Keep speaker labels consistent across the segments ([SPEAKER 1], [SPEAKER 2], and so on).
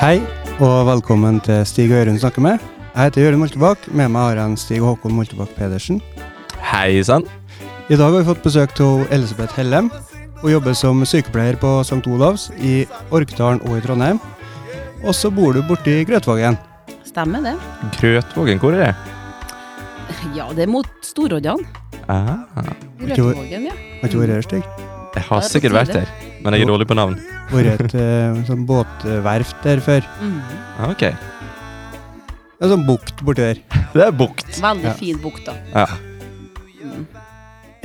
[SPEAKER 1] Hei, og velkommen til Stig og Jørund snakker med. Jeg heter Jørund Moltebakk. Med meg har jeg en Stig og Håkon Moltebakk Pedersen.
[SPEAKER 2] Hei sann.
[SPEAKER 1] I dag har vi fått besøk av Elisabeth Hellem. Hun jobber som sykepleier på St. Olavs i Orkdalen og i Trondheim. Og så bor du borti Grøtvågen.
[SPEAKER 3] Stemmer det.
[SPEAKER 2] Grøtvågen, hvor er det?
[SPEAKER 3] Ja, det er mot Storoddan.
[SPEAKER 2] Ah,
[SPEAKER 3] Grøtvågen, ja.
[SPEAKER 1] Har ikke vært her, Stig?
[SPEAKER 2] jeg har
[SPEAKER 3] Det er på
[SPEAKER 2] sikkert vært
[SPEAKER 3] tide.
[SPEAKER 2] der, men jeg er dårlig på navn.
[SPEAKER 1] Vært et eh, sånn båtverft der før.
[SPEAKER 3] Mm.
[SPEAKER 2] Ah, Ok.
[SPEAKER 1] En sånn bukt borti der.
[SPEAKER 2] Det er bukt.
[SPEAKER 3] Veldig
[SPEAKER 1] Ja.
[SPEAKER 3] fin bukt, da.
[SPEAKER 2] Ja.
[SPEAKER 3] Mm.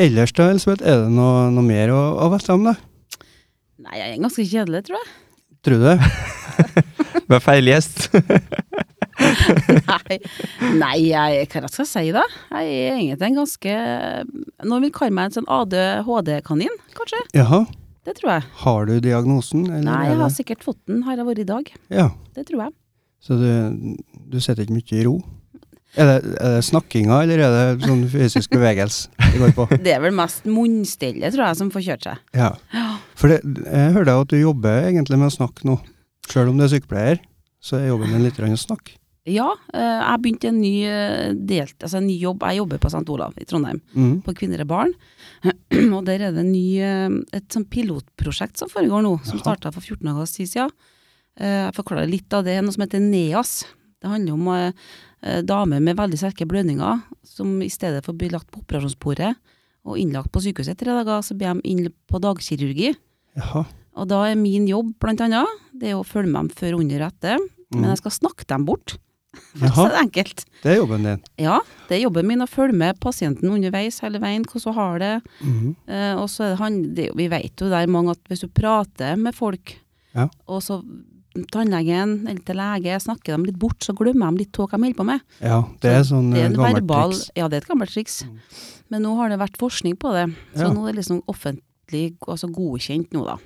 [SPEAKER 1] Ellers da, Elisabeth, er det noe, noe mer å, å vite om, da?
[SPEAKER 3] Nei, jeg er ganske kjedelig, tror jeg.
[SPEAKER 1] Tror du det?
[SPEAKER 2] Vær feil gjest.
[SPEAKER 3] Nei, Nei jeg, hva jeg skal si, da? Jeg er egentlig en ganske Noen vil kalle meg en sånn ADHD-kanin, kanskje?
[SPEAKER 1] Jaha.
[SPEAKER 3] Det tror jeg.
[SPEAKER 1] Har du diagnosen? eller
[SPEAKER 3] Nei, altså.
[SPEAKER 1] er
[SPEAKER 3] jeg har
[SPEAKER 1] det-
[SPEAKER 3] sikkert fått den, har jeg vært i dag.
[SPEAKER 1] Ja.
[SPEAKER 3] Det tror jeg.
[SPEAKER 1] Så du, du sitter ikke mye i ro? Er det, er det snakkinga, eller er det sånn fysisk bevegelse det går på?
[SPEAKER 3] Det er vel mest munnstille, tror jeg, som får kjørt seg.
[SPEAKER 1] Ja. For det, jeg hørte at du jobber egentlig med å snakke nå. Sjøl om du er sykepleier, så er jobben din litt grann å snakke.
[SPEAKER 3] Ja, eh, jeg begynte en ny eh, delt, altså en ny jobb. Jeg jobber på St. Olav i Trondheim.
[SPEAKER 1] Mm.
[SPEAKER 3] på Kvinner og barn. Og der er det en ny, eh, et sånn pilotprosjekt som foregår nå, som
[SPEAKER 1] Jaha.
[SPEAKER 3] starta for 14 dager siden. Ja. Eh, Jeg forklarer litt av det. Noe som heter NEAS. Det handler om eh, eh, damer med veldig sterke blødninger som i stedet for å bli lagt på operasjonsbordet og innlagt på sykehuset i tre dager, så blir de inn på dagkirurgi.
[SPEAKER 1] Jaha.
[SPEAKER 3] Og da er min jobb, blant annet, det er å følge med dem før, under og etter. Men
[SPEAKER 1] Mm.
[SPEAKER 3] jeg skal snakke dem bort. Så
[SPEAKER 1] Jaha.
[SPEAKER 3] det er enkelt.
[SPEAKER 1] Det er jobben din.
[SPEAKER 3] Ja, det er jobben min å følge med pasienten underveis hele veien, hvordan hun har det.
[SPEAKER 1] Mhm.
[SPEAKER 3] Eh, og så er det han, det, vi vet jo der mange at hvis du prater med folk,
[SPEAKER 1] Ja.
[SPEAKER 3] og så tannlegen eller til lege, snakker dem litt bort, så glemmer de litt hva de holder på med.
[SPEAKER 1] Ja, det er sånn
[SPEAKER 3] Det er
[SPEAKER 1] eh,
[SPEAKER 3] en
[SPEAKER 1] gammelt
[SPEAKER 3] verbal-
[SPEAKER 1] triks. Mm.
[SPEAKER 3] Ja, det er et gammelt triks. Men nå har det vært forskning på det, så
[SPEAKER 1] Ja.
[SPEAKER 3] nå er det liksom offentlig altså godkjent nå da,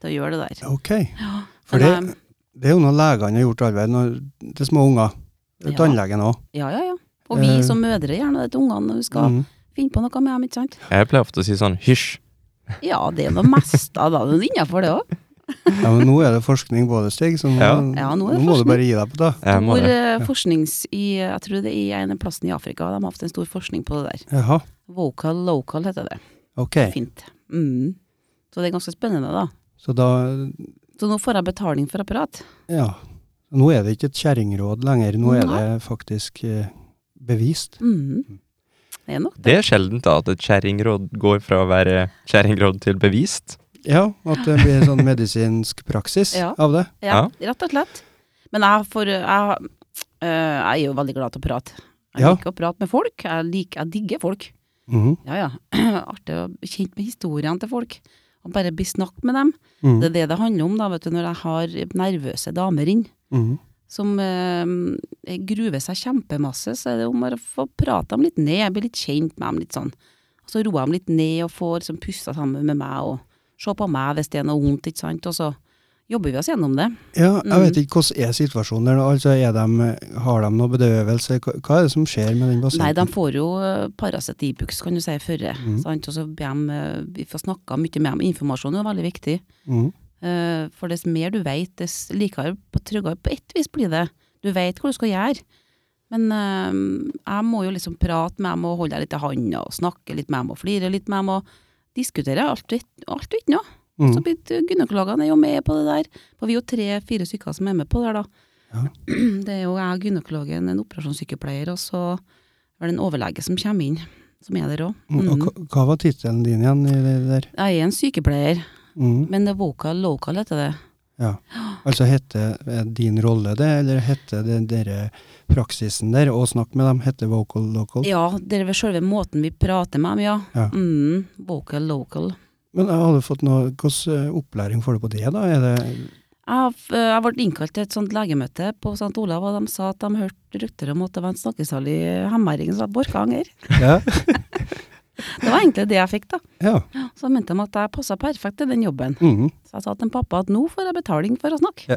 [SPEAKER 3] til å gjøre det der.
[SPEAKER 1] Ok.
[SPEAKER 3] Ja.
[SPEAKER 1] For
[SPEAKER 3] Men, eh,
[SPEAKER 1] Det er jo noe legene har gjort arbeid når- til små unger.
[SPEAKER 3] Ja.
[SPEAKER 1] Tannlegen òg.
[SPEAKER 3] Ja, ja, ja. Og vi
[SPEAKER 1] Eh. Mm.
[SPEAKER 3] som mødre gjør det til ungene når vi skal finne på noe med dem, ikke sant?
[SPEAKER 2] Jeg pleier ofte å si sånn hysj.
[SPEAKER 3] Ja, det er noe mest av det, det er innenfor det også.
[SPEAKER 1] Ja, men nå er det forskning både, Stig, så nå,
[SPEAKER 2] Ja.
[SPEAKER 3] Ja, nå er det
[SPEAKER 1] må du
[SPEAKER 3] forskning.
[SPEAKER 1] bare gi deg på det.
[SPEAKER 2] Jeg må
[SPEAKER 3] Hvor
[SPEAKER 2] det.
[SPEAKER 3] eh, forsknings i, jeg tror det er i en av plassen i Afrika, de har hatt en stor forskning på det der.
[SPEAKER 1] Jaha.
[SPEAKER 3] Vocal local heter det.
[SPEAKER 1] Ok.
[SPEAKER 3] Fint. Mm. Så det er ganske spennende, da.
[SPEAKER 1] Så da
[SPEAKER 3] Så nå får jeg betaling for apparat.
[SPEAKER 1] Ja. Nå er det ikke et kjerringråd lenger, nå er det faktisk eh, bevist.
[SPEAKER 3] Mm. Det er nok
[SPEAKER 2] Det er sjeldent da at et kjerringråd går fra å være kjerringråd til bevist.
[SPEAKER 1] Ja, at det blir sånn medisinsk praksis
[SPEAKER 3] Ja.
[SPEAKER 1] av det.
[SPEAKER 3] Ja, rett og slett. Men jeg, får, jeg, eh, jeg er jo veldig glad til å prate. Jeg
[SPEAKER 1] Ja.
[SPEAKER 3] liker å prate med folk. Jeg, liker, jeg digger folk.
[SPEAKER 1] Mhm.
[SPEAKER 3] Ja, ja. Artig å bli kjent med historiene til folk. Og bare bli snakk med dem.
[SPEAKER 1] Mhm.
[SPEAKER 3] Det er det det handler om, da, vet du, når jeg har nervøse damer inn.
[SPEAKER 1] Mhm.
[SPEAKER 3] som eh, gruver seg kjempemasse, så er det om å få prate dem litt ned, bli litt kjent med dem litt sånn. Og så roer dem litt ned og får liksom, pusta sammen med meg og se på meg hvis det er noe vondt, ikke sant. Og så jobber vi oss gjennom det.
[SPEAKER 1] Ja, jeg
[SPEAKER 3] Mhm.
[SPEAKER 1] vet ikke hvordan er situasjonen der nå. Altså, er de, har de noe bedøvelse? Hva- Hva er det som skjer med den
[SPEAKER 3] Nei, de
[SPEAKER 1] pasienten?
[SPEAKER 3] får jo eh, Paracet Ibux, kan du si, før, sant. Og så ber dem, eh, vi får snakka mye med dem. Informasjon er veldig viktig.
[SPEAKER 1] Mhm.
[SPEAKER 3] Eh, for dess mer du vet, dess likere og tryggere på ett vis blir det. Du vet hva du skal gjøre. Men eh, jeg må jo liksom prate med dem og holde deg litt i handa og snakke litt med dem og flire litt med dem og diskutere alt og ikke- alt og ikke noe. Så
[SPEAKER 1] Mhm.
[SPEAKER 3] blir det- gynekologene er jo med på det der. For vi er jo tre-fire stykker som er med på det her, da.
[SPEAKER 1] Ja.
[SPEAKER 3] Det er jo jeg, gynekologen, en operasjonssykepleier og så er det en overlege som kommer inn, som er der òg.
[SPEAKER 1] Mhm. Og hva- hva var tittelen din igjen i det der?
[SPEAKER 3] Jeg er en sykepleier,
[SPEAKER 1] Mhm.
[SPEAKER 3] men det er vocal local heter det.
[SPEAKER 1] Ja. Altså heter eh, din rolle det, eller heter det dere praksisen der, å snakke med dem, heter vocal local?
[SPEAKER 3] Ja, det er vel selve måten vi prater med dem, ja.
[SPEAKER 1] Ja.
[SPEAKER 3] Mm, vocal, local.
[SPEAKER 1] Men jeg hadde fått noe, hvordan eh, opplæring får du på det, da? Er det
[SPEAKER 3] Jeg, har f- eh, jeg ble innkalt til et sånt legemøte på St. Olav, og de sa at de hørte rykter om at det var en snakkesalig hemmering som var Borkanger.
[SPEAKER 1] Ja.
[SPEAKER 3] Det var egentlig det jeg fikk, da.
[SPEAKER 1] ja.
[SPEAKER 3] Så mente de at jeg passa perfekt til den jobben.
[SPEAKER 1] Mhm.
[SPEAKER 3] Så jeg sa til en pappa at nå får jeg betaling for å snakke.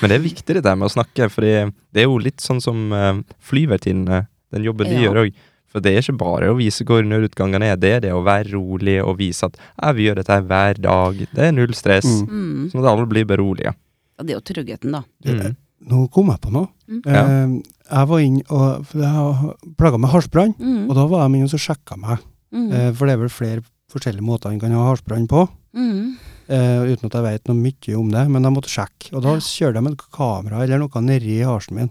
[SPEAKER 2] Men det er viktig det der med å snakke, for det er jo litt sånn som eh, flyvertinnene, den jobben de
[SPEAKER 3] Ja.
[SPEAKER 2] gjør òg. For det er ikke bare å vise hvor nødutgangen er, det er det å være rolig og vise at ja, vi gjør dette her hver dag, det er null stress.
[SPEAKER 1] Mm.
[SPEAKER 3] Mm.
[SPEAKER 2] Sånn at alle blir beroliget.
[SPEAKER 3] Ja, det er jo tryggheten, da.
[SPEAKER 2] Mm.
[SPEAKER 1] Nå kom jeg på noe.
[SPEAKER 3] Mm.
[SPEAKER 2] Ja.
[SPEAKER 1] Eh, jeg var inn og for Jeg plaga med halsbrann,
[SPEAKER 3] Mm.
[SPEAKER 1] og da var de inne og så sjekka meg.
[SPEAKER 3] Mm.
[SPEAKER 1] Eh, for det er vel flere forskjellige måter en kan ha halsbrann på.
[SPEAKER 3] Mm.
[SPEAKER 1] Eh, uten at jeg vet noe mye om det, men jeg måtte sjekke. Og da kjørte de et kamera eller noe nedi halsen min.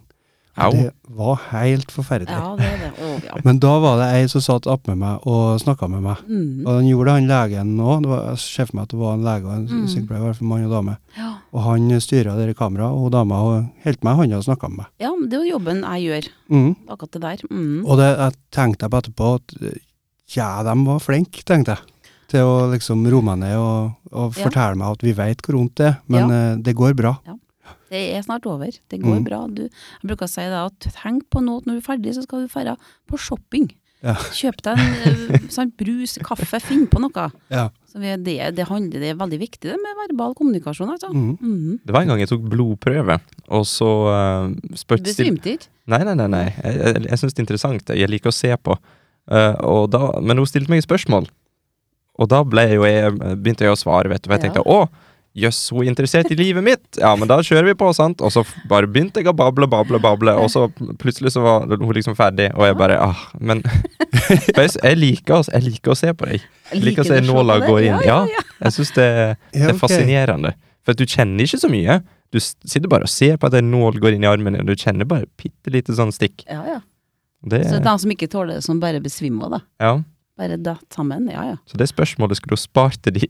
[SPEAKER 2] Au.
[SPEAKER 1] Det var helt forferdelig.
[SPEAKER 3] Ja, det er det. Å, ja.
[SPEAKER 1] Men da var det ei som satt attmed meg og snakka med meg.
[SPEAKER 3] Mm.
[SPEAKER 1] Og den gjorde det, han legen òg. Jeg ser for meg at det var en lege og en
[SPEAKER 3] Mm.
[SPEAKER 1] sykepleier, i hvert fall mann og dame.
[SPEAKER 3] Ja.
[SPEAKER 1] Og han styra det kameraet, og hun dama hun holdt meg i hånda og snakka med meg.
[SPEAKER 3] ja, men det er jo jobben jeg gjør,
[SPEAKER 1] Mm.
[SPEAKER 3] akkurat det der. Mm.
[SPEAKER 1] Og det, jeg tenkte jeg på etterpå at eh, ja, de var flinke, tenkte jeg. Til å liksom roe meg ned og, og
[SPEAKER 3] Ja.
[SPEAKER 1] fortelle meg at vi veit hvor vondt det er, men eh, det går bra.
[SPEAKER 3] Det er snart over. Det går
[SPEAKER 1] Mm.
[SPEAKER 3] bra. Du, jeg bruker å si det at tenk på nå at når du er ferdig, så skal du dra på shopping.
[SPEAKER 1] Ja.
[SPEAKER 3] Kjøp deg en eh, sånn brus, kaffe, finn på noe.
[SPEAKER 1] Ja.
[SPEAKER 3] Så vi, det, det, handler, det er veldig viktig det med verbal kommunikasjon. Altså.
[SPEAKER 1] Mm.
[SPEAKER 3] Mm.
[SPEAKER 2] Det var en gang jeg tok blodprøve, og så uh,
[SPEAKER 3] Du
[SPEAKER 2] spurte still-
[SPEAKER 3] besvimte ikke?
[SPEAKER 2] Nei, nei, nei. nei. Jeg, jeg, jeg syns det er interessant. Jeg liker å se på. Eh, og da, men hun stilte meg spørsmål, og da ble jo jeg, begynte jeg å svare, vet du. Og jeg
[SPEAKER 3] Ja.
[SPEAKER 2] tenkte å, jøss, hun er interessert i livet mitt! Ja, men da kjører vi på, sant? Og så f- bare begynte jeg å bable, bable, bable, og så plutselig så var hun liksom ferdig, og jeg bare ah, men For jeg, s- jeg, liker, å- jeg liker å se på deg. Jeg liker å se
[SPEAKER 3] du på
[SPEAKER 2] nåla
[SPEAKER 3] det?
[SPEAKER 2] gå inn.
[SPEAKER 3] Ja,
[SPEAKER 2] Ja, jeg syns det
[SPEAKER 1] Ja,
[SPEAKER 2] det er
[SPEAKER 1] ok.
[SPEAKER 2] fascinerende. For at du kjenner ikke så mye. Du s- sitter bare og ser på at en nål går inn i armen, og du kjenner bare bitte lite sånn stikk.
[SPEAKER 3] ja, ja.
[SPEAKER 2] Det,
[SPEAKER 3] Så det er de som ikke tåler det, som bare besvimer, da.
[SPEAKER 2] ja.
[SPEAKER 3] Bare datt sammen. Ja, ja.
[SPEAKER 2] så det spørsmålet skulle hun spart til de.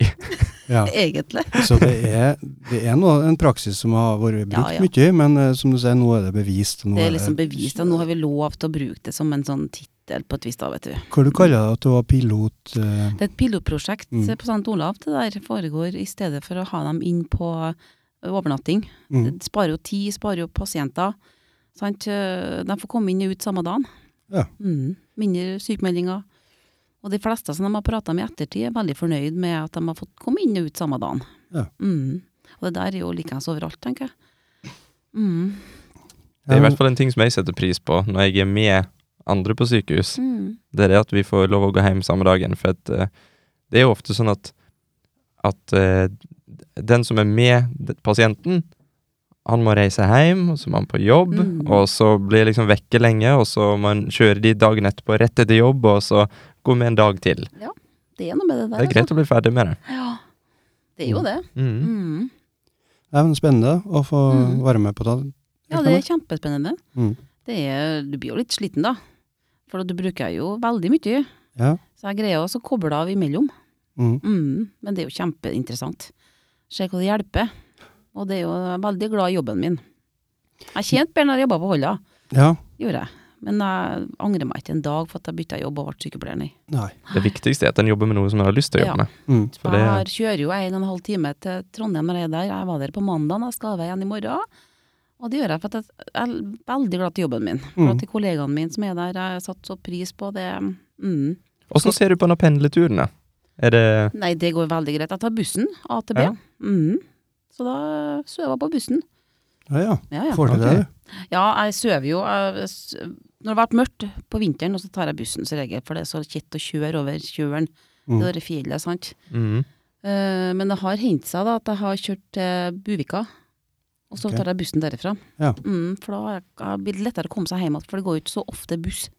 [SPEAKER 1] Ja.
[SPEAKER 3] Egentlig.
[SPEAKER 1] Så det er, det er noe, en praksis som har vært brukt
[SPEAKER 3] Ja, ja.
[SPEAKER 1] mye, men eh, som du sier, nå er det bevist. Nå
[SPEAKER 3] Det er liksom bevist, og nå har vi lov til å bruke det som en sånn tittel på et vis, da, vet du.
[SPEAKER 1] Hva du kaller det at du var pilot? eh,
[SPEAKER 3] Det er et pilotprosjekt
[SPEAKER 1] Mm.
[SPEAKER 3] på St. Olav. Det der foregår i stedet for å ha dem inn på overnatting.
[SPEAKER 1] mm.
[SPEAKER 3] Det sparer jo tid, sparer jo pasienter. Sant? Eh, De får komme inn og ut samme dagen.
[SPEAKER 1] Ja.
[SPEAKER 3] Mm. Mindre sykemeldinger. Og de fleste som de har prata med i ettertid, er veldig fornøyd med at de har fått komme inn og ut samme dagen.
[SPEAKER 1] Ja.
[SPEAKER 3] Mm. Og det der er jo likeens overalt, tenker jeg. Mm.
[SPEAKER 2] Det er i hvert fall en ting som jeg setter pris på når jeg er med andre på sykehus.
[SPEAKER 3] Mm.
[SPEAKER 2] Det er det at vi får lov å gå hjem samme dagen. For at, eh, det er jo ofte sånn at, at eh, den som er med d- pasienten, han må reise hjem, og så må han på jobb,
[SPEAKER 3] Mm.
[SPEAKER 2] og så blir jeg liksom vekke lenge, og så må han kjøre de dagen etterpå rett etter jobb, og så gå med en dag til.
[SPEAKER 3] Det er noe med det
[SPEAKER 2] Det
[SPEAKER 3] der.
[SPEAKER 2] er greit å bli ferdig med det.
[SPEAKER 3] altså. Ja. Det er jo det.
[SPEAKER 2] Mm.
[SPEAKER 3] Mm.
[SPEAKER 1] Det er jo spennende å få
[SPEAKER 3] Mm.
[SPEAKER 1] være med på det.
[SPEAKER 3] Ja, det er kjempespennende.
[SPEAKER 1] Mm.
[SPEAKER 3] Det er, du blir jo litt sliten, da. For du bruker jo veldig mye.
[SPEAKER 1] Ja.
[SPEAKER 3] Så jeg greier også å koble av imellom.
[SPEAKER 1] Mm.
[SPEAKER 3] Mm, men det er jo kjempeinteressant. Se hva det hjelper. Og det er jo jeg er veldig glad i jobben min. Jeg tjente bedre når jeg jobba på Holla,
[SPEAKER 1] ja.
[SPEAKER 3] gjorde jeg. Men jeg angrer meg ikke en dag for at jeg bytta jobb og ble sykepleier, nei.
[SPEAKER 1] Nei.
[SPEAKER 2] Det viktigste er at en jobber med noe som en har lyst til å
[SPEAKER 3] Ja.
[SPEAKER 2] jobbe med.
[SPEAKER 1] Mm.
[SPEAKER 2] For det-
[SPEAKER 3] Jeg har, kjører jo en og en halv time til Trondheim når jeg er der. Jeg var der på mandag, jeg skal være igjen i morgen. Og det gjør jeg for at jeg jeg er veldig glad til jobben min. For
[SPEAKER 1] Mm.
[SPEAKER 3] at de kollegaene mine som er der, jeg har satt så pris på det. Mm.
[SPEAKER 2] Åssen ser du på denne pendleturen, da? Er det
[SPEAKER 3] Nei, det går veldig greit. Jeg tar bussen, A til B.
[SPEAKER 2] Ja.
[SPEAKER 3] Mm. Så da sover jeg på bussen.
[SPEAKER 1] Ja, ja.
[SPEAKER 3] Ja, ja.
[SPEAKER 1] Får til det,
[SPEAKER 2] Ok.
[SPEAKER 1] du.
[SPEAKER 3] ja jeg sover jo jeg, s- Når det har vært mørkt på vinteren, og så tar jeg bussen som regel, for det er så kjett å kjøre over kjølen.
[SPEAKER 1] Mm.
[SPEAKER 3] Det er fjellet, sant.
[SPEAKER 2] mm.
[SPEAKER 3] Eh, men det har hendt seg da at jeg har kjørt til Buvika, og så
[SPEAKER 1] Ok.
[SPEAKER 3] tar jeg bussen derifra.
[SPEAKER 1] Ja.
[SPEAKER 3] Mm, for da har jeg- jeg blir det lettere å komme seg hjem igjen, for det går jo ikke så ofte buss.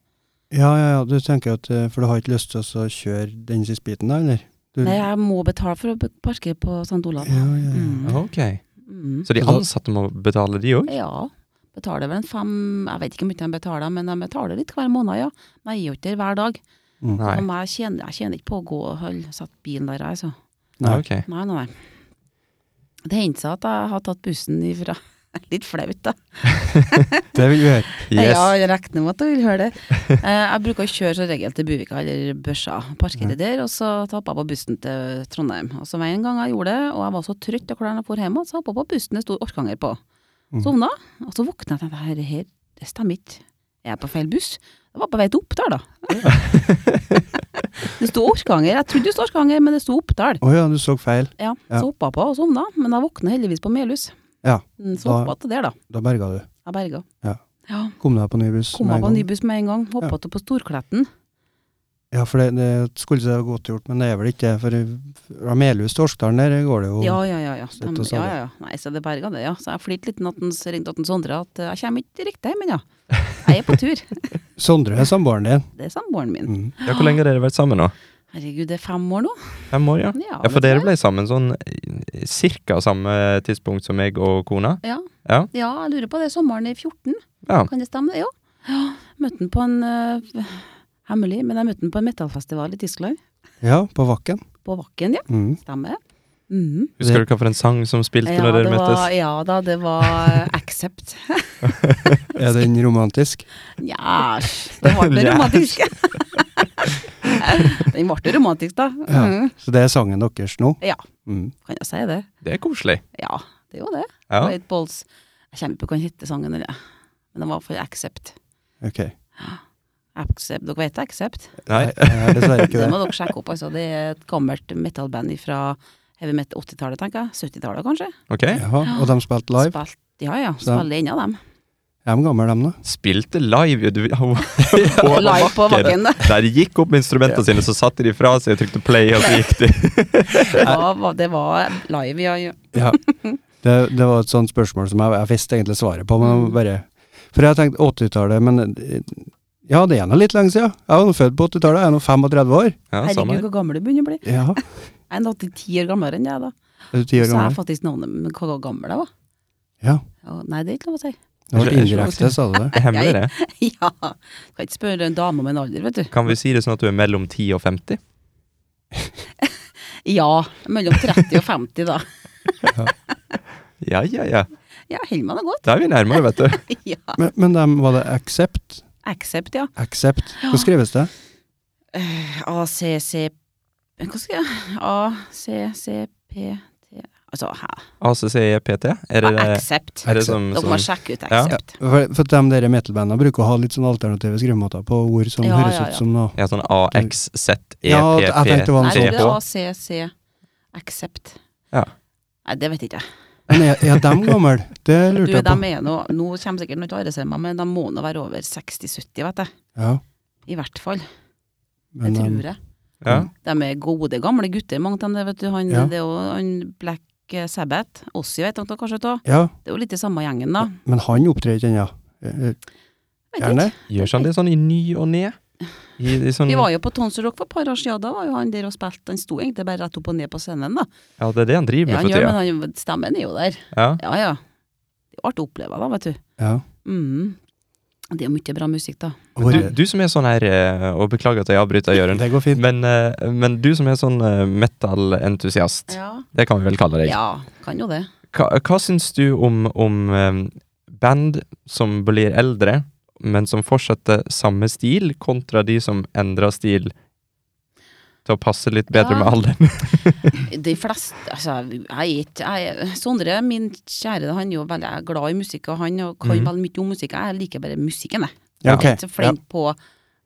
[SPEAKER 1] Ja, ja, ja. Du tenker at eh, For du har ikke lyst til å så kjøre den siste biten, da, eller? Du,
[SPEAKER 3] Nei, jeg må betale for å be- parkere på St. Olav.
[SPEAKER 1] Mm. Ja, ja, ja.
[SPEAKER 3] Mm.
[SPEAKER 2] Ok.
[SPEAKER 3] Mm.
[SPEAKER 2] Så de
[SPEAKER 1] Og da-
[SPEAKER 2] ansatte må betale, de òg?
[SPEAKER 3] Ja. Betaler vel en fem Jeg vet ikke hvor mye de betaler, men de betaler litt hver måned, ja. Men jeg er jo ikke der hver dag.
[SPEAKER 1] Mm.
[SPEAKER 2] Nei.
[SPEAKER 3] Og jeg tjener, jeg tjener ikke på å gå og holde satt bilen der, altså.
[SPEAKER 1] Nei.
[SPEAKER 2] Ok.
[SPEAKER 3] Nei, nei, nei. Det hendte seg at jeg har tatt bussen ifra Litt flaut, da.
[SPEAKER 1] Det vil vi gjøre.
[SPEAKER 2] Yes.
[SPEAKER 3] Ja, jeg regner med at du vil høre det. Eh, Jeg bruker å kjøre som regel til Buvika eller Børsa. Parkere der, og så tapper jeg på bussen til Trondheim. Og så var en gang jeg gjorde det, og jeg var så trøtt av klærne jeg for hjemme, så hoppa jeg på bussen det sto orkanger på.
[SPEAKER 1] Mhm.
[SPEAKER 3] Sovna, og så våkna jeg og tenkte her, her, det stemmer ikke. Jeg er på feil buss. Jeg var på vei til Oppdal, da. det sto orkanger. Jeg trodde det sto orkanger, men det sto Oppdal.
[SPEAKER 1] Å ja, du så feil.
[SPEAKER 3] Ja,
[SPEAKER 1] Ja.
[SPEAKER 3] Så hoppa jeg på og sovna, men jeg våkna heldigvis på Melhus.
[SPEAKER 1] Ja.
[SPEAKER 3] Mm, Så
[SPEAKER 1] Da-
[SPEAKER 3] hoppa jeg til der, da.
[SPEAKER 1] Da berga du.
[SPEAKER 3] Jeg berga.
[SPEAKER 1] Ja.
[SPEAKER 3] ja.
[SPEAKER 1] Kom deg på ny buss.
[SPEAKER 3] Kom
[SPEAKER 1] med
[SPEAKER 3] jeg
[SPEAKER 1] en
[SPEAKER 3] på
[SPEAKER 1] gang.
[SPEAKER 3] ny buss med en gang. Hoppa
[SPEAKER 1] Ja.
[SPEAKER 3] til på Storkletten.
[SPEAKER 1] Ja, for det, det skulle seg godt gjort, men det er vel ikke det. For fra Melhus til Orkdalen der går det jo
[SPEAKER 3] Ja, ja, ja. ja.
[SPEAKER 1] Slutt å
[SPEAKER 3] De,
[SPEAKER 1] sa
[SPEAKER 3] ja,
[SPEAKER 1] det.
[SPEAKER 3] ja, ja. Nei, så det berga det, ja. Så jeg flirte litt når han ringte at han Sondre at eh, jeg kommer ikke riktig hjem ennå. Jeg er på tur.
[SPEAKER 1] Sondre er samboeren din.
[SPEAKER 3] Det er samboeren min.
[SPEAKER 1] Mm.
[SPEAKER 2] Ja, Hvor lenge har dere vært sammen nå?
[SPEAKER 3] Herregud, det er fem år nå.
[SPEAKER 2] Fem år, ja.
[SPEAKER 3] Ja,
[SPEAKER 2] Ja, For
[SPEAKER 3] vet du
[SPEAKER 2] dere
[SPEAKER 3] det?
[SPEAKER 2] ble sammen sånn eh, cirka samme tidspunkt som meg og kona?
[SPEAKER 3] Ja.
[SPEAKER 2] Ja.
[SPEAKER 3] jeg lurer på det. Sommeren i 14,
[SPEAKER 2] Ja.
[SPEAKER 3] kan det stemme? det? Ja. ja. Møtte han på en eh, Hemmelig, men jeg møtte han på en metallfestival i Tyskland.
[SPEAKER 1] Ja, på Vakken.
[SPEAKER 3] På Vakken, ja.
[SPEAKER 1] Mm.
[SPEAKER 3] Stemmer. Mhm.
[SPEAKER 2] Husker du hva for en sang som spilte
[SPEAKER 3] Ja,
[SPEAKER 2] når
[SPEAKER 3] det
[SPEAKER 2] dere
[SPEAKER 3] var,
[SPEAKER 2] møttes?
[SPEAKER 3] ja da, det var eh, Accept.
[SPEAKER 1] Er den romantisk?
[SPEAKER 3] Nja, det ble
[SPEAKER 2] Nja.
[SPEAKER 3] romantisk. Den ble romantisk, da.
[SPEAKER 1] Ja.
[SPEAKER 3] Mhm.
[SPEAKER 1] Så det er sangen deres nå?
[SPEAKER 3] Ja.
[SPEAKER 1] Mm.
[SPEAKER 3] Kan jeg si det?
[SPEAKER 2] Det er koselig.
[SPEAKER 3] Ja, det er jo det.
[SPEAKER 2] Ja.
[SPEAKER 3] White Balls. Jeg kommer ikke på hva den heter sangen, eller. men den var for Accept.
[SPEAKER 1] Ok.
[SPEAKER 3] Accept. Dere vet Accept?
[SPEAKER 2] Nei.
[SPEAKER 1] Jeg er dessverre ikke
[SPEAKER 3] Det
[SPEAKER 1] det.
[SPEAKER 3] må dere sjekke opp. Altså. Det er et gammelt metal-band fra heavy metal 80-tallet, tenker jeg. 70-tallet, kanskje.
[SPEAKER 2] Ok.
[SPEAKER 1] Jaha, og de spilte live?
[SPEAKER 3] Spilt, ja ja,
[SPEAKER 1] Så-
[SPEAKER 3] spiller ennå dem.
[SPEAKER 1] Er de gamle, dem da?
[SPEAKER 2] Spilte live. Du,
[SPEAKER 3] Live på bakken.
[SPEAKER 2] Der gikk opp med instrumentene sine, så satte de fra seg og trykte play, og så gikk de.
[SPEAKER 3] Det var, det var live, ja. ja.
[SPEAKER 1] Ja. Det, det var et sånt spørsmål som jeg, jeg visste egentlig svaret på, men
[SPEAKER 3] Mm.
[SPEAKER 1] jeg bare For jeg tenkte 80-tallet, men eh, ja, det er nå litt lenge siden. Jeg var nå født på 80-tallet, jeg er nå 35 år.
[SPEAKER 2] Ja, samme.
[SPEAKER 3] Herregud, hvor gammel du begynner å bli.
[SPEAKER 1] Ja,
[SPEAKER 3] Jeg er nå 10 år gamlere enn deg, da.
[SPEAKER 1] er du ti år
[SPEAKER 3] Så er
[SPEAKER 1] gammel?
[SPEAKER 3] faktisk navnet men hvor gammel jeg var.
[SPEAKER 1] Ja.
[SPEAKER 3] Ja, Nei, det er ikke lov å si.
[SPEAKER 1] Det var indirekte, sa du det?
[SPEAKER 2] Det er hemmelig, det.
[SPEAKER 3] ja. Kan ikke spørre en dame om en alder, vet du.
[SPEAKER 2] Kan vi si det sånn at du er mellom 10 og 50?
[SPEAKER 3] Ja. Mellom 30 og 50, da.
[SPEAKER 2] Ja, ja, ja.
[SPEAKER 3] Ja, holder meg nå godt.
[SPEAKER 2] Da er vi nærmere, vet du.
[SPEAKER 3] Ja.
[SPEAKER 1] Men, men dem- var det Accept?
[SPEAKER 3] Accept, ja. Eh,
[SPEAKER 1] Accept? Hvordan skrives det?
[SPEAKER 3] ACC Hva skal jeg ACCPT Altså, hæ?
[SPEAKER 2] ACCEPT? E Er det det?
[SPEAKER 3] Accept.
[SPEAKER 2] Er det som, sånn-
[SPEAKER 3] Dere må
[SPEAKER 2] som
[SPEAKER 3] sjekke ut
[SPEAKER 2] Ja.
[SPEAKER 3] Accept.
[SPEAKER 1] For, for de der metalbanda bruker å ha litt sånn alternative skrivemåter på ord som
[SPEAKER 3] Ja,
[SPEAKER 1] høres
[SPEAKER 3] ja,
[SPEAKER 1] ut
[SPEAKER 3] ja.
[SPEAKER 1] som noe
[SPEAKER 2] ja, sånn AXZEPPT?
[SPEAKER 1] Ja, jeg tenkte det var
[SPEAKER 3] Nei,
[SPEAKER 1] noe
[SPEAKER 3] det er
[SPEAKER 2] TH.
[SPEAKER 3] ACC Accept.
[SPEAKER 2] Sånn Ja.
[SPEAKER 3] Nei, det vet ikke jeg.
[SPEAKER 1] Men er, er de gamle? Det
[SPEAKER 3] Du,
[SPEAKER 1] lurte jeg
[SPEAKER 3] de
[SPEAKER 1] på.
[SPEAKER 3] er nå Nå kommer sikkert noen til å arrestere meg, men de må nå være over 60-70, vet jeg.
[SPEAKER 1] Ja,
[SPEAKER 3] I hvert fall. Det
[SPEAKER 1] men um,
[SPEAKER 3] tror
[SPEAKER 1] de,
[SPEAKER 3] jeg.
[SPEAKER 2] Ja.
[SPEAKER 3] De er gode, gamle gutter, mange av dem. Vet du. Han,
[SPEAKER 1] Ja.
[SPEAKER 3] Det er jo han Black Sabbath. Ossi vet dere kanskje av.
[SPEAKER 1] ja,
[SPEAKER 3] Det er jo litt i samme gjengen, da.
[SPEAKER 1] men han opptrer ikke ennå. Eh, eh,
[SPEAKER 3] Vet ikke.
[SPEAKER 1] Gjerne?
[SPEAKER 2] Gjør ikke han det sånn i ny og ne? I, i sånn,
[SPEAKER 3] Vi
[SPEAKER 2] ja,
[SPEAKER 3] var jo på Tonsor Rock for et par år siden, da var jo han der og spilte. Han sto egentlig bare rett opp og ned på scenen, da.
[SPEAKER 2] det er det han driver
[SPEAKER 3] Ja, han
[SPEAKER 2] med for
[SPEAKER 3] gjør,
[SPEAKER 2] tida.
[SPEAKER 3] men han, stemmen er jo der.
[SPEAKER 2] Ja.
[SPEAKER 3] Ja, ja. Det er artig å oppleve, da, vet du.
[SPEAKER 1] Ja.
[SPEAKER 3] Mm. Det er jo mye bra musikk, da.
[SPEAKER 2] Du,
[SPEAKER 1] Hvor,
[SPEAKER 2] du som er sånn her, eh, og beklager at jeg avbryter, Jørund,
[SPEAKER 1] det går fint.
[SPEAKER 2] men, eh, men du som er sånn eh, metal-entusiast,
[SPEAKER 3] Ja.
[SPEAKER 2] det kan vi vel kalle deg.
[SPEAKER 3] ja, kan jo det.
[SPEAKER 2] Hva, hva syns du om, om eh, band som blir eldre, men som fortsetter samme stil, kontra de som endrer stil til å passe litt bedre
[SPEAKER 3] Ja.
[SPEAKER 2] med alderen?
[SPEAKER 3] De fleste Altså, jeg er ikke jeg, Sondre, min kjære, han er jo veldig glad i musikk, og han og kan
[SPEAKER 2] Mhm.
[SPEAKER 3] veldig mye om musikk. Jeg liker bare musikken, jeg.
[SPEAKER 1] Ja,
[SPEAKER 3] Jeg er
[SPEAKER 1] ok.
[SPEAKER 3] ikke så flink på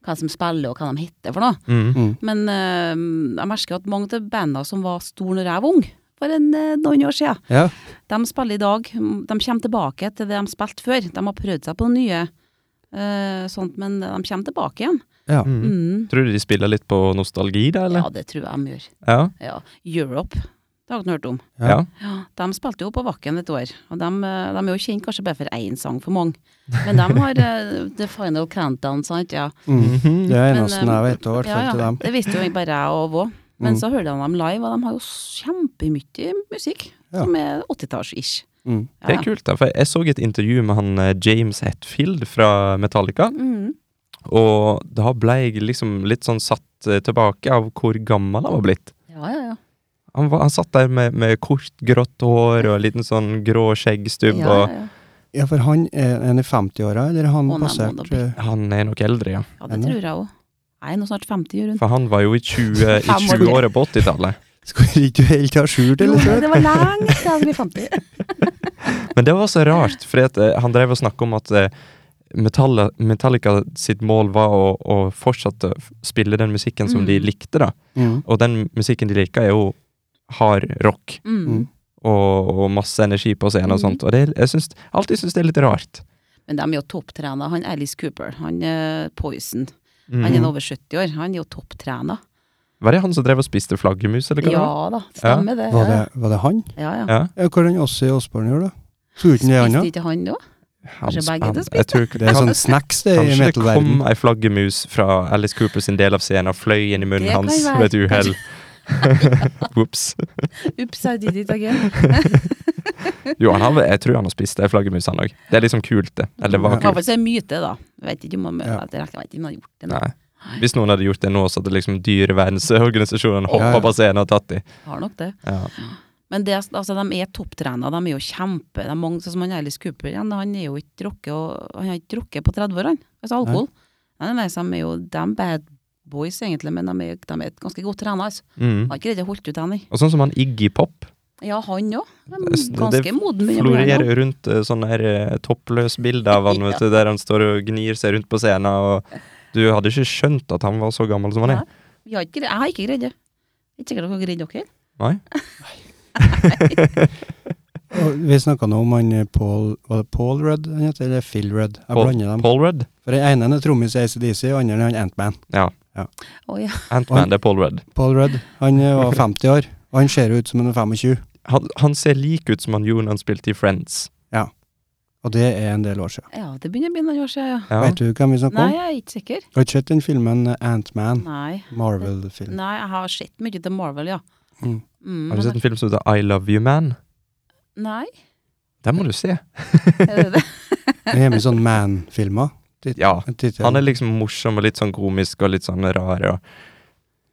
[SPEAKER 3] hva som spiller og hva de heter for noe.
[SPEAKER 2] Mm.
[SPEAKER 1] Mm.
[SPEAKER 3] Men eh, jeg merker at mange av bandene som var store når jeg var ung, for en, eh, noen år siden,
[SPEAKER 1] Ja.
[SPEAKER 3] de spiller i dag. De kommer tilbake til det de spilte før. De har prøvd seg på noe nye, eh, sånt, men de kommer tilbake igjen.
[SPEAKER 1] ja.
[SPEAKER 2] Mm.
[SPEAKER 3] Mm.
[SPEAKER 2] Tror du de spiller litt på nostalgi, da,
[SPEAKER 3] Ja,
[SPEAKER 2] eller?
[SPEAKER 3] det tror jeg de gjør.
[SPEAKER 2] Ja.
[SPEAKER 3] Ja. Europe, det har dere hørt om.
[SPEAKER 1] Ja.
[SPEAKER 2] ja.
[SPEAKER 3] Ja, de spilte jo på Vakken et år, og de, eh, de er jo kjent kanskje bare for én sang for mange. Men de har eh, The Final Countdown, sant? Ja.
[SPEAKER 1] Mm. Det er
[SPEAKER 3] Men,
[SPEAKER 1] eneste
[SPEAKER 3] eh,
[SPEAKER 1] jeg vet, i hvert fall til dem.
[SPEAKER 3] Det visste jo bare jeg og Vå. Men
[SPEAKER 1] Mm.
[SPEAKER 3] så hørte jeg dem live, og de har jo kjempemye musikk
[SPEAKER 1] Ja.
[SPEAKER 3] som er 80-talls-ish.
[SPEAKER 1] Mm.
[SPEAKER 2] Det er kult, da. For jeg så et intervju med han eh, James Hetfield fra Metallica,
[SPEAKER 3] Mm.
[SPEAKER 2] og da ble jeg liksom litt sånn satt eh, tilbake av hvor gammel han var blitt.
[SPEAKER 3] Ja, ja, ja.
[SPEAKER 2] Han, var, han satt der med, med kort, grått hår og en liten sånn grå skjeggstubb.
[SPEAKER 3] ja, ja,
[SPEAKER 2] Og
[SPEAKER 3] ja.
[SPEAKER 1] Ja, for han er en i 50-åra, eller han
[SPEAKER 3] Å, nei,
[SPEAKER 1] passert
[SPEAKER 3] må da bli-
[SPEAKER 1] eh,
[SPEAKER 2] han er nok eldre, ja.
[SPEAKER 3] ja, det tror jeg òg. Jeg er nå snart 50, Jørund.
[SPEAKER 2] For han var jo i 20 i
[SPEAKER 3] Fem år
[SPEAKER 2] 20-året på 80-tallet.
[SPEAKER 1] Skulle ikke du helt ha skjult,
[SPEAKER 3] Jo,
[SPEAKER 1] eller? tror jeg?
[SPEAKER 3] men det var lenge til jeg ble 50.
[SPEAKER 2] Men det var så rart, for han drev og snakka om at eh, Metalla- Metallica sitt mål var å, å fortsette å spille den musikken som de
[SPEAKER 3] Mm.
[SPEAKER 2] likte, da.
[SPEAKER 1] Mm.
[SPEAKER 2] Og den musikken de liker, er jo hard rock
[SPEAKER 3] Mm.
[SPEAKER 1] Mm.
[SPEAKER 2] og, og masse energi på scenen og
[SPEAKER 3] Mm.
[SPEAKER 2] sånt. Og det, jeg syns, alltid syns det er litt rart.
[SPEAKER 3] Men de er jo topptrena. Han Alice Cooper, han eh, Poison. Han er
[SPEAKER 2] Mm.
[SPEAKER 3] nå over 70 år, han er jo topptrena.
[SPEAKER 2] Var det han som drev og spiste flaggermus, eller hva det var?
[SPEAKER 3] Ja da, stemmer det.
[SPEAKER 1] Var det, var det han?
[SPEAKER 3] Ja, ja.
[SPEAKER 2] Ja.
[SPEAKER 1] Ja, Hva er den Åse i Åsbarn gjør, da? Skulle ikke det han
[SPEAKER 3] Spiste
[SPEAKER 1] da?
[SPEAKER 3] ikke han det òg?
[SPEAKER 2] Han
[SPEAKER 3] Kanskje begge
[SPEAKER 2] span-
[SPEAKER 3] to spiste?
[SPEAKER 2] Jeg tror ikke-
[SPEAKER 1] Det er sånn snacks det i
[SPEAKER 2] Kanskje det kom
[SPEAKER 1] metal-verden.
[SPEAKER 2] ei flaggermus fra Alice Cooper sin del av scenen og fløy inn i munnen
[SPEAKER 3] Det kan
[SPEAKER 2] hans
[SPEAKER 3] være.
[SPEAKER 2] ved et uhell. Ops.
[SPEAKER 3] Ups, I did it again.
[SPEAKER 2] Jo, han har, jeg tror han har spist ei flaggermus, han òg. Det er liksom kult, det. Eller
[SPEAKER 1] Ja.
[SPEAKER 2] det var
[SPEAKER 3] I hvert
[SPEAKER 2] kult.
[SPEAKER 3] fall så er det myte, da. Jeg vet ikke om han
[SPEAKER 1] Ja.
[SPEAKER 3] jeg vet ikke om han har gjort det. nå.
[SPEAKER 2] Nei. Hvis noen hadde gjort det nå, så hadde liksom dyrevernsorganisasjonene
[SPEAKER 1] Ja,
[SPEAKER 2] hoppa
[SPEAKER 1] ja.
[SPEAKER 2] på scenen og tatt dem.
[SPEAKER 3] Har nok det.
[SPEAKER 2] Ja.
[SPEAKER 3] Men det, altså, de er topptrena, de er jo kjempe de er mange, Sånn som han Alice Cooper, han, han er jo ikke drukket og- Han har ikke drukket på 30 år, han. Altså alkohol. Nei, nei, så de er jo de bad boys, egentlig, men de er, de er ganske godt trena. Altså.
[SPEAKER 2] Mm.
[SPEAKER 3] Har ikke greid å holde ut ennå.
[SPEAKER 2] Og sånn som han Iggy Pop.
[SPEAKER 3] Ja, han òg.
[SPEAKER 2] Det-
[SPEAKER 3] Ganske
[SPEAKER 2] det
[SPEAKER 3] moden. begynner å bli han også.
[SPEAKER 2] Florerer rundt eh, sånne her, eh, toppløs-bilder av han, vet du, der han står og gnir seg rundt på scenen. og Du hadde ikke skjønt at han var så gammel som han er.
[SPEAKER 3] Nei. Vi har ikke, gre- jeg har ikke greid det. Ikke sikkert dere har greid dere.
[SPEAKER 2] Nei?
[SPEAKER 1] Og Vi snakka nå om han eh, Paul Var det Paul Rudd han heter, eller Phil Rudd? Jeg
[SPEAKER 2] Paul-
[SPEAKER 1] blander dem.
[SPEAKER 2] Paul Rudd?
[SPEAKER 1] For den ene er trommis i ACDC, og den andre er han Antman.
[SPEAKER 3] Å ja.
[SPEAKER 1] Og han-
[SPEAKER 2] Antman, det er Paul Rudd.
[SPEAKER 1] Paul Rudd. Han eh, var 50 år, og han ser ut som han er 25.
[SPEAKER 2] Han, han ser lik ut som han gjorde når han spilte i Friends.
[SPEAKER 1] Og det er en del år siden.
[SPEAKER 3] ja, det begynner å bli noen år siden, ja.
[SPEAKER 2] Ja.
[SPEAKER 1] Vet du hvem vi snakker
[SPEAKER 3] Nei,
[SPEAKER 1] om?
[SPEAKER 3] jeg er ikke sikker.
[SPEAKER 1] Har ikke sett den filmen eh,
[SPEAKER 2] Mm.
[SPEAKER 1] Antman,
[SPEAKER 3] Nei.
[SPEAKER 1] Marvel-film.
[SPEAKER 3] Nei, jeg har sett mye til Marvel, ja.
[SPEAKER 1] Mm.
[SPEAKER 3] Mm,
[SPEAKER 2] Har
[SPEAKER 3] men-
[SPEAKER 2] du sett en film som heter I Love You Man?
[SPEAKER 3] Nei,
[SPEAKER 2] Den må du se.
[SPEAKER 3] er det det?
[SPEAKER 1] Det er med sånn man-filmer.
[SPEAKER 2] Ja.
[SPEAKER 1] Tittel.
[SPEAKER 2] Han er liksom morsom og litt sånn komisk og litt sånn rar. Og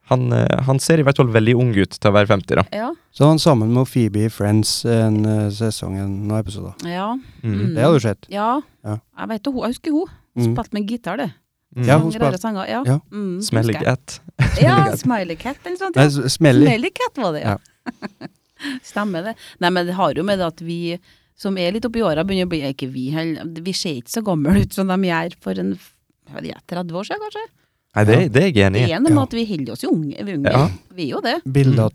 [SPEAKER 2] han, eh, han ser i hvert fall veldig ung ut til å være 50, da.
[SPEAKER 3] Ja.
[SPEAKER 1] Så var han sammen med Phoebe i Friends en eh, sesong, en noen episoder.
[SPEAKER 3] ja.
[SPEAKER 2] Mm.
[SPEAKER 1] Det har du sett.
[SPEAKER 3] Ja.
[SPEAKER 1] Ja.
[SPEAKER 3] Jeg vet jo hun, jeg husker hun.
[SPEAKER 1] Mm.
[SPEAKER 3] Spilte med gitar, det.
[SPEAKER 2] Mm.
[SPEAKER 1] Ja, hun
[SPEAKER 3] Mange rare
[SPEAKER 1] spilte-
[SPEAKER 3] sanger. Ja.
[SPEAKER 1] ja.
[SPEAKER 3] Mm,
[SPEAKER 2] Smelly
[SPEAKER 3] husker jeg.
[SPEAKER 2] Cat.
[SPEAKER 3] Ja, Smiley Cat eller sånt.
[SPEAKER 1] Nei,
[SPEAKER 3] Ja.
[SPEAKER 1] s- Smelly.
[SPEAKER 3] Smelly Cat var det, ja. Stemmer det. Nei, men det har jo med det at vi som er litt oppi åra, begynner å bli Ikke vi heller, vi ser ikke så gamle ut som de gjør for en jeg vet ikke, 30 år siden, kanskje.
[SPEAKER 2] Nei, det, det er jeg
[SPEAKER 3] Det
[SPEAKER 2] enig i.
[SPEAKER 3] er noe med
[SPEAKER 1] Ja.
[SPEAKER 3] at vi holder oss jo unge. Vi, er unge.
[SPEAKER 2] Ja.
[SPEAKER 3] vi er jo det.
[SPEAKER 1] Bilder
[SPEAKER 2] Mm.
[SPEAKER 1] av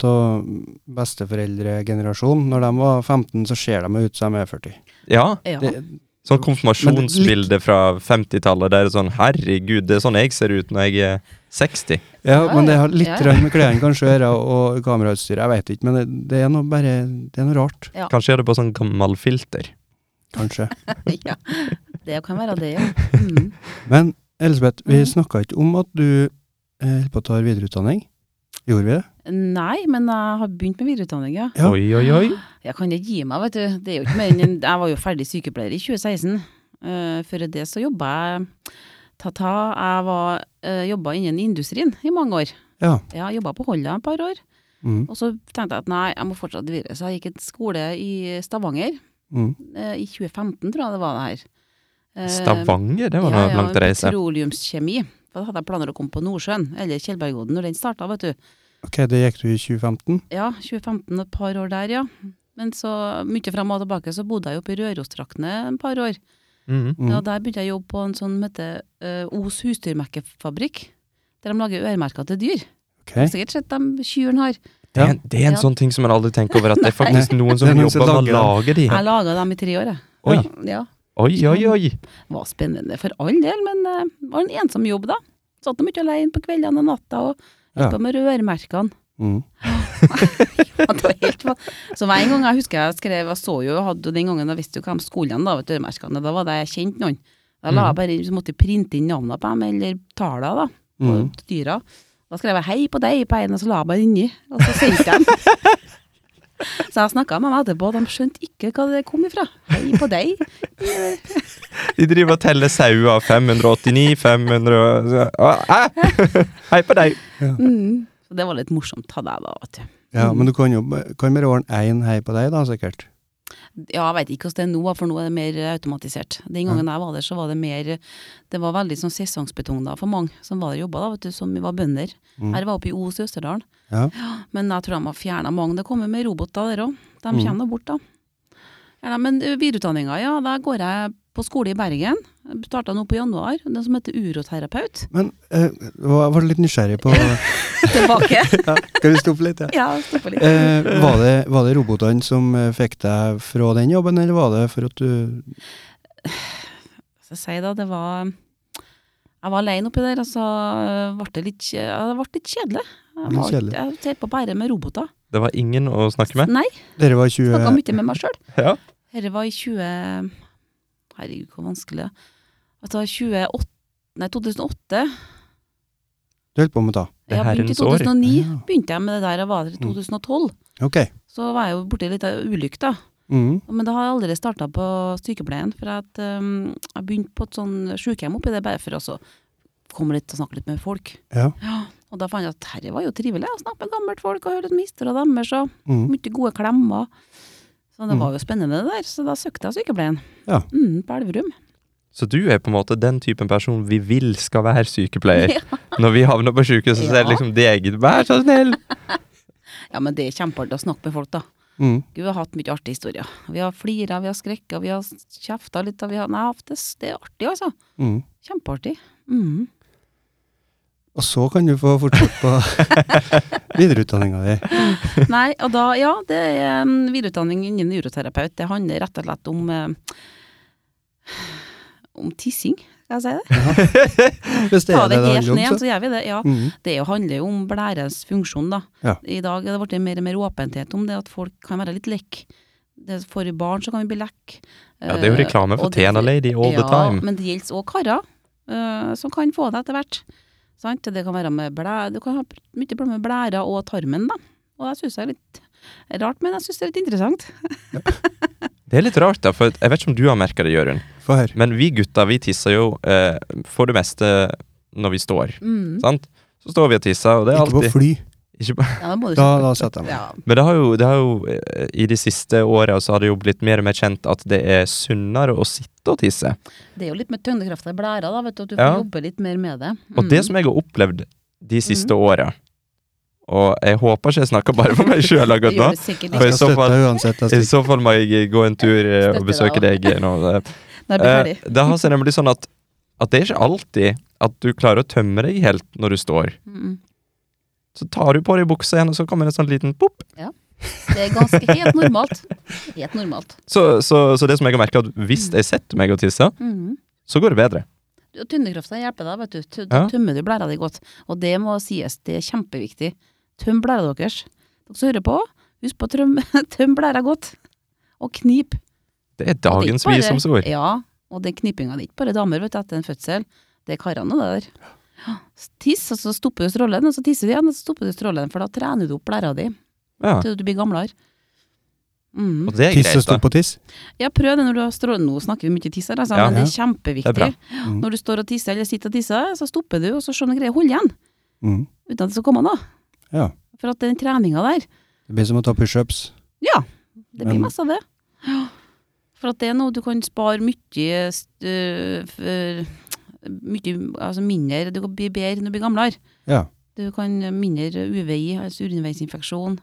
[SPEAKER 1] besteforeldregenerasjonen. Når de var 15, så ser de ut som de er 40.
[SPEAKER 2] Ja.
[SPEAKER 3] Ja.
[SPEAKER 1] Det,
[SPEAKER 2] Sånn
[SPEAKER 1] Men
[SPEAKER 2] konfirmasjonsbilde fra 50-tallet der det er sånn Herregud, det er sånn jeg ser ut når jeg er 60.
[SPEAKER 1] ja,
[SPEAKER 3] Ja,
[SPEAKER 1] men det
[SPEAKER 3] ja.
[SPEAKER 1] har litt
[SPEAKER 3] Ja, ja.
[SPEAKER 1] grann med klærne kanskje å gjøre, og kamerautstyret, jeg veit ikke. Men det, det er noe bare Det er noe rart,
[SPEAKER 3] Ja.
[SPEAKER 2] Kanskje gjør det på sånn gammel filter.
[SPEAKER 1] kanskje.
[SPEAKER 3] ja. Det kan være det, ja. Mm.
[SPEAKER 1] Men Elisabeth, vi
[SPEAKER 3] Mhm.
[SPEAKER 1] snakka ikke om at du eh, holder på å ta videreutdanning. Gjorde vi det?
[SPEAKER 3] Nei, men jeg har begynt med videreutdanning, ja.
[SPEAKER 1] Ja.
[SPEAKER 2] Oi, oi, oi.
[SPEAKER 3] Jeg kan ikke gi meg, vet du. Det er jo ikke mer enn Jeg var jo ferdig sykepleier i 2016. Eh, før det så jobba jeg ta-ta. Jeg var, eh, jobba innen industrien i mange år.
[SPEAKER 1] Ja.
[SPEAKER 3] Ja, jobba på Holla et par år.
[SPEAKER 1] Mm,
[SPEAKER 3] Og så tenkte jeg at nei, jeg må fortsatt videre. Så jeg gikk en skole i Stavanger.
[SPEAKER 1] mm.
[SPEAKER 3] eh, I 2015, tror jeg det var det her. Eh,
[SPEAKER 2] Stavanger, det var noe langt å reise.
[SPEAKER 3] Petroleumskjemi. Da hadde jeg planer å komme på Nordsjøen, eller Tjeldbergodden, når den starta, vet du.
[SPEAKER 1] Ok, det gikk du i 2015.
[SPEAKER 3] Ja, 2015 og et par år der, ja. Men så mye fram og tilbake så bodde jeg jo oppe i Rørostraktene et par år.
[SPEAKER 2] Mhm.
[SPEAKER 1] Mm.
[SPEAKER 3] Ja, der begynte jeg å jobbe på en sånn som heter eh, Os husdyrmerkefabrikk. Der de lager øremerker til dyr.
[SPEAKER 1] Ok.
[SPEAKER 3] Du har Sikkert sett de kyrne har.
[SPEAKER 2] Det er, det er en
[SPEAKER 3] Ja.
[SPEAKER 2] sånn ting som man aldri tenker over, at det er faktisk noen som
[SPEAKER 1] Det er noen som
[SPEAKER 2] jobber med å
[SPEAKER 1] lager
[SPEAKER 2] lage de.
[SPEAKER 3] Jeg laga dem i tre år, jeg.
[SPEAKER 2] Oi,
[SPEAKER 3] Ja.
[SPEAKER 2] oi, oi, oi.
[SPEAKER 3] Det var spennende for all del, men eh, det var en ensom jobb, da. Satt nå mye alene på kveldene og natta og
[SPEAKER 1] Ja.
[SPEAKER 3] holdt på med rørmerkene.
[SPEAKER 1] Mm.
[SPEAKER 3] Ja, det var helt fa- Så hver gang jeg husker jeg skrev, jeg så jo, hadde jo den gangen jeg visste jo hvem skolene da, vet du, øremerkene, da var det jeg kjente noen. Da la jeg bare inn, så måtte jeg printe inn navnene på dem, eller tala da, på
[SPEAKER 1] Mm.
[SPEAKER 3] dyra. Da skrev jeg hei på deg på en, og så la jeg bare inni, og så sendte jeg dem. Så jeg snakket med dem etterpå, og de skjønte ikke hva det kom ifra. Hei på deg.
[SPEAKER 2] De driver og teller sauer. 589, 500 og- Å, Hæ? Hei på deg.
[SPEAKER 3] Mm. Så det var litt morsomt hadde jeg da, vet du.
[SPEAKER 1] Ja, men du kan jo b- kan bare ordne én hei på deg, da, sikkert.
[SPEAKER 3] Ja, jeg vet ikke hvordan det er nå, for nå er det mer automatisert. Den gangen jeg var der, så var det mer Det var veldig sånn sesongsbetonga for mange som var der og jobba, da, vet du, som var bønder.
[SPEAKER 1] Mm.
[SPEAKER 3] Her var oppe i Os i Østerdalen.
[SPEAKER 1] Ja.
[SPEAKER 3] Men jeg tror de har fjerna mange. Det kommer med roboter der òg. De
[SPEAKER 1] Mm.
[SPEAKER 3] kommer nå bort, da. Ja, nei, men ø, videreutdanninga, ja. Da går jeg på skole i Bergen. Starta nå på januar. Den som heter uroterapeut.
[SPEAKER 1] Men eh, var, var litt nysgjerrig på
[SPEAKER 3] Tilbake.
[SPEAKER 1] ja, Skal vi stoppe litt? Ja.
[SPEAKER 3] ja, stopp litt.
[SPEAKER 1] Eh, var, det, var det robotene som eh, fikk deg fra den jobben, eller var det for at du
[SPEAKER 3] Så jeg sier da, det var Jeg var alene oppi der, og så øh, ble det litt, kje- ja, det ble litt kjedelig. Jeg,
[SPEAKER 1] Litt
[SPEAKER 3] var-
[SPEAKER 1] kjedelig.
[SPEAKER 3] jeg teipa bare med roboter.
[SPEAKER 2] Det var ingen å snakke med?
[SPEAKER 3] Nei,
[SPEAKER 1] Dere var
[SPEAKER 3] snakka
[SPEAKER 1] 20
[SPEAKER 3] mye med meg sjøl.
[SPEAKER 2] Ja.
[SPEAKER 3] Dette var i 20... Herregud, hvor vanskelig det er. Altså 28... Nei, 2008.
[SPEAKER 1] Du holdt på med å ta.
[SPEAKER 2] Det
[SPEAKER 3] Jeg begynte i
[SPEAKER 2] herrens år.
[SPEAKER 3] 2009.
[SPEAKER 1] Ja.
[SPEAKER 3] Begynte jeg med det der og var der i 2012.
[SPEAKER 1] Ok.
[SPEAKER 3] Så var jeg jo borti litt av ulykke, da.
[SPEAKER 1] Mm.
[SPEAKER 3] Men da har jeg allerede starta på sykepleien, for at, um, jeg begynte på et sånn sykehjem oppi det, bare for å så komme litt og snakke litt med folk.
[SPEAKER 1] Ja.
[SPEAKER 3] Og da fant jeg at herre var jo trivelig å snakke med gammelt folk og høre litt om historien deres, og
[SPEAKER 1] Mm.
[SPEAKER 3] mye gode klemmer. Så det
[SPEAKER 1] Mm.
[SPEAKER 3] var jo spennende det der, så da søkte jeg sykepleien.
[SPEAKER 1] Ja.
[SPEAKER 3] Mm, på Elverum.
[SPEAKER 2] Så du er på en måte den typen person vi vil skal være sykepleier.
[SPEAKER 3] Ja.
[SPEAKER 2] Når vi havner på sykehus, så er det
[SPEAKER 3] Ja. Eh,
[SPEAKER 2] liksom deg. Vær så snill!
[SPEAKER 3] ja, men det er kjempeartig å snakke med folk, da.
[SPEAKER 1] Mm.
[SPEAKER 3] Gud, vi har hatt mye artige historier. Vi har flira, vi har skrekka, vi har kjefta litt. Og vi har, nei, det, det er artig, altså.
[SPEAKER 1] Mm.
[SPEAKER 3] Kjempeartig. Mm.
[SPEAKER 1] Og så kan du få fortsette på videreutdanninga di.
[SPEAKER 3] Nei, og da, ja, det er um, videreutdanning innen uroterapeut. Det handler rett og slett om eh, om tissing, skal jeg si det?
[SPEAKER 1] Hvis det
[SPEAKER 3] Ta
[SPEAKER 1] er
[SPEAKER 3] det
[SPEAKER 1] det det
[SPEAKER 3] helt ned
[SPEAKER 1] handler
[SPEAKER 3] igjen,
[SPEAKER 1] om, så.
[SPEAKER 3] så gjør vi det. Ja.
[SPEAKER 1] Mm.
[SPEAKER 3] Det jo handler jo om blærens funksjon, da.
[SPEAKER 1] Ja.
[SPEAKER 3] I dag er det blitt mer og mer åpenhet om det, at folk kan være litt lekk. Det- For barn så kan vi bli lekk.
[SPEAKER 2] Ja, det er jo
[SPEAKER 3] Eh,
[SPEAKER 2] reklame for
[SPEAKER 3] og det-
[SPEAKER 2] Tena Lady all the time.
[SPEAKER 3] men det gjelder òg karer, eh, som kan få det etter hvert. Sant? Det kan være med blæ, du kan ha mye problemer med blæra og tarmen, da. Og jeg syns det er litt rart, men jeg syns det er litt interessant.
[SPEAKER 2] Det er litt rart, da, for jeg vet ikke om du har merka det, Jørund,
[SPEAKER 1] Få høre.
[SPEAKER 2] men vi gutter vi tisser jo eh, for det meste når vi står.
[SPEAKER 3] Mm.
[SPEAKER 2] Sant? Så står vi og tisser, og det er
[SPEAKER 1] Ikke på
[SPEAKER 2] alltid
[SPEAKER 1] fly.
[SPEAKER 2] ikke på,
[SPEAKER 3] Ja, da må du
[SPEAKER 1] Da,
[SPEAKER 3] kjøpe-
[SPEAKER 1] da setter jeg meg.
[SPEAKER 3] ja.
[SPEAKER 2] Men det har jo, det har jo eh, i de siste åra så har det jo blitt mer og mer kjent at det er sunnere å sitte og tisse.
[SPEAKER 3] Det er jo litt med tyngdekrafta i blæra, da, vet du, at du
[SPEAKER 2] Ja.
[SPEAKER 3] får jobbe litt mer med det. Mm.
[SPEAKER 2] Og det som jeg har opplevd de siste åra Og jeg håper ikke jeg snakker bare for meg sjøl akkurat
[SPEAKER 3] gjør
[SPEAKER 2] nå.
[SPEAKER 3] det sikkert
[SPEAKER 2] For
[SPEAKER 1] Jeg
[SPEAKER 2] i
[SPEAKER 3] ikke.
[SPEAKER 2] så
[SPEAKER 1] skal støtte
[SPEAKER 2] fall-
[SPEAKER 1] deg uansett.
[SPEAKER 2] I
[SPEAKER 1] Jeg stikker.
[SPEAKER 2] så fall må jeg gå en tur eh, og
[SPEAKER 3] Støtter
[SPEAKER 2] besøke deg nå.
[SPEAKER 3] Når jeg blir
[SPEAKER 2] Eh,
[SPEAKER 3] ferdig.
[SPEAKER 2] Det har seg nemlig sånn at, at det er ikke alltid at du klarer å tømme deg helt når du står.
[SPEAKER 3] Mm.
[SPEAKER 2] Så tar du på deg buksa igjen, og så kommer det en sånn liten pop.
[SPEAKER 3] Det er ganske helt normalt. Helt normalt.
[SPEAKER 2] Så, så, så det som jeg har merket at hvis jeg setter meg og tisser,
[SPEAKER 3] Mm.
[SPEAKER 2] så går det bedre.
[SPEAKER 3] Og Tyngdekrafta hjelper deg, vet du. T- Da
[SPEAKER 2] Ja.
[SPEAKER 3] tømmer du blæra di godt. Og det må sies, det er kjempeviktig. Tøm blæra deres. Dere som hører på, husk på å tømme tøm blæra godt. Og knip.
[SPEAKER 2] Det er
[SPEAKER 3] Og det er ikke
[SPEAKER 2] dagens
[SPEAKER 3] bare-
[SPEAKER 2] visdomsord.
[SPEAKER 3] Ja, og den knipinga det er ikke bare damer, vet du, etter en fødsel. Det er karene, det der. Tiss, og så stopper du strålen, og så tisser du igjen, og så stopper du strålen, for da trener du opp blæra di
[SPEAKER 2] Ja.
[SPEAKER 3] til du blir gamlere. Mm.
[SPEAKER 2] Og det er
[SPEAKER 1] Tisse
[SPEAKER 2] greit,
[SPEAKER 1] stå
[SPEAKER 2] da.
[SPEAKER 1] på tiss.
[SPEAKER 3] Ja, prøv det når du har strålen. Nå snakker vi mye tiss her, altså,
[SPEAKER 2] Ja.
[SPEAKER 3] men det er
[SPEAKER 1] Ja.
[SPEAKER 3] kjempeviktig.
[SPEAKER 2] Det er bra.
[SPEAKER 1] Mm.
[SPEAKER 3] Når du står og tisser eller sitter og tisser, så stopper du, og så ser du om du greier å holde igjen.
[SPEAKER 1] Mm.
[SPEAKER 3] Uten at det skal komme noe.
[SPEAKER 1] Ja.
[SPEAKER 3] For at den treninga der,
[SPEAKER 1] Det blir som å ta pushups.
[SPEAKER 3] det blir
[SPEAKER 1] Men-
[SPEAKER 3] masse av det. Ja. For at det er noe du kan spare mye st- øh, f- øh, Mye altså mindre Du kan bli bedre når du blir gamlere.
[SPEAKER 1] Ja.
[SPEAKER 3] Du kan mindre UVI, altså urinveisinfeksjon.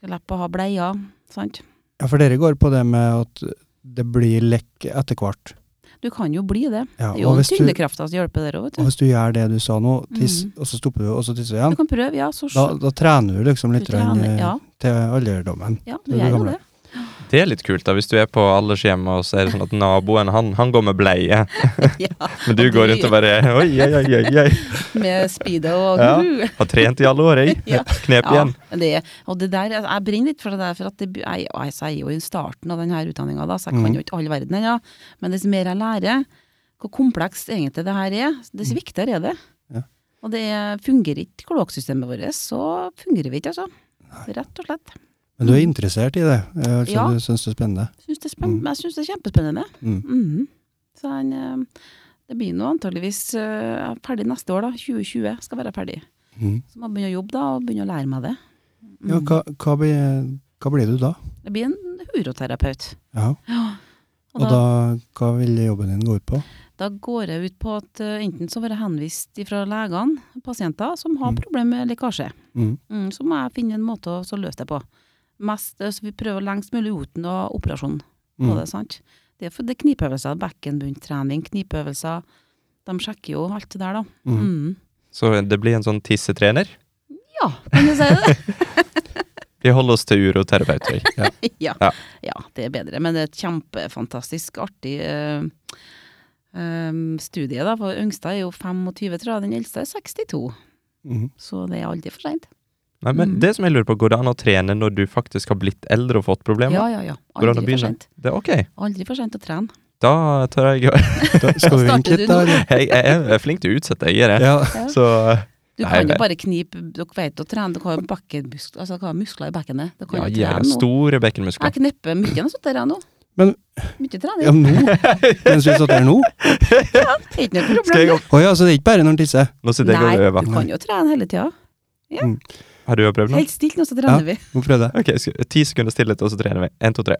[SPEAKER 3] Slippe å ha bleier. Sant?
[SPEAKER 1] ja, for dere går på det med at det blir lekk etter hvert.
[SPEAKER 3] Du kan jo bli det.
[SPEAKER 1] Ja,
[SPEAKER 3] Det er jo
[SPEAKER 1] og, hvis du,
[SPEAKER 3] tyngdekrafta som hjelper der òg,
[SPEAKER 1] og
[SPEAKER 3] vet du.
[SPEAKER 1] hvis du gjør det du sa nå, tiss,
[SPEAKER 3] Mhm.
[SPEAKER 1] og så stopper du, og så tisser du
[SPEAKER 3] Du
[SPEAKER 1] igjen,
[SPEAKER 3] kan prøve, ja. Så
[SPEAKER 1] da, da trener du liksom litt
[SPEAKER 3] Du
[SPEAKER 1] rann,
[SPEAKER 3] trener,
[SPEAKER 1] eh,
[SPEAKER 3] ja.
[SPEAKER 1] til alderdommen.
[SPEAKER 3] ja,
[SPEAKER 1] du
[SPEAKER 3] du gjør jo
[SPEAKER 1] gamle.
[SPEAKER 3] det.
[SPEAKER 2] Det er litt kult, da, hvis du er på aldershjemmet, og så er det sånn at naboen, han, han går med bleie,
[SPEAKER 3] Ja,
[SPEAKER 2] men du
[SPEAKER 3] Og
[SPEAKER 2] går
[SPEAKER 3] du-
[SPEAKER 2] rundt og bare Oi, oi, oi, oi, oi.
[SPEAKER 3] med speedo og
[SPEAKER 2] Ja. Har trent i alle år, jeg.
[SPEAKER 3] Ja.
[SPEAKER 2] Knep igjen.
[SPEAKER 3] Ja, det, og det der, altså, jeg brenner litt for det der, for at det, jeg, og jeg sier jo i starten av denne utdanninga, da, så jeg
[SPEAKER 2] Mm.
[SPEAKER 1] Mhm.
[SPEAKER 3] kan jo ikke all verden ennå, men dess mer jeg lærer, hvor komplekst egentlig det her er, dess
[SPEAKER 2] Mm.
[SPEAKER 3] viktigere er det.
[SPEAKER 1] Ja.
[SPEAKER 3] Og det fungerer ikke kloakksystemet vårt, så fungerer vi ikke, altså. Rett og slett.
[SPEAKER 1] Men du er interessert i det, eh, altså
[SPEAKER 3] Ja.
[SPEAKER 1] du syns det er spennende.
[SPEAKER 3] Synes det er spenn-
[SPEAKER 1] Mhm.
[SPEAKER 3] Jeg syns det er kjempespennende.
[SPEAKER 1] Mm.
[SPEAKER 3] Mhm. Så han, eh, det blir nå antageligvis eh, jeg er ferdig neste år, da. 2020 skal være ferdig.
[SPEAKER 1] Mhm.
[SPEAKER 3] Så må jeg begynne å jobbe da, og begynne å lære meg det.
[SPEAKER 1] Ja,
[SPEAKER 3] Mhm.
[SPEAKER 1] hva, hva, blir, hva blir du da?
[SPEAKER 3] Jeg blir en uroterapeut.
[SPEAKER 1] Ja. Og da, hva vil jobben din gå ut på?
[SPEAKER 3] Da går jeg ut på at eh, enten så blir jeg henvist fra legene, pasienter som har
[SPEAKER 1] Mm.
[SPEAKER 3] problemer med lekkasje.
[SPEAKER 1] Mm.
[SPEAKER 3] Mm, så må jeg finne en måte å så løse det på. Mest, eh, så vi prøver lengst mulig uten å ha operasjon på
[SPEAKER 1] Mm.
[SPEAKER 3] det. sant? Det er, for, det er knipeøvelser, bekkenbunntrening, knipeøvelser. De sjekker jo alt det der, da.
[SPEAKER 1] Mm.
[SPEAKER 3] Mm.
[SPEAKER 2] Så det blir en sånn tissetrener.
[SPEAKER 3] Ja, kan du si det?
[SPEAKER 2] Vi holder oss til uroterapeuter.
[SPEAKER 3] ja.
[SPEAKER 2] Ja.
[SPEAKER 3] ja, det er bedre. Men det er et kjempefantastisk artig eh, ehm, studiet, da, for yngste er jo 25, tror jeg, den eldste er 62.
[SPEAKER 1] Mhm.
[SPEAKER 3] Så det er aldri for seint.
[SPEAKER 2] Nei, men
[SPEAKER 3] Mm.
[SPEAKER 2] det som jeg lurer på, Går det an å trene når du faktisk har blitt eldre og fått problemer?
[SPEAKER 3] Ja, ja, ja.
[SPEAKER 2] Går det an å
[SPEAKER 3] Aldri for
[SPEAKER 2] begynne?
[SPEAKER 3] sent.
[SPEAKER 2] Det er ok.
[SPEAKER 3] Aldri for sent å trene.
[SPEAKER 2] Da tør jeg gjøre
[SPEAKER 1] Da Skal vi
[SPEAKER 3] Starter
[SPEAKER 1] vente
[SPEAKER 3] du
[SPEAKER 1] litt,
[SPEAKER 3] nå?
[SPEAKER 1] da? eller?
[SPEAKER 2] jeg, jeg er- jeg er flink til å utsette, jeg er det.
[SPEAKER 1] Ja.
[SPEAKER 3] Ja.
[SPEAKER 2] Så
[SPEAKER 3] Du
[SPEAKER 2] Nei,
[SPEAKER 3] kan
[SPEAKER 2] nei.
[SPEAKER 3] jo bare knipe Dere vet å trene, dere har jo bekkenmuskler, altså, dere har muskler i bekkenet. Dere kan
[SPEAKER 2] ja,
[SPEAKER 3] jo
[SPEAKER 2] jeg har
[SPEAKER 3] trene nå.
[SPEAKER 2] store
[SPEAKER 3] Jeg
[SPEAKER 2] bekkenmuskler.
[SPEAKER 3] knepper mye når jeg sitter her nå.
[SPEAKER 1] Men-
[SPEAKER 3] Mye
[SPEAKER 1] ja,
[SPEAKER 3] trening.
[SPEAKER 1] nå? Mens vi satt her nå?
[SPEAKER 3] Det er ikke noe
[SPEAKER 2] Skal jeg
[SPEAKER 3] problem.
[SPEAKER 2] opp?
[SPEAKER 1] Å ja, så det er ikke bare når han tisser?
[SPEAKER 2] Nå sitter jeg og
[SPEAKER 3] Nei,
[SPEAKER 2] øver.
[SPEAKER 3] du kan jo trene hele tida.
[SPEAKER 2] Har du prøvd nå?
[SPEAKER 3] Helt stilt nå, så trener vi.
[SPEAKER 1] Må prøve det.
[SPEAKER 2] Ok, skal, Ti sekunder stillhet, og så trener vi. Én, to, tre.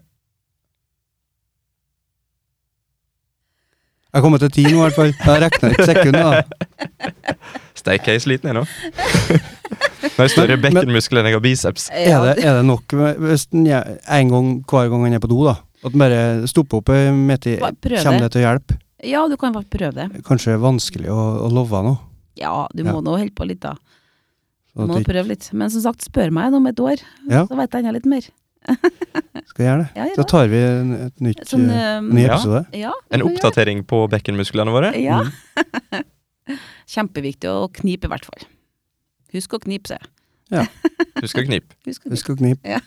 [SPEAKER 1] Jeg kommer til ti nå, i hvert fall. Jeg regner ikke sekundet, da.
[SPEAKER 2] Steik, jeg er sliten ennå. Nå har jeg større
[SPEAKER 1] Men-
[SPEAKER 2] bekkenmuskler enn jeg har biceps.
[SPEAKER 1] Er det, er det nok med, hvis den, gjør- en gang hver gang han er på do, da? At han bare stopper opp eh, midt i
[SPEAKER 3] Bare prøv
[SPEAKER 1] Kommer det
[SPEAKER 3] det.
[SPEAKER 1] til å hjelpe?
[SPEAKER 3] Ja, du kan bare prøve det.
[SPEAKER 1] Kanskje det er vanskelig å, å love nå.
[SPEAKER 3] Ja, du
[SPEAKER 1] Ja.
[SPEAKER 3] må nå holde på litt, da.
[SPEAKER 1] Så
[SPEAKER 3] Du må
[SPEAKER 1] at
[SPEAKER 3] nå
[SPEAKER 1] jeg
[SPEAKER 3] prøve litt. Men som sagt, spør meg om et år,
[SPEAKER 1] Ja.
[SPEAKER 3] så vet jeg enda litt mer.
[SPEAKER 1] skal gjøre det.
[SPEAKER 3] Ja, ja.
[SPEAKER 1] Da tar vi en, et nytt,
[SPEAKER 3] Sånn,
[SPEAKER 1] eh,
[SPEAKER 3] ehm,
[SPEAKER 1] ny
[SPEAKER 2] Ja.
[SPEAKER 1] episode.
[SPEAKER 3] ja, det
[SPEAKER 2] En
[SPEAKER 3] kan vi gjøre.
[SPEAKER 2] oppdatering på bekkenmusklene våre.
[SPEAKER 3] Ja.
[SPEAKER 1] Mm.
[SPEAKER 3] Kjempeviktig å knipe, i hvert fall. Husk å knipe seg.
[SPEAKER 2] Husk å knipe.
[SPEAKER 3] Husk å knipe.
[SPEAKER 1] Husk å knipe.
[SPEAKER 3] Ja.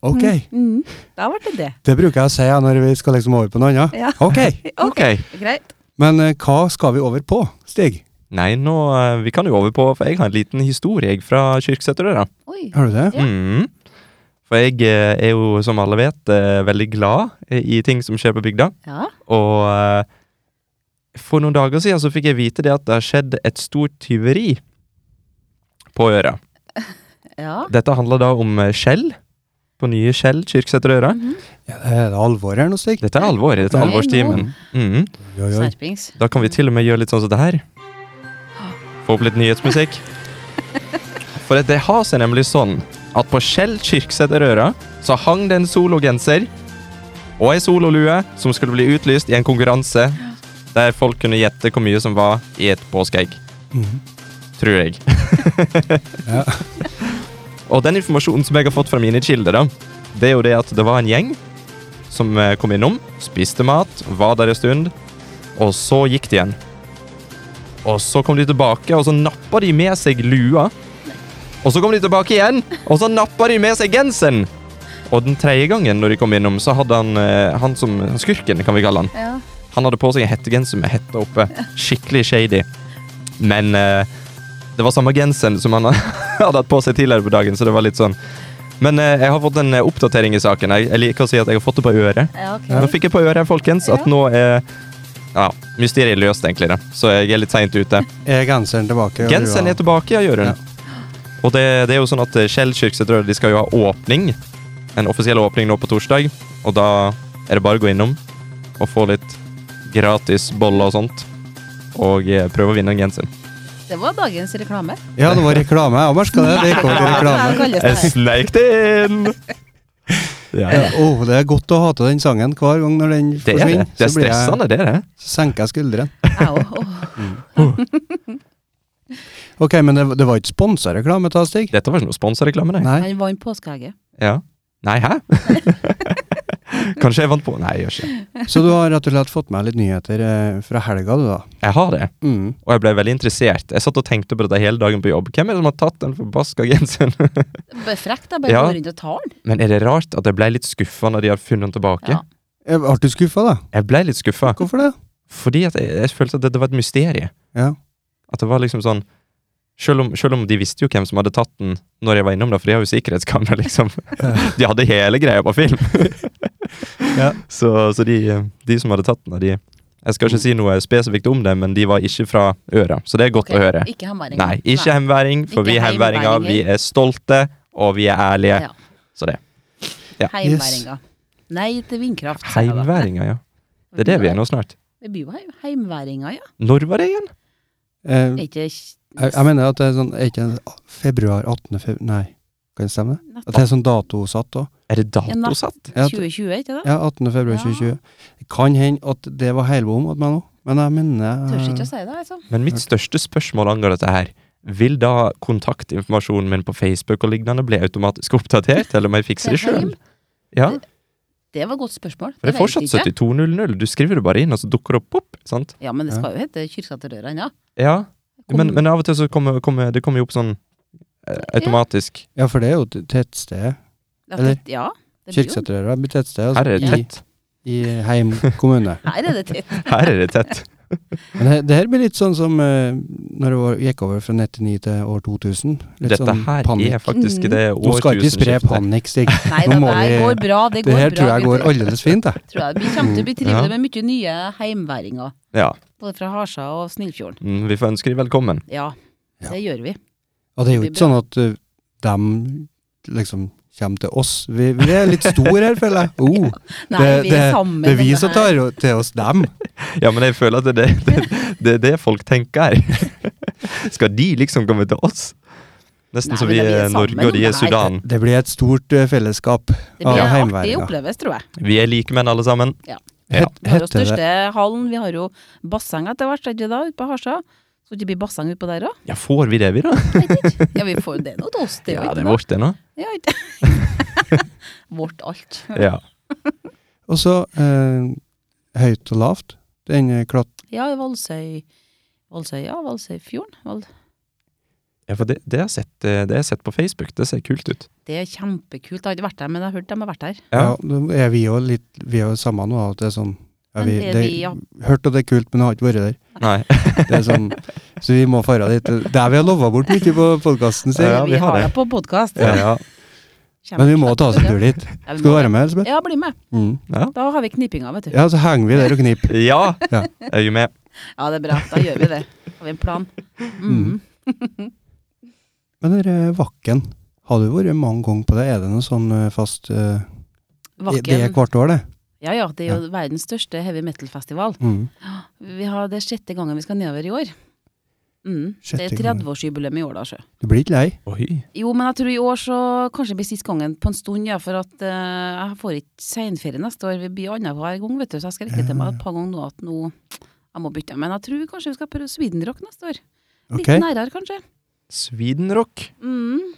[SPEAKER 1] ok.
[SPEAKER 3] Mm. Da ble det det.
[SPEAKER 1] Det bruker jeg å si ja, når vi skal liksom over på noe annet.
[SPEAKER 3] Ja.
[SPEAKER 1] Ok.
[SPEAKER 3] Ok, greit.
[SPEAKER 1] Men eh, hva skal vi over på, Stig?
[SPEAKER 2] Nei, nå, eh, vi kan jo over på, for jeg har en liten historie jeg, fra Kyrksæterøra.
[SPEAKER 3] Oi.
[SPEAKER 1] Har du det?
[SPEAKER 3] Ja.
[SPEAKER 2] Mm. For jeg eh, er jo, som alle vet, eh, veldig glad eh, i ting som skjer på bygda.
[SPEAKER 3] Ja.
[SPEAKER 2] Og eh, for noen dager siden så fikk jeg vite det at det har skjedd et stort tyveri på øra.
[SPEAKER 3] ja.
[SPEAKER 2] Dette handler da om eh, skjell. På nye Skjell Kyrksæterøra.
[SPEAKER 3] Mhm.
[SPEAKER 1] Ja, det er det alvor her nå, Stig?
[SPEAKER 2] Dette er alvor. Dette er
[SPEAKER 3] Nei,
[SPEAKER 2] alvorstimen. Mhm.
[SPEAKER 1] Oi, oi.
[SPEAKER 3] Skjerpings.
[SPEAKER 2] Da kan vi til og med gjøre litt sånn som det her. Få opp litt nyhetsmusikk. For at det har seg nemlig sånn at på Skjell Kyrksæterøra så hang det en sologenser og ei sololue som skulle bli utlyst i en konkurranse der folk kunne gjette hvor mye som var i et påskeegg.
[SPEAKER 1] Mhm.
[SPEAKER 2] Tror jeg.
[SPEAKER 1] Ja.
[SPEAKER 2] Og den informasjonen som jeg har fått fra mine kilder, da, det er jo det at det var en gjeng som eh, kom innom, spiste mat, var der en stund, og så gikk de igjen. Og så kom de tilbake, og så nappa de med seg lua. Og så kom de tilbake igjen, og så nappa de med seg genseren. Og den tredje gangen når de kom innom, så hadde han, eh, han som skurken, kan vi kalle han,
[SPEAKER 3] Ja.
[SPEAKER 2] han hadde på seg en hettegenser med hette oppe. Skikkelig shady. Men eh, det var samme genseren som han hadde hatt på seg tidligere på dagen, så det var litt sånn. Men eh, jeg har fått en eh, oppdatering i saken. Jeg, jeg liker å si at jeg har fått det på øret.
[SPEAKER 3] Ja, ok.
[SPEAKER 2] Nå fikk jeg på øret, folkens, at
[SPEAKER 3] Ja.
[SPEAKER 2] nå er ja, mysteriet løst, egentlig. Da. Så jeg er litt seint ute.
[SPEAKER 1] Er genseren tilbake?
[SPEAKER 2] Genseren er tilbake, ja, Jørund.
[SPEAKER 1] Ja.
[SPEAKER 2] Og det, det er jo sånn at eh, Kjell Kyrksæterøra de skal jo ha åpning. En offisiell åpning nå på torsdag. Og da er det bare å gå innom og få litt gratis boller og sånsånt. Og eh, prøve å vinne en genser.
[SPEAKER 3] Det var dagens reklame.
[SPEAKER 1] Ja, det var reklame. Jeg merka det. Det gikk over til
[SPEAKER 3] Ja, det
[SPEAKER 1] reklame.
[SPEAKER 3] kalles det
[SPEAKER 2] Jeg
[SPEAKER 3] her.
[SPEAKER 2] sneik det inn! Ja.
[SPEAKER 1] Ja, åh, det er godt å hate den sangen hver gang når den
[SPEAKER 2] Det er det.
[SPEAKER 1] forsvinner.
[SPEAKER 2] Det er
[SPEAKER 1] så blir jeg-
[SPEAKER 2] stressende, det er det.
[SPEAKER 1] Så senker jeg skuldrene.
[SPEAKER 3] Au, åh.
[SPEAKER 1] Ok, men det, det var ikke sponsa reklame, ta Stig?
[SPEAKER 2] Dette var ikke noe sponsorreklame, nei.
[SPEAKER 1] Nei.
[SPEAKER 3] Han vant påskeegget.
[SPEAKER 2] Ja. Nei, hæ? Kanskje jeg vant på Nei, jeg gjør ikke det.
[SPEAKER 1] Så du har rett og slett fått med litt nyheter eh, fra helga, du da?
[SPEAKER 2] Jeg har det.
[SPEAKER 1] Mm.
[SPEAKER 2] Og jeg ble veldig interessert. Jeg satt og tenkte på dette hele dagen på jobb. Hvem er det som har tatt den forbaska genseren?
[SPEAKER 3] Bare Frekt, da. Bare
[SPEAKER 2] Ja.
[SPEAKER 3] gå rundt og ta den.
[SPEAKER 2] Men er det rart at jeg ble litt skuffa når de har funnet den tilbake?
[SPEAKER 3] Ja.
[SPEAKER 1] Eh, Ble du skuffa, da?
[SPEAKER 2] Jeg ble litt skuffa
[SPEAKER 1] Hvorfor det?
[SPEAKER 2] fordi at jeg, jeg følte at det, det var et mysterium.
[SPEAKER 1] Ja.
[SPEAKER 2] At det var liksom sånn selv om, selv om de visste jo hvem som hadde tatt den når jeg var innom, da, for de har jo sikkerhetskamera, liksom. De hadde hele greia på film.
[SPEAKER 1] Ja.
[SPEAKER 2] Så, så de, de som hadde tatt den, de Jeg skal ikke si noe spesifikt om det, men de var ikke fra øra, så det er godt
[SPEAKER 3] Ok,
[SPEAKER 2] å høre.
[SPEAKER 3] Ikke hemværing.
[SPEAKER 2] Nei, ikke hemværing, for
[SPEAKER 3] Ikke
[SPEAKER 2] vi hemværinger, vi
[SPEAKER 3] heimværinger.
[SPEAKER 2] er stolte, og vi er ærlige.
[SPEAKER 3] Ja.
[SPEAKER 2] Så det.
[SPEAKER 3] Heimværinga. Nei til vindkraft. sa jeg da.
[SPEAKER 2] Heimværinger, ja. Det er det vi er nå snart.
[SPEAKER 3] Det blir jo heim- heimværinga, ja.
[SPEAKER 2] Når var det igjen?
[SPEAKER 1] Eh,
[SPEAKER 3] Er ikke
[SPEAKER 1] jeg, jeg mener at det er sånn Er ikke det februar 18. februar Nei, kan det stemme? det? At det er sånn datosatt òg?
[SPEAKER 2] Er det
[SPEAKER 3] Ja, natt.
[SPEAKER 2] datosatt?
[SPEAKER 1] Ja, at-
[SPEAKER 3] 2020, ikke det?
[SPEAKER 1] ja, 18. februar
[SPEAKER 3] Ja.
[SPEAKER 1] 2020. Det kan hende at det var helbom at meg nå, men jeg mener
[SPEAKER 3] Tør
[SPEAKER 1] eh,
[SPEAKER 3] ikke å si det, altså.
[SPEAKER 2] Men mitt største spørsmål angår dette her. Vil da kontaktinformasjonen min på Facebook og lignende bli automatisk oppdatert, eller må jeg fikse det
[SPEAKER 3] Til heim?
[SPEAKER 2] sjøl? Ja.
[SPEAKER 3] Det var et godt spørsmål.
[SPEAKER 2] For det er
[SPEAKER 3] vet jeg
[SPEAKER 2] fortsatt 7200. Du skriver det bare inn, og så dukker det opp. opp sant?
[SPEAKER 3] Ja, men det skal jo hete Kyrksæterøra ennå.
[SPEAKER 2] Ja,
[SPEAKER 3] Kom-
[SPEAKER 2] men, men av og til så kommer, kommer det kommer jo opp sånn eh, automatisk.
[SPEAKER 1] Ja, for det er jo t- tettstedet.
[SPEAKER 3] Ja,
[SPEAKER 1] eller?
[SPEAKER 3] tett- Ja. det blir jo-
[SPEAKER 1] Kyrksæterøra blir tettsted altså,
[SPEAKER 2] Her er
[SPEAKER 1] i,
[SPEAKER 2] det tett.
[SPEAKER 1] i Heim kommune.
[SPEAKER 3] Her er det tett.
[SPEAKER 2] Her er det tett.
[SPEAKER 1] Men det, det her blir litt sånn som eh, når det var, gikk over fra 99 til år 2000. Litt
[SPEAKER 2] Dette
[SPEAKER 1] sånn
[SPEAKER 2] her
[SPEAKER 1] panikk.
[SPEAKER 2] er
[SPEAKER 3] Mm.
[SPEAKER 2] faktisk det
[SPEAKER 1] Nå skal ikke spre
[SPEAKER 2] årtusenskiftet.
[SPEAKER 1] panikk, Stig.
[SPEAKER 3] Nei,
[SPEAKER 1] Nå
[SPEAKER 3] det
[SPEAKER 1] må
[SPEAKER 3] her
[SPEAKER 1] vi-
[SPEAKER 3] går bra. Det går
[SPEAKER 1] Det her
[SPEAKER 3] bra.
[SPEAKER 1] tror jeg
[SPEAKER 3] Vi-
[SPEAKER 1] går Mm, aldeles fint, jeg.
[SPEAKER 3] tror jeg. Vi kommer til å bli
[SPEAKER 2] Ja.
[SPEAKER 3] trivelig med mye nye heimværinger.
[SPEAKER 2] Ja.
[SPEAKER 3] Både fra Harsa og Snillfjorden.
[SPEAKER 2] Mm, vi får ønske dem velkommen.
[SPEAKER 3] Ja,
[SPEAKER 1] Ja.
[SPEAKER 3] det gjør vi.
[SPEAKER 1] Og det er jo
[SPEAKER 3] Det
[SPEAKER 1] ikke
[SPEAKER 3] blir
[SPEAKER 1] sånn at eh, dem liksom kommer til oss. Vi, vi er litt store her, føler jeg. Oh,
[SPEAKER 3] Nei,
[SPEAKER 1] Det-
[SPEAKER 3] vi er sammen.
[SPEAKER 1] det er vi
[SPEAKER 3] om
[SPEAKER 1] som
[SPEAKER 3] her.
[SPEAKER 1] tar jo til oss dem.
[SPEAKER 2] Ja, men jeg føler at det er det, det, er det folk tenker her. Skal de liksom komme til oss? Nesten
[SPEAKER 3] Nei,
[SPEAKER 2] så
[SPEAKER 3] men
[SPEAKER 2] vi
[SPEAKER 3] da, vi er
[SPEAKER 2] er
[SPEAKER 3] sammen
[SPEAKER 2] Norge,
[SPEAKER 3] om
[SPEAKER 2] og de er
[SPEAKER 3] det her.
[SPEAKER 2] Sudan.
[SPEAKER 1] Det blir et stort eh, fellesskap.
[SPEAKER 3] Det blir
[SPEAKER 1] Ja,
[SPEAKER 3] en artig
[SPEAKER 1] heimværinger.
[SPEAKER 3] opplevelse, tror jeg.
[SPEAKER 2] Vi er like menn alle sammen. Ja.
[SPEAKER 1] Het,
[SPEAKER 3] Vi har jo
[SPEAKER 1] heter det
[SPEAKER 3] største hallen, vi har jo basseng etter hvert, er det ikke da, ute på Harsa? Skal det ikke bli basseng utpå der òg?
[SPEAKER 2] Ja, får vi det, vi, da?
[SPEAKER 3] Ja, vi får det nå til oss, det er jo
[SPEAKER 2] Ja, det
[SPEAKER 3] ikke
[SPEAKER 2] er
[SPEAKER 3] noe.
[SPEAKER 2] vårt, det nå.
[SPEAKER 3] Ja, ikke. Vårt alt.
[SPEAKER 2] Ja.
[SPEAKER 1] Og så eh, høyt og lavt. Den eh, klatt...
[SPEAKER 3] Ja, i Valsøy Valsøy, ja, Valsøyfjorden. Val-
[SPEAKER 2] ja for det, det, har jeg sett, eh, det har jeg sett på Facebook. Det ser kult ut.
[SPEAKER 3] Det er kjempekult. Jeg har ikke vært der, men jeg har hørt de har vært der.
[SPEAKER 1] Ja, da er vi jo litt Vi er jo samme nå, at det er sånn ja,
[SPEAKER 3] Men
[SPEAKER 1] vi,
[SPEAKER 3] det er
[SPEAKER 1] det,
[SPEAKER 3] vi, ja.
[SPEAKER 1] Hørt at det er kult, men har ikke vært der.
[SPEAKER 2] Nei.
[SPEAKER 1] Det er sånn, så vi må fare dit. Det er vi har lova bort mye på podkasten sin.
[SPEAKER 2] Ja, vi
[SPEAKER 3] vi
[SPEAKER 2] har
[SPEAKER 3] har
[SPEAKER 2] det.
[SPEAKER 3] deg på podkast.
[SPEAKER 2] Ja, ja.
[SPEAKER 1] Men vi må ta oss en tur dit. Skal du være med, Elisabeth?
[SPEAKER 3] Ja, bli med.
[SPEAKER 1] Mm.
[SPEAKER 3] Da har vi knipinga, vet du.
[SPEAKER 1] Ja, så henger vi der og knipper.
[SPEAKER 2] ja.
[SPEAKER 1] Ja.
[SPEAKER 2] Jeg er jo med.
[SPEAKER 3] Ja, det er bra. Da gjør vi det. Har vi en plan. Mm.
[SPEAKER 1] Men den der Vakken, har du vært mange ganger på det? Er det noe sånn eh, fast eh, det- Det er
[SPEAKER 3] Vakken.
[SPEAKER 1] hvert år, det.
[SPEAKER 3] Ja, ja, det er jo verdens største heavy metal-festival.
[SPEAKER 1] Mm.
[SPEAKER 3] Vi har det er sjette gangen vi skal nedover i år. Mm. Det er
[SPEAKER 1] Sjette gangen.
[SPEAKER 3] 30-årsjubileum i år, da, sjø.
[SPEAKER 1] Du blir ikke lei?
[SPEAKER 2] Oi.
[SPEAKER 3] Jo, men jeg tror i år så kanskje det blir siste gangen på en stund, ja, for at eh, jeg får ikke seinferie neste år. Vi blir annenhver gang, vet du, så jeg skal rekke til meg et par ganger nå at nå jeg må bytte. Men jeg tror kanskje vi skal prøve Swedenrock neste år. Litt
[SPEAKER 1] Ok.
[SPEAKER 3] nærere, kanskje.
[SPEAKER 2] Svidenrock.
[SPEAKER 3] Mm.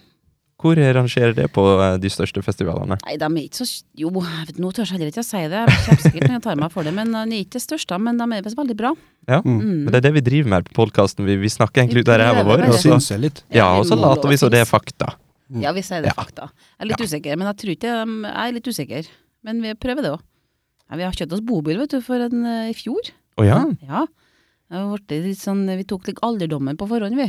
[SPEAKER 2] Hvor rangerer det på eh, de største festivalene?
[SPEAKER 3] Nei, de er ikke så s- Jo, jeg vet- nå tør jeg heller ikke å si det. Jeg kommer sikkert når jeg tar meg for det, men eh, de er ikke det største, men de er visst veldig bra.
[SPEAKER 2] Ja.
[SPEAKER 3] Mm.
[SPEAKER 2] Men det er det vi driver med her på podkasten. Vi, vi snakker egentlig ut av
[SPEAKER 3] Vi
[SPEAKER 2] ræva
[SPEAKER 3] prøver
[SPEAKER 2] vår.
[SPEAKER 3] bare.
[SPEAKER 1] Ja,
[SPEAKER 2] Og så,
[SPEAKER 1] synser litt.
[SPEAKER 2] ja, og så
[SPEAKER 3] Vi må
[SPEAKER 2] later vi
[SPEAKER 3] love
[SPEAKER 2] som det er
[SPEAKER 3] things.
[SPEAKER 2] fakta.
[SPEAKER 3] Ja, vi sier det
[SPEAKER 2] Mm. Ja.
[SPEAKER 3] fakta. Jeg er litt usikker, men jeg tror ikke um, Jeg er litt usikker, men vi prøver det òg. Ja, vi har kjøpt oss bobil, vet du, for en, eh, i fjor.
[SPEAKER 2] Å ja.
[SPEAKER 3] Ja. Det har vært litt sånn, vi tok litt alderdommen på forhånd, vi.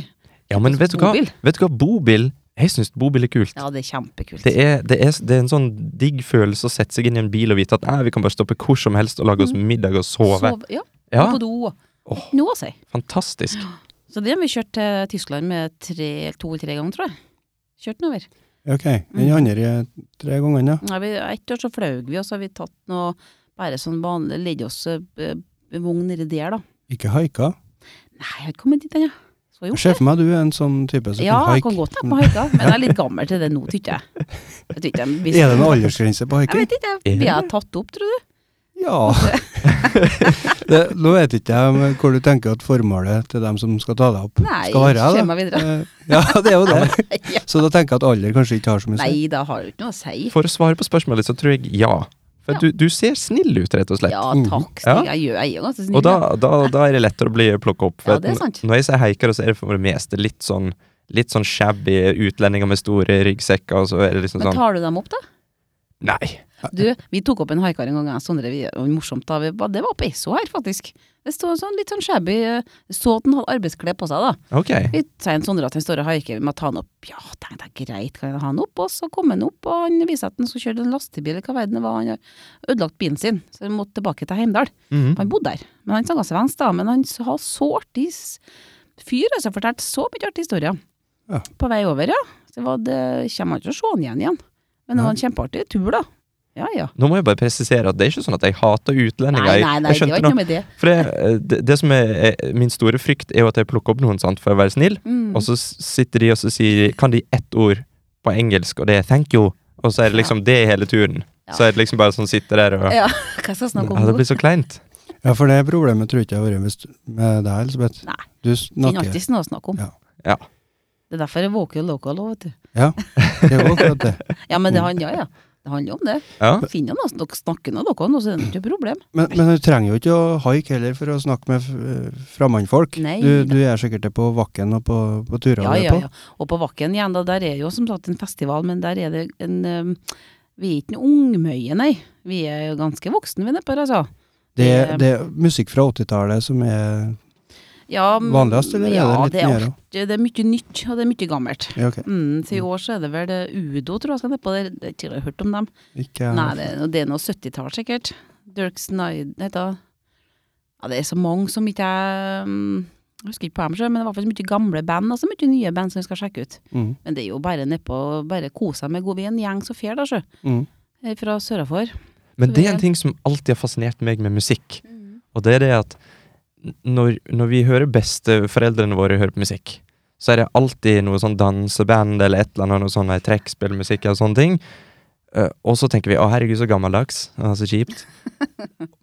[SPEAKER 2] ja, men vet du hva?
[SPEAKER 3] Bobil.
[SPEAKER 2] Vet du hva? Bobil Jeg syns bobil er kult.
[SPEAKER 3] Ja, det er kjempekult.
[SPEAKER 2] Det er, det, er, det er en sånn digg følelse å sette seg inn i en bil og vite at «Nei, vi kan bare stoppe hvor som helst og lage oss middag og sove.
[SPEAKER 3] Mm. Sove- ja,
[SPEAKER 2] Ja,
[SPEAKER 3] på do.
[SPEAKER 2] Åh.
[SPEAKER 3] Nå, si.
[SPEAKER 2] fantastisk.
[SPEAKER 3] Så det har vi kjørt til Tyskland med tre, to eller tre ganger, tror jeg. Kjørt den over.
[SPEAKER 1] Ok. Den
[SPEAKER 3] Mm.
[SPEAKER 1] andre eh, tre gangene, ja.
[SPEAKER 3] Nei, vi, ett år så fløy vi, og så har vi tatt noe bare sånn vanlig Ledd oss eh, eh, vogn nedi der, da.
[SPEAKER 1] Ikke haika.
[SPEAKER 3] Nei, jeg har ikke kommet dit ennå. Så jo.
[SPEAKER 1] Jeg ser for meg du er en sånn type som
[SPEAKER 3] Ja, jeg
[SPEAKER 1] kan Mm.
[SPEAKER 3] kan
[SPEAKER 1] haike.
[SPEAKER 3] godt ta på haika, men jeg er litt gammel til det nå, tykker jeg. jeg tykker jeg hvis-
[SPEAKER 1] Er det noen aldersgrense på
[SPEAKER 3] Jeg
[SPEAKER 1] haiking?
[SPEAKER 3] vet ikke, jeg- blir jeg tatt opp, tror du?
[SPEAKER 1] Ja. det, nå vet ikke jeg om hvor du tenker at formålet til dem som skal ta deg opp,
[SPEAKER 3] Nei,
[SPEAKER 1] skal være. da.
[SPEAKER 3] kjem meg videre.
[SPEAKER 1] Eh, Ja, det er jo det.
[SPEAKER 3] Ja.
[SPEAKER 1] Så da tenker jeg at alder kanskje ikke har så mye å si.
[SPEAKER 3] Nei, da har det jo ikke noe å si.
[SPEAKER 2] For å svare på spørsmålet, så tror jeg ja. For
[SPEAKER 3] Ja.
[SPEAKER 2] du, du ser snill ut, rett og slett.
[SPEAKER 3] Ja,
[SPEAKER 1] Mm.
[SPEAKER 3] takk,
[SPEAKER 2] Ja.
[SPEAKER 3] Stig. Jeg gjør jeg er ganske snill.
[SPEAKER 2] Og da,
[SPEAKER 3] ja.
[SPEAKER 2] da, da er det lettere å bli plukka opp. For
[SPEAKER 3] Ja,
[SPEAKER 2] at
[SPEAKER 3] det er
[SPEAKER 2] n-
[SPEAKER 3] sant.
[SPEAKER 2] Når jeg sier haikere, så er det for det meste litt sånn Litt sånn shabby utlendinger med store ryggsekker, og så er det liksom
[SPEAKER 3] Men
[SPEAKER 2] sånn
[SPEAKER 3] tar du dem opp, da?
[SPEAKER 2] Nei.
[SPEAKER 3] Du, vi tok opp en haikar en gang, jeg og Sondre, vi, og morsomt da, vi, var- det var på Esso her, faktisk. Det stod en sånn litt sånn shabby, eh, så at han hadde arbeidsklær på seg, da.
[SPEAKER 2] Ok.
[SPEAKER 3] Vi sier til Sondre at han står og haiker, vi må ta han opp. Ja, tenkte jeg, greit, kan jeg ha han opp? Og så kom han opp, og han viser at han skulle kjøre en lastebil, eller hva verden det var, han hadde ødelagt bilen sin, så han måtte tilbake til Heimdal.
[SPEAKER 2] Mhm.
[SPEAKER 3] Han bodde der, men han snakket svensk da, men han s- har så artig s- fyr, altså, fortalt så mye artig historie.
[SPEAKER 1] Ja.
[SPEAKER 3] På vei over, ja. Så var det, kommer han ikke til å se han igjen igjen. Men det var en kjempeartig tur da. Ja, ja.
[SPEAKER 2] Nå må jeg bare presisere at det er ikke sånn at jeg hater utlendinger.
[SPEAKER 3] Nei,
[SPEAKER 2] Jeg-
[SPEAKER 3] nei, nei,
[SPEAKER 2] jeg
[SPEAKER 3] det
[SPEAKER 2] skjønte
[SPEAKER 3] var ikke noe med det.
[SPEAKER 2] For det, eh, det, det som er, er min store frykt, er jo at jeg plukker opp noen sant, for å være snill,
[SPEAKER 3] Mm.
[SPEAKER 2] og så s- sitter de og så sier Kan de ett ord på engelsk, og det er 'thank you', og så er det liksom det hele turen.
[SPEAKER 3] Ja.
[SPEAKER 2] Så er det liksom bare sånn sitter der og
[SPEAKER 3] Ja, hva skal jeg snakke
[SPEAKER 2] Ja,
[SPEAKER 3] om
[SPEAKER 2] det
[SPEAKER 3] nå?
[SPEAKER 2] blir så kleint.
[SPEAKER 1] Ja, for det problemet tror jeg ikke jeg har vært med, st- med deg, Elisabeth.
[SPEAKER 3] Nei.
[SPEAKER 1] Du
[SPEAKER 3] Finn
[SPEAKER 1] snakker
[SPEAKER 3] alltid noe å snakke om.
[SPEAKER 1] Ja.
[SPEAKER 2] Ja.
[SPEAKER 3] Det er derfor jeg våker local òg, vet du.
[SPEAKER 1] Ja, det var akkurat det. Mm.
[SPEAKER 3] Ja, men det er han, ja, ja. Det handler om det.
[SPEAKER 2] Ja.
[SPEAKER 3] Finn noen som dere snakker med, dere, og så er det ikke noe problem.
[SPEAKER 1] Men, men du trenger jo ikke å haike heller for å snakke med eh, fremmedfolk.
[SPEAKER 3] Nei,
[SPEAKER 1] Du, du gjør sikkert det på Vakken og på, på turene
[SPEAKER 3] Ja,
[SPEAKER 1] du er
[SPEAKER 3] ja,
[SPEAKER 1] på.
[SPEAKER 3] ja. Og på Vakken igjen, da, der er jo som sagt en festival, men der er det en um, Vi er ikke en ungmøye, nei. Vi er jo ganske voksne, vi nedpå her, altså.
[SPEAKER 1] Det,
[SPEAKER 3] Det-
[SPEAKER 1] det er musikk fra 80-tallet som er
[SPEAKER 3] Ja, m-
[SPEAKER 1] vanligst, eller
[SPEAKER 3] Mm, ja,
[SPEAKER 1] er
[SPEAKER 3] det
[SPEAKER 1] det litt
[SPEAKER 3] er
[SPEAKER 1] nyere?
[SPEAKER 3] alt- Det er mye nytt, og det er mye gammelt.
[SPEAKER 1] Ja, ok.
[SPEAKER 3] Mm, så i år så er det vel eh, Udo, tror jeg skal nedpå der. Jeg har ikke hørt om dem.
[SPEAKER 1] Ikke
[SPEAKER 3] Nei, det, er noe- det er noe 70-tall, sikkert. Dirk Snyder heter han. Ja, det er så mange som ikke jeg mm, jeg husker ikke på dem sjøl, men det er i hvert fall så mye gamle band og så mye nye band som vi skal sjekke ut.
[SPEAKER 1] mm,
[SPEAKER 3] Men det er jo bare nedpå, bare kose seg med god Vi er en gjeng som fer, da, sjø.
[SPEAKER 1] mm.
[SPEAKER 3] Her Fra sørafor.
[SPEAKER 2] Men det er en ting som alltid har fascinert meg med musikk.
[SPEAKER 3] Mm.
[SPEAKER 2] Og det er det at n- når, når vi hører besteforeldrene våre høre på musikk, så er det alltid noe sånn danseband eller et eller annet, noe sånn eh, trekkspillmusikk eller sånne ting. Eh, og så tenker vi 'Å, herregud, så gammeldags'. Ah, så kjipt.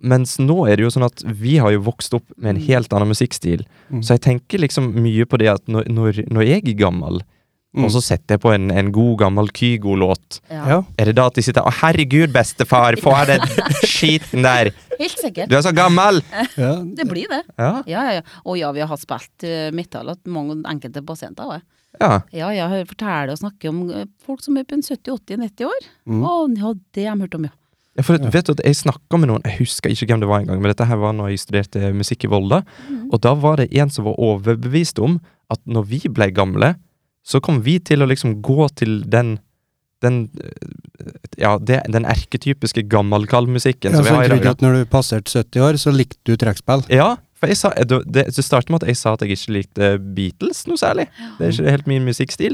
[SPEAKER 2] Mens nå er det jo sånn at vi har jo vokst opp med en
[SPEAKER 3] Mm.
[SPEAKER 2] helt annen musikkstil.
[SPEAKER 1] Mm.
[SPEAKER 2] Så jeg tenker liksom mye på det at når, når, når jeg er gammel,
[SPEAKER 1] Mm.
[SPEAKER 2] og så setter jeg på en, en god, gammel Kygo-låt,
[SPEAKER 1] Ja.
[SPEAKER 2] er det da at de sitter 'Å, herregud, bestefar, få av den skiten der'.
[SPEAKER 3] Helt sikkert.
[SPEAKER 2] Du er så gammel!
[SPEAKER 1] ja.
[SPEAKER 3] Det blir det.
[SPEAKER 2] Ja.
[SPEAKER 3] Ja, ja, ja. Og ja, vi har hatt spilt eh, metal at mange enkelte pasienter òg.
[SPEAKER 2] ja.
[SPEAKER 3] Ja, jeg hører fortelle og snakke om eh, folk som er på en 70, 80, 90 år. Å,
[SPEAKER 1] Mm.
[SPEAKER 3] ja, det har de hørt om, ja.
[SPEAKER 2] Ja, for at- vet du at Jeg snakka med noen, jeg husker ikke hvem det var engang, men dette her var når jeg studerte musikk i Volda.
[SPEAKER 1] Mhm.
[SPEAKER 2] Og da var det en som var overbevist om at når vi ble gamle, så kom vi til å liksom gå til den den, eh, ja, det, den erketypiske
[SPEAKER 1] Ja,
[SPEAKER 2] gammelkallmusikken
[SPEAKER 1] sånn
[SPEAKER 2] som vi
[SPEAKER 1] så
[SPEAKER 2] har i
[SPEAKER 1] jeg
[SPEAKER 2] dag.
[SPEAKER 1] tror
[SPEAKER 2] da.
[SPEAKER 1] ikke at når du passerte 70 år, så likte du trekkspill.
[SPEAKER 2] Ja, for jeg sa, det, det, det startet med at jeg sa at jeg ikke likte Beatles noe særlig. Det er ikke helt min musikkstil.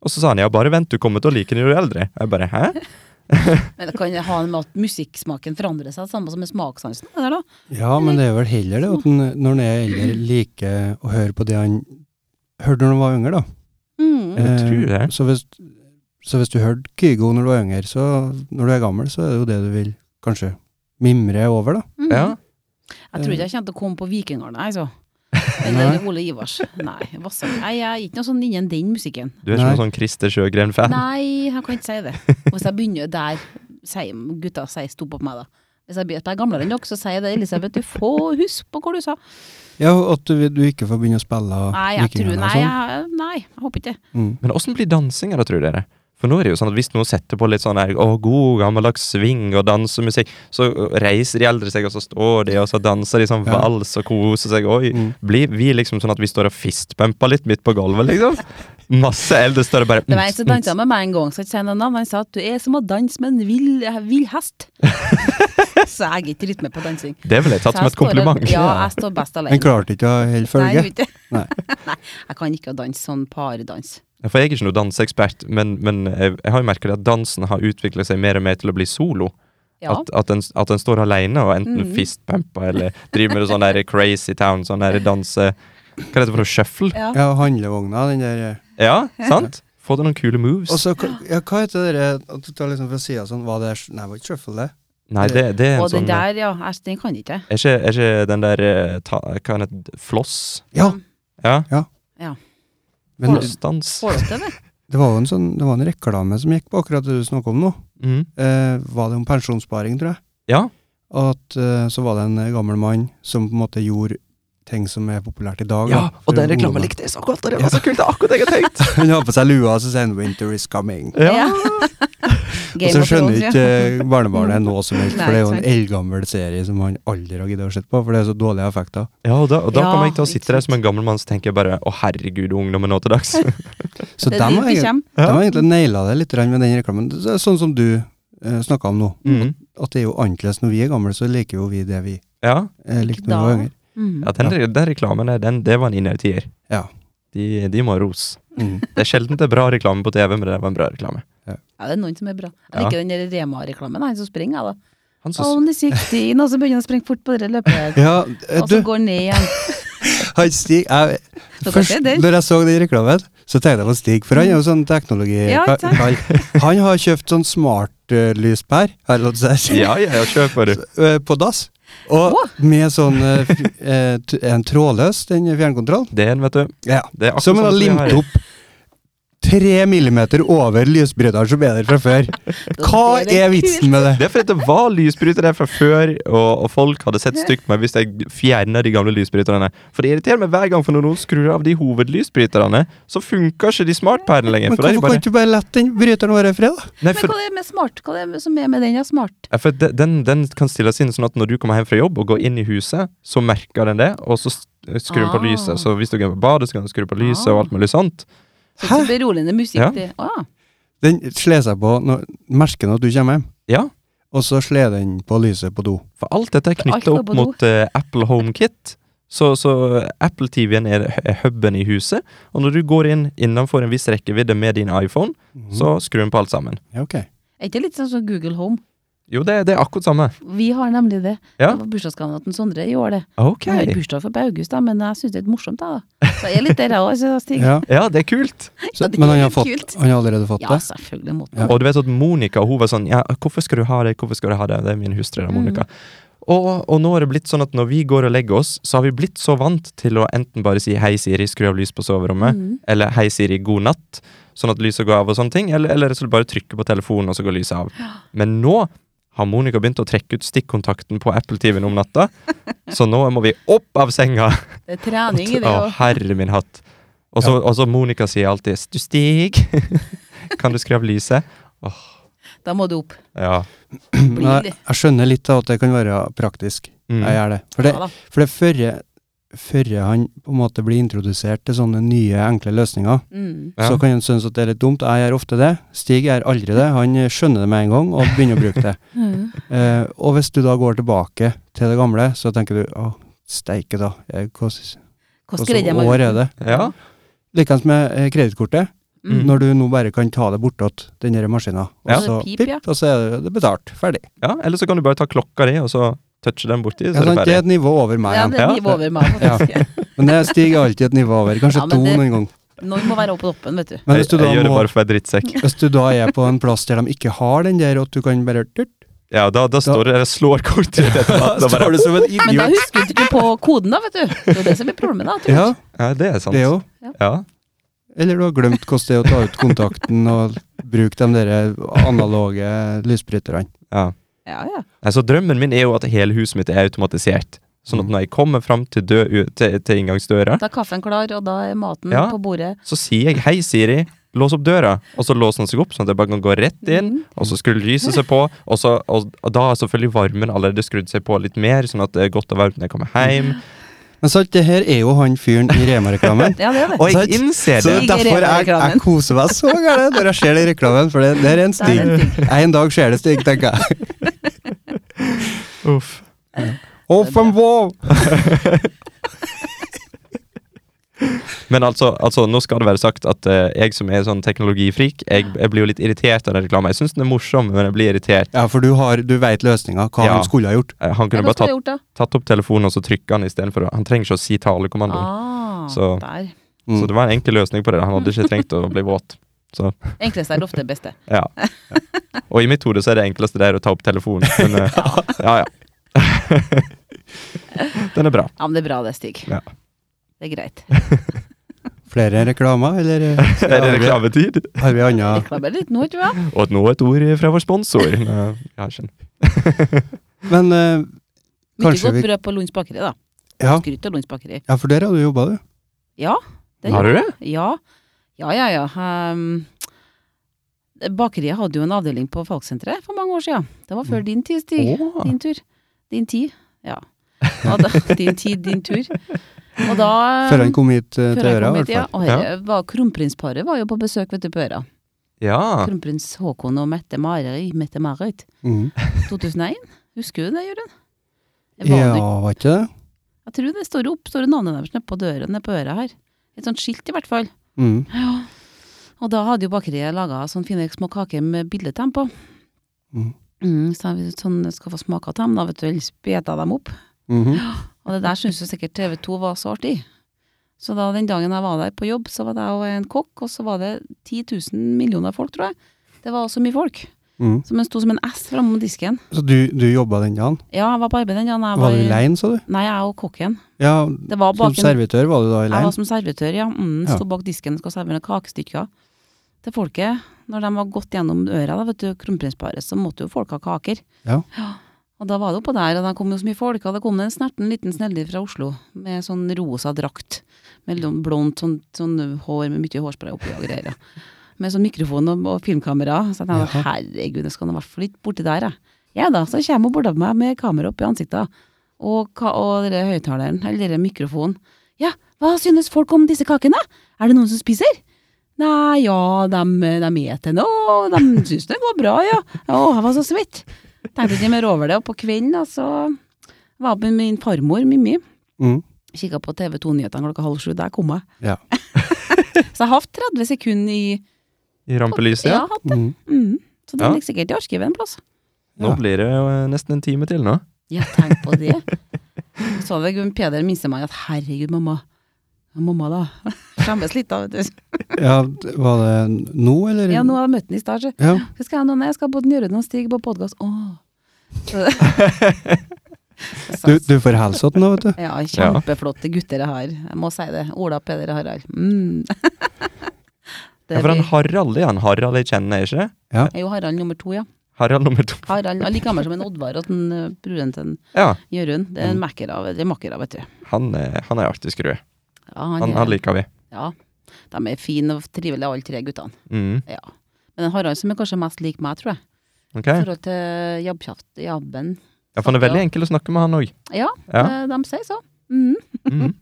[SPEAKER 2] Og så sa han ja, bare vent, du kommer til å like det når du er eldre. Jeg bare hæ?
[SPEAKER 3] Men det kan ha med at musikksmaken forandrer seg, samme som med smakssansen. det Der, da.
[SPEAKER 1] Ja, men det er vel heller det at en, når en er eldre, liker å høre på det han hørte når han var yngre, da.
[SPEAKER 3] Mm.
[SPEAKER 2] Jeg tror
[SPEAKER 1] Eh,
[SPEAKER 2] det.
[SPEAKER 1] Så hvis, så hvis du hørte Kygo når du var yngre, så når du er gammel, så er det jo det du vil kanskje mimre over, da.
[SPEAKER 3] Mm.
[SPEAKER 2] Ja.
[SPEAKER 3] Jeg tror ikke jeg kommer til å komme på Vikingene, jeg, så. Eller Ole Ivars. Nei, Vassar. Nei, jeg er ikke noe sånn innen den musikken.
[SPEAKER 2] Du er ikke
[SPEAKER 1] Nei.
[SPEAKER 2] noen sånn Christer Sjøgren-fan?
[SPEAKER 3] Nei, jeg kan ikke si det. Hvis jeg begynner der, sier gutta sier stopp på meg, da. Hvis jeg blir- jeg er gamlere enn dere, så sier jeg det, Elisabeth, du får husk på hva du sa.
[SPEAKER 1] Ja, og at du, du ikke får begynne å spille
[SPEAKER 3] Nei, jeg tror,
[SPEAKER 1] Vikingene og
[SPEAKER 3] nei,
[SPEAKER 1] sånn.
[SPEAKER 3] jeg, nei, jeg håper ikke det.
[SPEAKER 1] Mm.
[SPEAKER 2] Men åssen blir dansinga, da, tror dere? For nå er det jo sånn at hvis noen setter på litt sånn her, å, god gammeldags swing og dansemusikk, så reiser de eldre seg, og så står de, og så danser de sånn
[SPEAKER 1] Ja.
[SPEAKER 2] vals og koser seg. Oi.
[SPEAKER 1] Mm.
[SPEAKER 2] Blir vi liksom sånn at vi står og fistpumper litt midt på gulvet, liksom? Masse eldre står og bare mm,
[SPEAKER 3] Det var en som dansa med meg en gang, skal ikke si noe navn. Han sa at du er som å danse med en vill, eh, vill hest. så jeg er ikke rytme på dansing.
[SPEAKER 2] Det ville jeg tatt
[SPEAKER 3] Så
[SPEAKER 2] som
[SPEAKER 3] jeg
[SPEAKER 2] et kompliment.
[SPEAKER 3] scorer- Ja, jeg står best alene.
[SPEAKER 1] En klarte ikke å holde
[SPEAKER 3] Nei,
[SPEAKER 1] følge.
[SPEAKER 3] jeg vet ikke.
[SPEAKER 1] Nei.
[SPEAKER 3] Nei, jeg kan ikke danse sånn pardans.
[SPEAKER 2] Ja, For jeg er ikke noen danseekspert, men, men jeg, jeg har jo merket at dansen har utviklet seg mer og mer til å bli solo.
[SPEAKER 3] Ja.
[SPEAKER 2] At, at, den, at den står alene og enten
[SPEAKER 3] Mhm.
[SPEAKER 2] fistpumper eller driver med sånn der crazy town, sånn der danse... Hva heter det for noe? Shuffle?
[SPEAKER 3] ja.
[SPEAKER 1] Ja, handlevogna, den der eh.
[SPEAKER 2] Ja, sant? Få deg noen kule moves.
[SPEAKER 1] Og så, hva- ja, hva heter det der at du tar liksom fra sida sånn Var det Nei, det var ikke shuffle, det.
[SPEAKER 2] Nei, det, det er en
[SPEAKER 3] Og den
[SPEAKER 2] sånn... Er
[SPEAKER 3] der, ja, æsj, den kan ikke jeg.
[SPEAKER 2] ikke, er ikke den der... eh, Ta, hva heter det? Floss?
[SPEAKER 1] Ja,
[SPEAKER 2] Ja,
[SPEAKER 1] men det
[SPEAKER 2] flossdans.
[SPEAKER 3] Får dere til det?
[SPEAKER 1] var jo en sånn Det var en reklame som gikk på akkurat det du snakka om nå.
[SPEAKER 2] Mhm.
[SPEAKER 1] Eh, var det om pensjonssparing, tror jeg.
[SPEAKER 2] Ja,
[SPEAKER 1] Og at eh, så var det en eh, gammel mann som på en måte gjorde ting som er populært i dag.
[SPEAKER 2] ja,
[SPEAKER 1] da, for
[SPEAKER 2] og den reklamen
[SPEAKER 1] ungdommer.
[SPEAKER 2] likte jeg så godt, og det var så kult, det er akkurat det jeg har tenkt.
[SPEAKER 1] Han har på seg lua, og så sier han 'Winter is coming'.
[SPEAKER 2] Ja.
[SPEAKER 1] Og
[SPEAKER 3] Game
[SPEAKER 1] så
[SPEAKER 3] of
[SPEAKER 1] skjønner
[SPEAKER 3] Thrones, ja.
[SPEAKER 1] ikke eh, barnebarnet noe som helst,
[SPEAKER 3] Nei,
[SPEAKER 1] for det er jo en
[SPEAKER 3] sant.
[SPEAKER 1] eldgammel serie som han aldri har giddet å se på, for det er så dårlige effekter.
[SPEAKER 2] Ja, og da, og da
[SPEAKER 3] Ja,
[SPEAKER 2] kommer jeg til å
[SPEAKER 3] ikke
[SPEAKER 2] sitte der
[SPEAKER 3] sant.
[SPEAKER 2] som en gammel mann, så tenker jeg bare, å herregud, ungdommen nå til dags.
[SPEAKER 1] Så
[SPEAKER 3] Det
[SPEAKER 1] de
[SPEAKER 3] er
[SPEAKER 1] har
[SPEAKER 3] dit vi
[SPEAKER 1] egentlig,
[SPEAKER 3] kommer.
[SPEAKER 1] de har egentlig naila det litt grann med den reklamen. Det er Sånn som du eh, snakka om nå,
[SPEAKER 2] Mhm.
[SPEAKER 1] at det er jo annerledes når vi er gamle, så liker jo vi det vi
[SPEAKER 2] Ja,
[SPEAKER 1] eh, likte når vi var
[SPEAKER 3] Da.
[SPEAKER 1] yngre.
[SPEAKER 3] Mm.
[SPEAKER 2] ja den, re- den reklamen der, den, det var en innertier.
[SPEAKER 1] Ja.
[SPEAKER 2] De, de må ha ros.
[SPEAKER 1] Mm.
[SPEAKER 2] Det er sjelden det er bra reklame på TV, men det var en bra reklame.
[SPEAKER 3] Ja, det er noen som er bra. Jeg
[SPEAKER 2] Ja.
[SPEAKER 3] liker den der Rema-reklamen, han som springer, jeg, da.
[SPEAKER 2] Han som,
[SPEAKER 3] Only 16, og så begynner han å springe fort på det løpet.
[SPEAKER 1] Ja, eh,
[SPEAKER 3] Og
[SPEAKER 1] du,
[SPEAKER 3] så går han ned igjen.
[SPEAKER 1] han Stig jeg,
[SPEAKER 3] Dere
[SPEAKER 1] Først
[SPEAKER 3] ser den.
[SPEAKER 1] når jeg så den reklamen, så tenkte jeg på Stig, for han er jo sånn teknologi...
[SPEAKER 3] Mm. Ja, ikke sant?
[SPEAKER 1] kall. Han har kjøpt sånn smart-lyspær, har jeg lov til å si,
[SPEAKER 2] ja, ja, ja, kjør på, du.
[SPEAKER 1] eh, på dass. Og
[SPEAKER 3] Åh!
[SPEAKER 1] med sånn eh, f- eh, t- en trådløs, den fjernkontroll.
[SPEAKER 2] Det er en, vet du.
[SPEAKER 1] Ja.
[SPEAKER 2] Det er akkurat
[SPEAKER 1] Som han har
[SPEAKER 2] sånn som vi
[SPEAKER 1] limt
[SPEAKER 2] har.
[SPEAKER 1] opp tre millimeter over lysbryteren som er der fra før. Hva er vitsen med det?
[SPEAKER 2] Det er fordi det var lysbrytere der fra før, og, og folk hadde sett stygt på meg hvis jeg fjerna de gamle lysbryterne. For det irriterer meg hver gang for når noen skrur av de hovedlysbryterne, så funker ikke de smartpærene lenger.
[SPEAKER 1] Men
[SPEAKER 2] For, det
[SPEAKER 1] hvorfor
[SPEAKER 2] er jo
[SPEAKER 1] kan
[SPEAKER 2] bare,
[SPEAKER 1] du ikke bare la den bryteren være i fred, da?
[SPEAKER 2] nei,
[SPEAKER 3] Men
[SPEAKER 2] for,
[SPEAKER 3] hva er det med smart? Hva er det som er med den, ja, smart?
[SPEAKER 2] ja, for de- den, den kan stilles inn sånn at når du kommer hjem fra jobb og går inn i huset, så merker den det, og så s- skrur den på
[SPEAKER 3] Ah.
[SPEAKER 2] lyset. Så hvis du går på badet, så kan du skru på lyset og alt mulig sånt.
[SPEAKER 3] Så det er Beroligende musikk.
[SPEAKER 2] Ja.
[SPEAKER 3] Det. Ah,
[SPEAKER 1] Den slår seg på når merker den at du kommer hjem,
[SPEAKER 2] Ja,
[SPEAKER 1] og så slår den på lyset på do.
[SPEAKER 2] For alt dette er
[SPEAKER 3] Alt
[SPEAKER 2] knytta
[SPEAKER 3] går
[SPEAKER 2] opp
[SPEAKER 3] på do.
[SPEAKER 2] mot eh, Apple HomeKit. Så, så eh, Apple TV-en er, er huben i huset, og når du går inn innenfor en viss rekkevidde med din iPhone,
[SPEAKER 3] Mhm.
[SPEAKER 2] så skrur den på alt sammen.
[SPEAKER 1] Ja, ok.
[SPEAKER 3] er ikke det litt sånn som Google Home?
[SPEAKER 2] Jo, det, det er akkurat samme.
[SPEAKER 3] Vi har nemlig det.
[SPEAKER 2] Ja.
[SPEAKER 3] Det var bursdagsgaven til Sondre i år, det.
[SPEAKER 2] Ok.
[SPEAKER 3] Jeg har ikke bursdag for på august, da, men jeg syns det er litt morsomt, da. Så jeg er litt der òg, Stig.
[SPEAKER 1] Ja,
[SPEAKER 2] Ja, det er kult.
[SPEAKER 1] så,
[SPEAKER 3] Ja, det
[SPEAKER 1] men han
[SPEAKER 3] er
[SPEAKER 1] har, fått,
[SPEAKER 3] kult.
[SPEAKER 1] han har allerede fått
[SPEAKER 3] Ja,
[SPEAKER 1] det?
[SPEAKER 3] selvfølgelig måtte
[SPEAKER 1] Ja.
[SPEAKER 3] man.
[SPEAKER 2] Og du vet at Monica hun var sånn Ja, hvorfor skal du ha det? Hvorfor skal du ha det? Det er min hustru, da, Monica. Og, og nå er det blitt sånn at når vi går og legger oss, så har vi blitt så vant til å enten bare si 'Hei, Siri, skru av lys på soverommet',
[SPEAKER 3] Mhm.
[SPEAKER 2] eller 'Hei, Siri, god natt', sånn at lyset går av og sånne ting, eller, eller så bare trykke på telefonen, og så går lyset av. Men nå har Monica begynt å trekke ut stikkontakten på Apple TV-en om natta, så nå må vi opp av senga!
[SPEAKER 3] Det er trening i det
[SPEAKER 2] Å,
[SPEAKER 3] òg.
[SPEAKER 2] herre min hatt. Og så, og så Monica sier alltid «Du Stig, kan du skru av lyset?
[SPEAKER 3] Da må du opp.
[SPEAKER 2] Ja.
[SPEAKER 1] Men jeg, jeg skjønner litt av at det kan være praktisk.
[SPEAKER 2] Mm.
[SPEAKER 1] Jeg gjør det. For det,
[SPEAKER 3] Ja, da.
[SPEAKER 1] for det førre, førre han på en måte blir introdusert til sånne nye, enkle løsninger,
[SPEAKER 3] Mm.
[SPEAKER 2] Ja.
[SPEAKER 1] så kan en synes at det er litt dumt. Jeg gjør ofte det. Stig gjør aldri det. Han eh, skjønner det med en gang og begynner å bruke det. Eh, og hvis du da går tilbake til det gamle, så tenker du å, steike da, eh, hva s-
[SPEAKER 3] Hvordan greide jeg
[SPEAKER 1] hvilket
[SPEAKER 3] meg
[SPEAKER 1] år er
[SPEAKER 3] uten?
[SPEAKER 1] det?
[SPEAKER 2] ja.
[SPEAKER 1] Likeens med eh, kredittkortet,
[SPEAKER 3] Mm.
[SPEAKER 1] når du nå bare kan ta det bortåt den der maskina, og
[SPEAKER 2] Ja.
[SPEAKER 1] så
[SPEAKER 3] Så
[SPEAKER 1] pip,
[SPEAKER 3] det pip, ja.
[SPEAKER 1] og så er det- det er betalt. Ferdig.
[SPEAKER 2] Ja, eller så kan du bare ta klokka di, og så touche den borti, så
[SPEAKER 1] Ja,
[SPEAKER 2] er det
[SPEAKER 1] sant? Det er
[SPEAKER 2] ferdig.
[SPEAKER 1] et nivå over meg
[SPEAKER 3] Ja,
[SPEAKER 1] igjen.
[SPEAKER 3] det er
[SPEAKER 2] Ja.
[SPEAKER 3] nivå over meg,
[SPEAKER 1] Ja.
[SPEAKER 3] faktisk.
[SPEAKER 1] Men det stiger alltid et nivå over. Kanskje
[SPEAKER 3] Ja, men
[SPEAKER 1] to
[SPEAKER 3] det-
[SPEAKER 1] noen gang.
[SPEAKER 3] Noen må være oppe på toppen, vet du.
[SPEAKER 1] Men
[SPEAKER 2] Jeg,
[SPEAKER 1] hvis du,
[SPEAKER 2] jeg
[SPEAKER 1] da
[SPEAKER 2] gjør det
[SPEAKER 1] må,
[SPEAKER 2] bare for å være drittsekk.
[SPEAKER 1] hvis du da er på en plass der de ikke har den der, og at du kan bare turt,
[SPEAKER 2] Ja, da, da står det, jeg slår kortet ditt etter natta.
[SPEAKER 1] står
[SPEAKER 2] bare-
[SPEAKER 1] du som en
[SPEAKER 3] Men da
[SPEAKER 1] idiot.
[SPEAKER 3] husker du ikke på koden, da, vet du. Det er jo det som er problemet, da. tror jeg.
[SPEAKER 1] Ja,
[SPEAKER 2] Ja, det er sant.
[SPEAKER 1] det er jo.
[SPEAKER 2] Ja.
[SPEAKER 1] Eller du har glemt hvordan det er å ta ut kontakten og bruke de der analoge lysbryterne.
[SPEAKER 2] Ja.
[SPEAKER 3] Ja, ja.
[SPEAKER 2] Altså, drømmen min er jo at hele huset mitt er automatisert.
[SPEAKER 1] Mm.
[SPEAKER 2] Sånn at når jeg kommer fram til, dø, til, til inngangsdøra,
[SPEAKER 3] Da er kaffen klar, og da er maten
[SPEAKER 2] Ja.
[SPEAKER 3] på bordet.
[SPEAKER 2] så sier jeg 'Hei, Siri, lås opp døra', og så låser den seg opp, sånn at jeg bare kan gå rett
[SPEAKER 1] Mm.
[SPEAKER 2] inn,
[SPEAKER 3] Mm.
[SPEAKER 2] og så skrur lyset seg på, og, så, og, og da har selvfølgelig varmen allerede skrudd seg på litt mer, sånn at det er godt og varmt når jeg kommer hjem.
[SPEAKER 1] Men sant, det her er jo han fyren i Rema-reklamen.
[SPEAKER 3] Ja, det er det.
[SPEAKER 2] Og jeg
[SPEAKER 1] Sant?
[SPEAKER 2] innser
[SPEAKER 1] Så
[SPEAKER 2] det!
[SPEAKER 1] det er derfor jeg, jeg koser meg så gærent når jeg ser den reklamen, for det, det er en
[SPEAKER 3] Det
[SPEAKER 1] Stig.
[SPEAKER 3] er en Stig.
[SPEAKER 1] En dag skjer det Stig, tenker jeg.
[SPEAKER 2] Uff.
[SPEAKER 1] Off and wow!
[SPEAKER 2] Men altså, altså, nå skal det være sagt at eh, jeg som er sånn teknologifrik, jeg, jeg blir jo litt irritert av den reklamen. Jeg syns den er morsom, men jeg blir irritert.
[SPEAKER 1] Ja, for du, har- du veit løsninga, hva
[SPEAKER 2] Ja.
[SPEAKER 1] han skulle ha gjort.
[SPEAKER 2] Eh, Han
[SPEAKER 3] Ja,
[SPEAKER 2] kunne
[SPEAKER 3] hva skulle
[SPEAKER 2] bare tatt,
[SPEAKER 3] jeg gjort da?
[SPEAKER 2] tatt opp telefonen og så trykka han istedenfor. Han trenger ikke å si talekommandoen.
[SPEAKER 3] Ah,
[SPEAKER 2] Så-
[SPEAKER 3] der.
[SPEAKER 1] Mm.
[SPEAKER 2] Så det var en enkel løsning på det. Han hadde ikke trengt å bli våt.
[SPEAKER 3] Enkleste er ofte det beste.
[SPEAKER 2] Ja. Og i mitt hode så er det enkleste der å ta opp telefonen. Men eh, ja, ja. Den er bra.
[SPEAKER 3] Ja, men det er bra det, Stig.
[SPEAKER 2] Ja.
[SPEAKER 3] Det er greit.
[SPEAKER 1] Flere reklamer, eller eh,
[SPEAKER 2] Er det reklametid?
[SPEAKER 1] har vi anna
[SPEAKER 3] Reklamer litt nå, tror jeg.
[SPEAKER 2] Og nå et ord fra vår sponsor. Nei, Ja, skjønner.
[SPEAKER 1] Men eh,
[SPEAKER 3] Mye
[SPEAKER 1] Kanskje
[SPEAKER 3] godt
[SPEAKER 1] vi-
[SPEAKER 3] brød på Lunds bakeri, da.
[SPEAKER 1] ja.
[SPEAKER 3] Skryt av Lunds bakeri.
[SPEAKER 1] ja, for der har du jobba, du.
[SPEAKER 3] Um, Ja. det
[SPEAKER 2] Har du det?
[SPEAKER 3] Ja, ja, ja. ja. Ehm, bakeriet hadde jo en avdeling på Falksenteret for mange år siden. Det var
[SPEAKER 1] Mm.
[SPEAKER 3] før din tid, Stig.
[SPEAKER 2] Åh.
[SPEAKER 3] Din tur. Din tid. Ja. Og da, din tid, din tur. Og da
[SPEAKER 1] Før han kom hit eh,
[SPEAKER 3] før
[SPEAKER 1] til
[SPEAKER 3] jeg
[SPEAKER 1] øra,
[SPEAKER 3] kom
[SPEAKER 1] i
[SPEAKER 3] hit,
[SPEAKER 1] hvert
[SPEAKER 3] ja.
[SPEAKER 1] fall.
[SPEAKER 3] Og her var kronprinsparet var jo på besøk vet du, på Øra.
[SPEAKER 2] Ja.
[SPEAKER 3] Kronprins Haakon og Mette Marit. Mette Marit.
[SPEAKER 1] Mhm.
[SPEAKER 3] 2001. Husker du det, Jørund? Jeg var
[SPEAKER 1] Ja,
[SPEAKER 3] der.
[SPEAKER 1] var ikke det?
[SPEAKER 3] Jeg tror det står opp, står det navnet deres nede på døra nede på Øra her. Et sånt skilt, i hvert fall.
[SPEAKER 1] Mhm.
[SPEAKER 3] Ja. Og da hadde jo bakeriet laga sånne fine små kaker med bilde til dem på.
[SPEAKER 1] Mhm.
[SPEAKER 3] Mm, så jeg sånn, skal få smake av dem, da vet du, ellers beta dem opp.
[SPEAKER 1] Mhm.
[SPEAKER 3] Og det der syntes jo sikkert TV 2 var så artig. Så da den dagen jeg var der på jobb, så var det jo en kokk, og så var det 10 000 millioner folk, tror jeg. Det var så mye folk.
[SPEAKER 1] Mhm.
[SPEAKER 3] Så man sto som en S framme mot disken.
[SPEAKER 1] Så du, du jobba den dagen?
[SPEAKER 3] Ja, jeg var på arbeid den dagen. jeg
[SPEAKER 1] Var du
[SPEAKER 3] i-
[SPEAKER 1] aleine, sa du?
[SPEAKER 3] Nei, jeg og kokken.
[SPEAKER 1] Ja,
[SPEAKER 3] Det var
[SPEAKER 1] som
[SPEAKER 3] bak en
[SPEAKER 1] servitør var du da
[SPEAKER 3] Jeg var
[SPEAKER 1] aleine?
[SPEAKER 3] som servitør, ja. Mm,
[SPEAKER 1] Ja.
[SPEAKER 3] Sto bak disken og skulle servere noen kakestykker. til folket. Når de var gått gjennom øra, da, vet du, kronprinsparet, så måtte jo folk ha kaker.
[SPEAKER 1] Ja.
[SPEAKER 3] Og da var det oppå der, og da kom jo så mye folk, og det kom en snerten liten snellig fra Oslo med sånn rosa drakt, med litt blondt sånn, sånn hår med mye hårspray oppi og greier. ja. Med sånn mikrofon og, og filmkamera. Så jeg tenkte,
[SPEAKER 1] Jaha.
[SPEAKER 3] herregud, jeg skal nå i hvert fall ikke borti der, jeg. Ja da, så kommer hun borti meg med kamera opp i ansiktet, og, ka- og dere høyttaleren, eller dere mikrofonen. Ja, hva synes folk om disse kakene? Er det noen som spiser? Nei, ja, de, de eter nå, og de synes det går bra, ja. Å, jeg var så svett. Tenkte ikke mer over det, og på kvelden, da, så var jeg med min farmor, Mimmi,
[SPEAKER 1] Mm.
[SPEAKER 3] kikka på TV 2-nyhetene klokka halv sju, der kom jeg.
[SPEAKER 1] Ja.
[SPEAKER 3] Så jeg har hatt 30 sekunder i
[SPEAKER 2] I rampelyset.
[SPEAKER 3] Ja, hatt det.
[SPEAKER 1] Mm.
[SPEAKER 3] Mm. Så den
[SPEAKER 2] Ja.
[SPEAKER 3] ligger sikkert i arkivet en plass.
[SPEAKER 2] Nå
[SPEAKER 1] Ja.
[SPEAKER 2] blir det jo eh, nesten en time til nå.
[SPEAKER 3] Ja, tenk på det. Så det Gunn Peder minste meg at herregud, mamma. Ja, Mamma, da. Skjemmes litt, da, vet du.
[SPEAKER 1] ja, d- var det nå, eller?
[SPEAKER 3] Ja, nå har jeg møtt ham i stad, så.
[SPEAKER 1] Ja.
[SPEAKER 3] Hva skal jeg nå? Nei, jeg skal på den Njørøyden og Stig på podkast. Åh. Så-
[SPEAKER 1] Du, du får hilse til nå, vet du.
[SPEAKER 3] Ja, kjempeflotte gutter jeg har. Jeg må si det. Ola, Peder og Harald. Mm.
[SPEAKER 2] Ja,
[SPEAKER 3] Det
[SPEAKER 2] for han
[SPEAKER 3] blir-
[SPEAKER 2] Harald er han Harald jeg kjenner, ikke det?
[SPEAKER 3] er jo Harald nummer to, ja.
[SPEAKER 2] Harald nummer to.
[SPEAKER 3] Harald er like gammel som en Oddvar og den eh, broren til en
[SPEAKER 2] Ja,
[SPEAKER 3] Jørund. Det er en makker av, eller makker av, vet du. Ja,
[SPEAKER 2] han er, han er artig skrue.
[SPEAKER 3] han,
[SPEAKER 2] Han,
[SPEAKER 3] er-
[SPEAKER 2] han liker vi.
[SPEAKER 3] Ja. De er fine og trivelige, alle tre guttene.
[SPEAKER 2] Mm.
[SPEAKER 3] Ja. Men Harald som er kanskje mest lik meg, tror jeg.
[SPEAKER 2] ok.
[SPEAKER 3] I forhold til jobbkjaft, jobben.
[SPEAKER 2] Ja, for han er veldig enkel å snakke med, han òg.
[SPEAKER 3] Ja,
[SPEAKER 2] Ja.
[SPEAKER 3] eh, de sier så. Mhm.
[SPEAKER 2] Mm.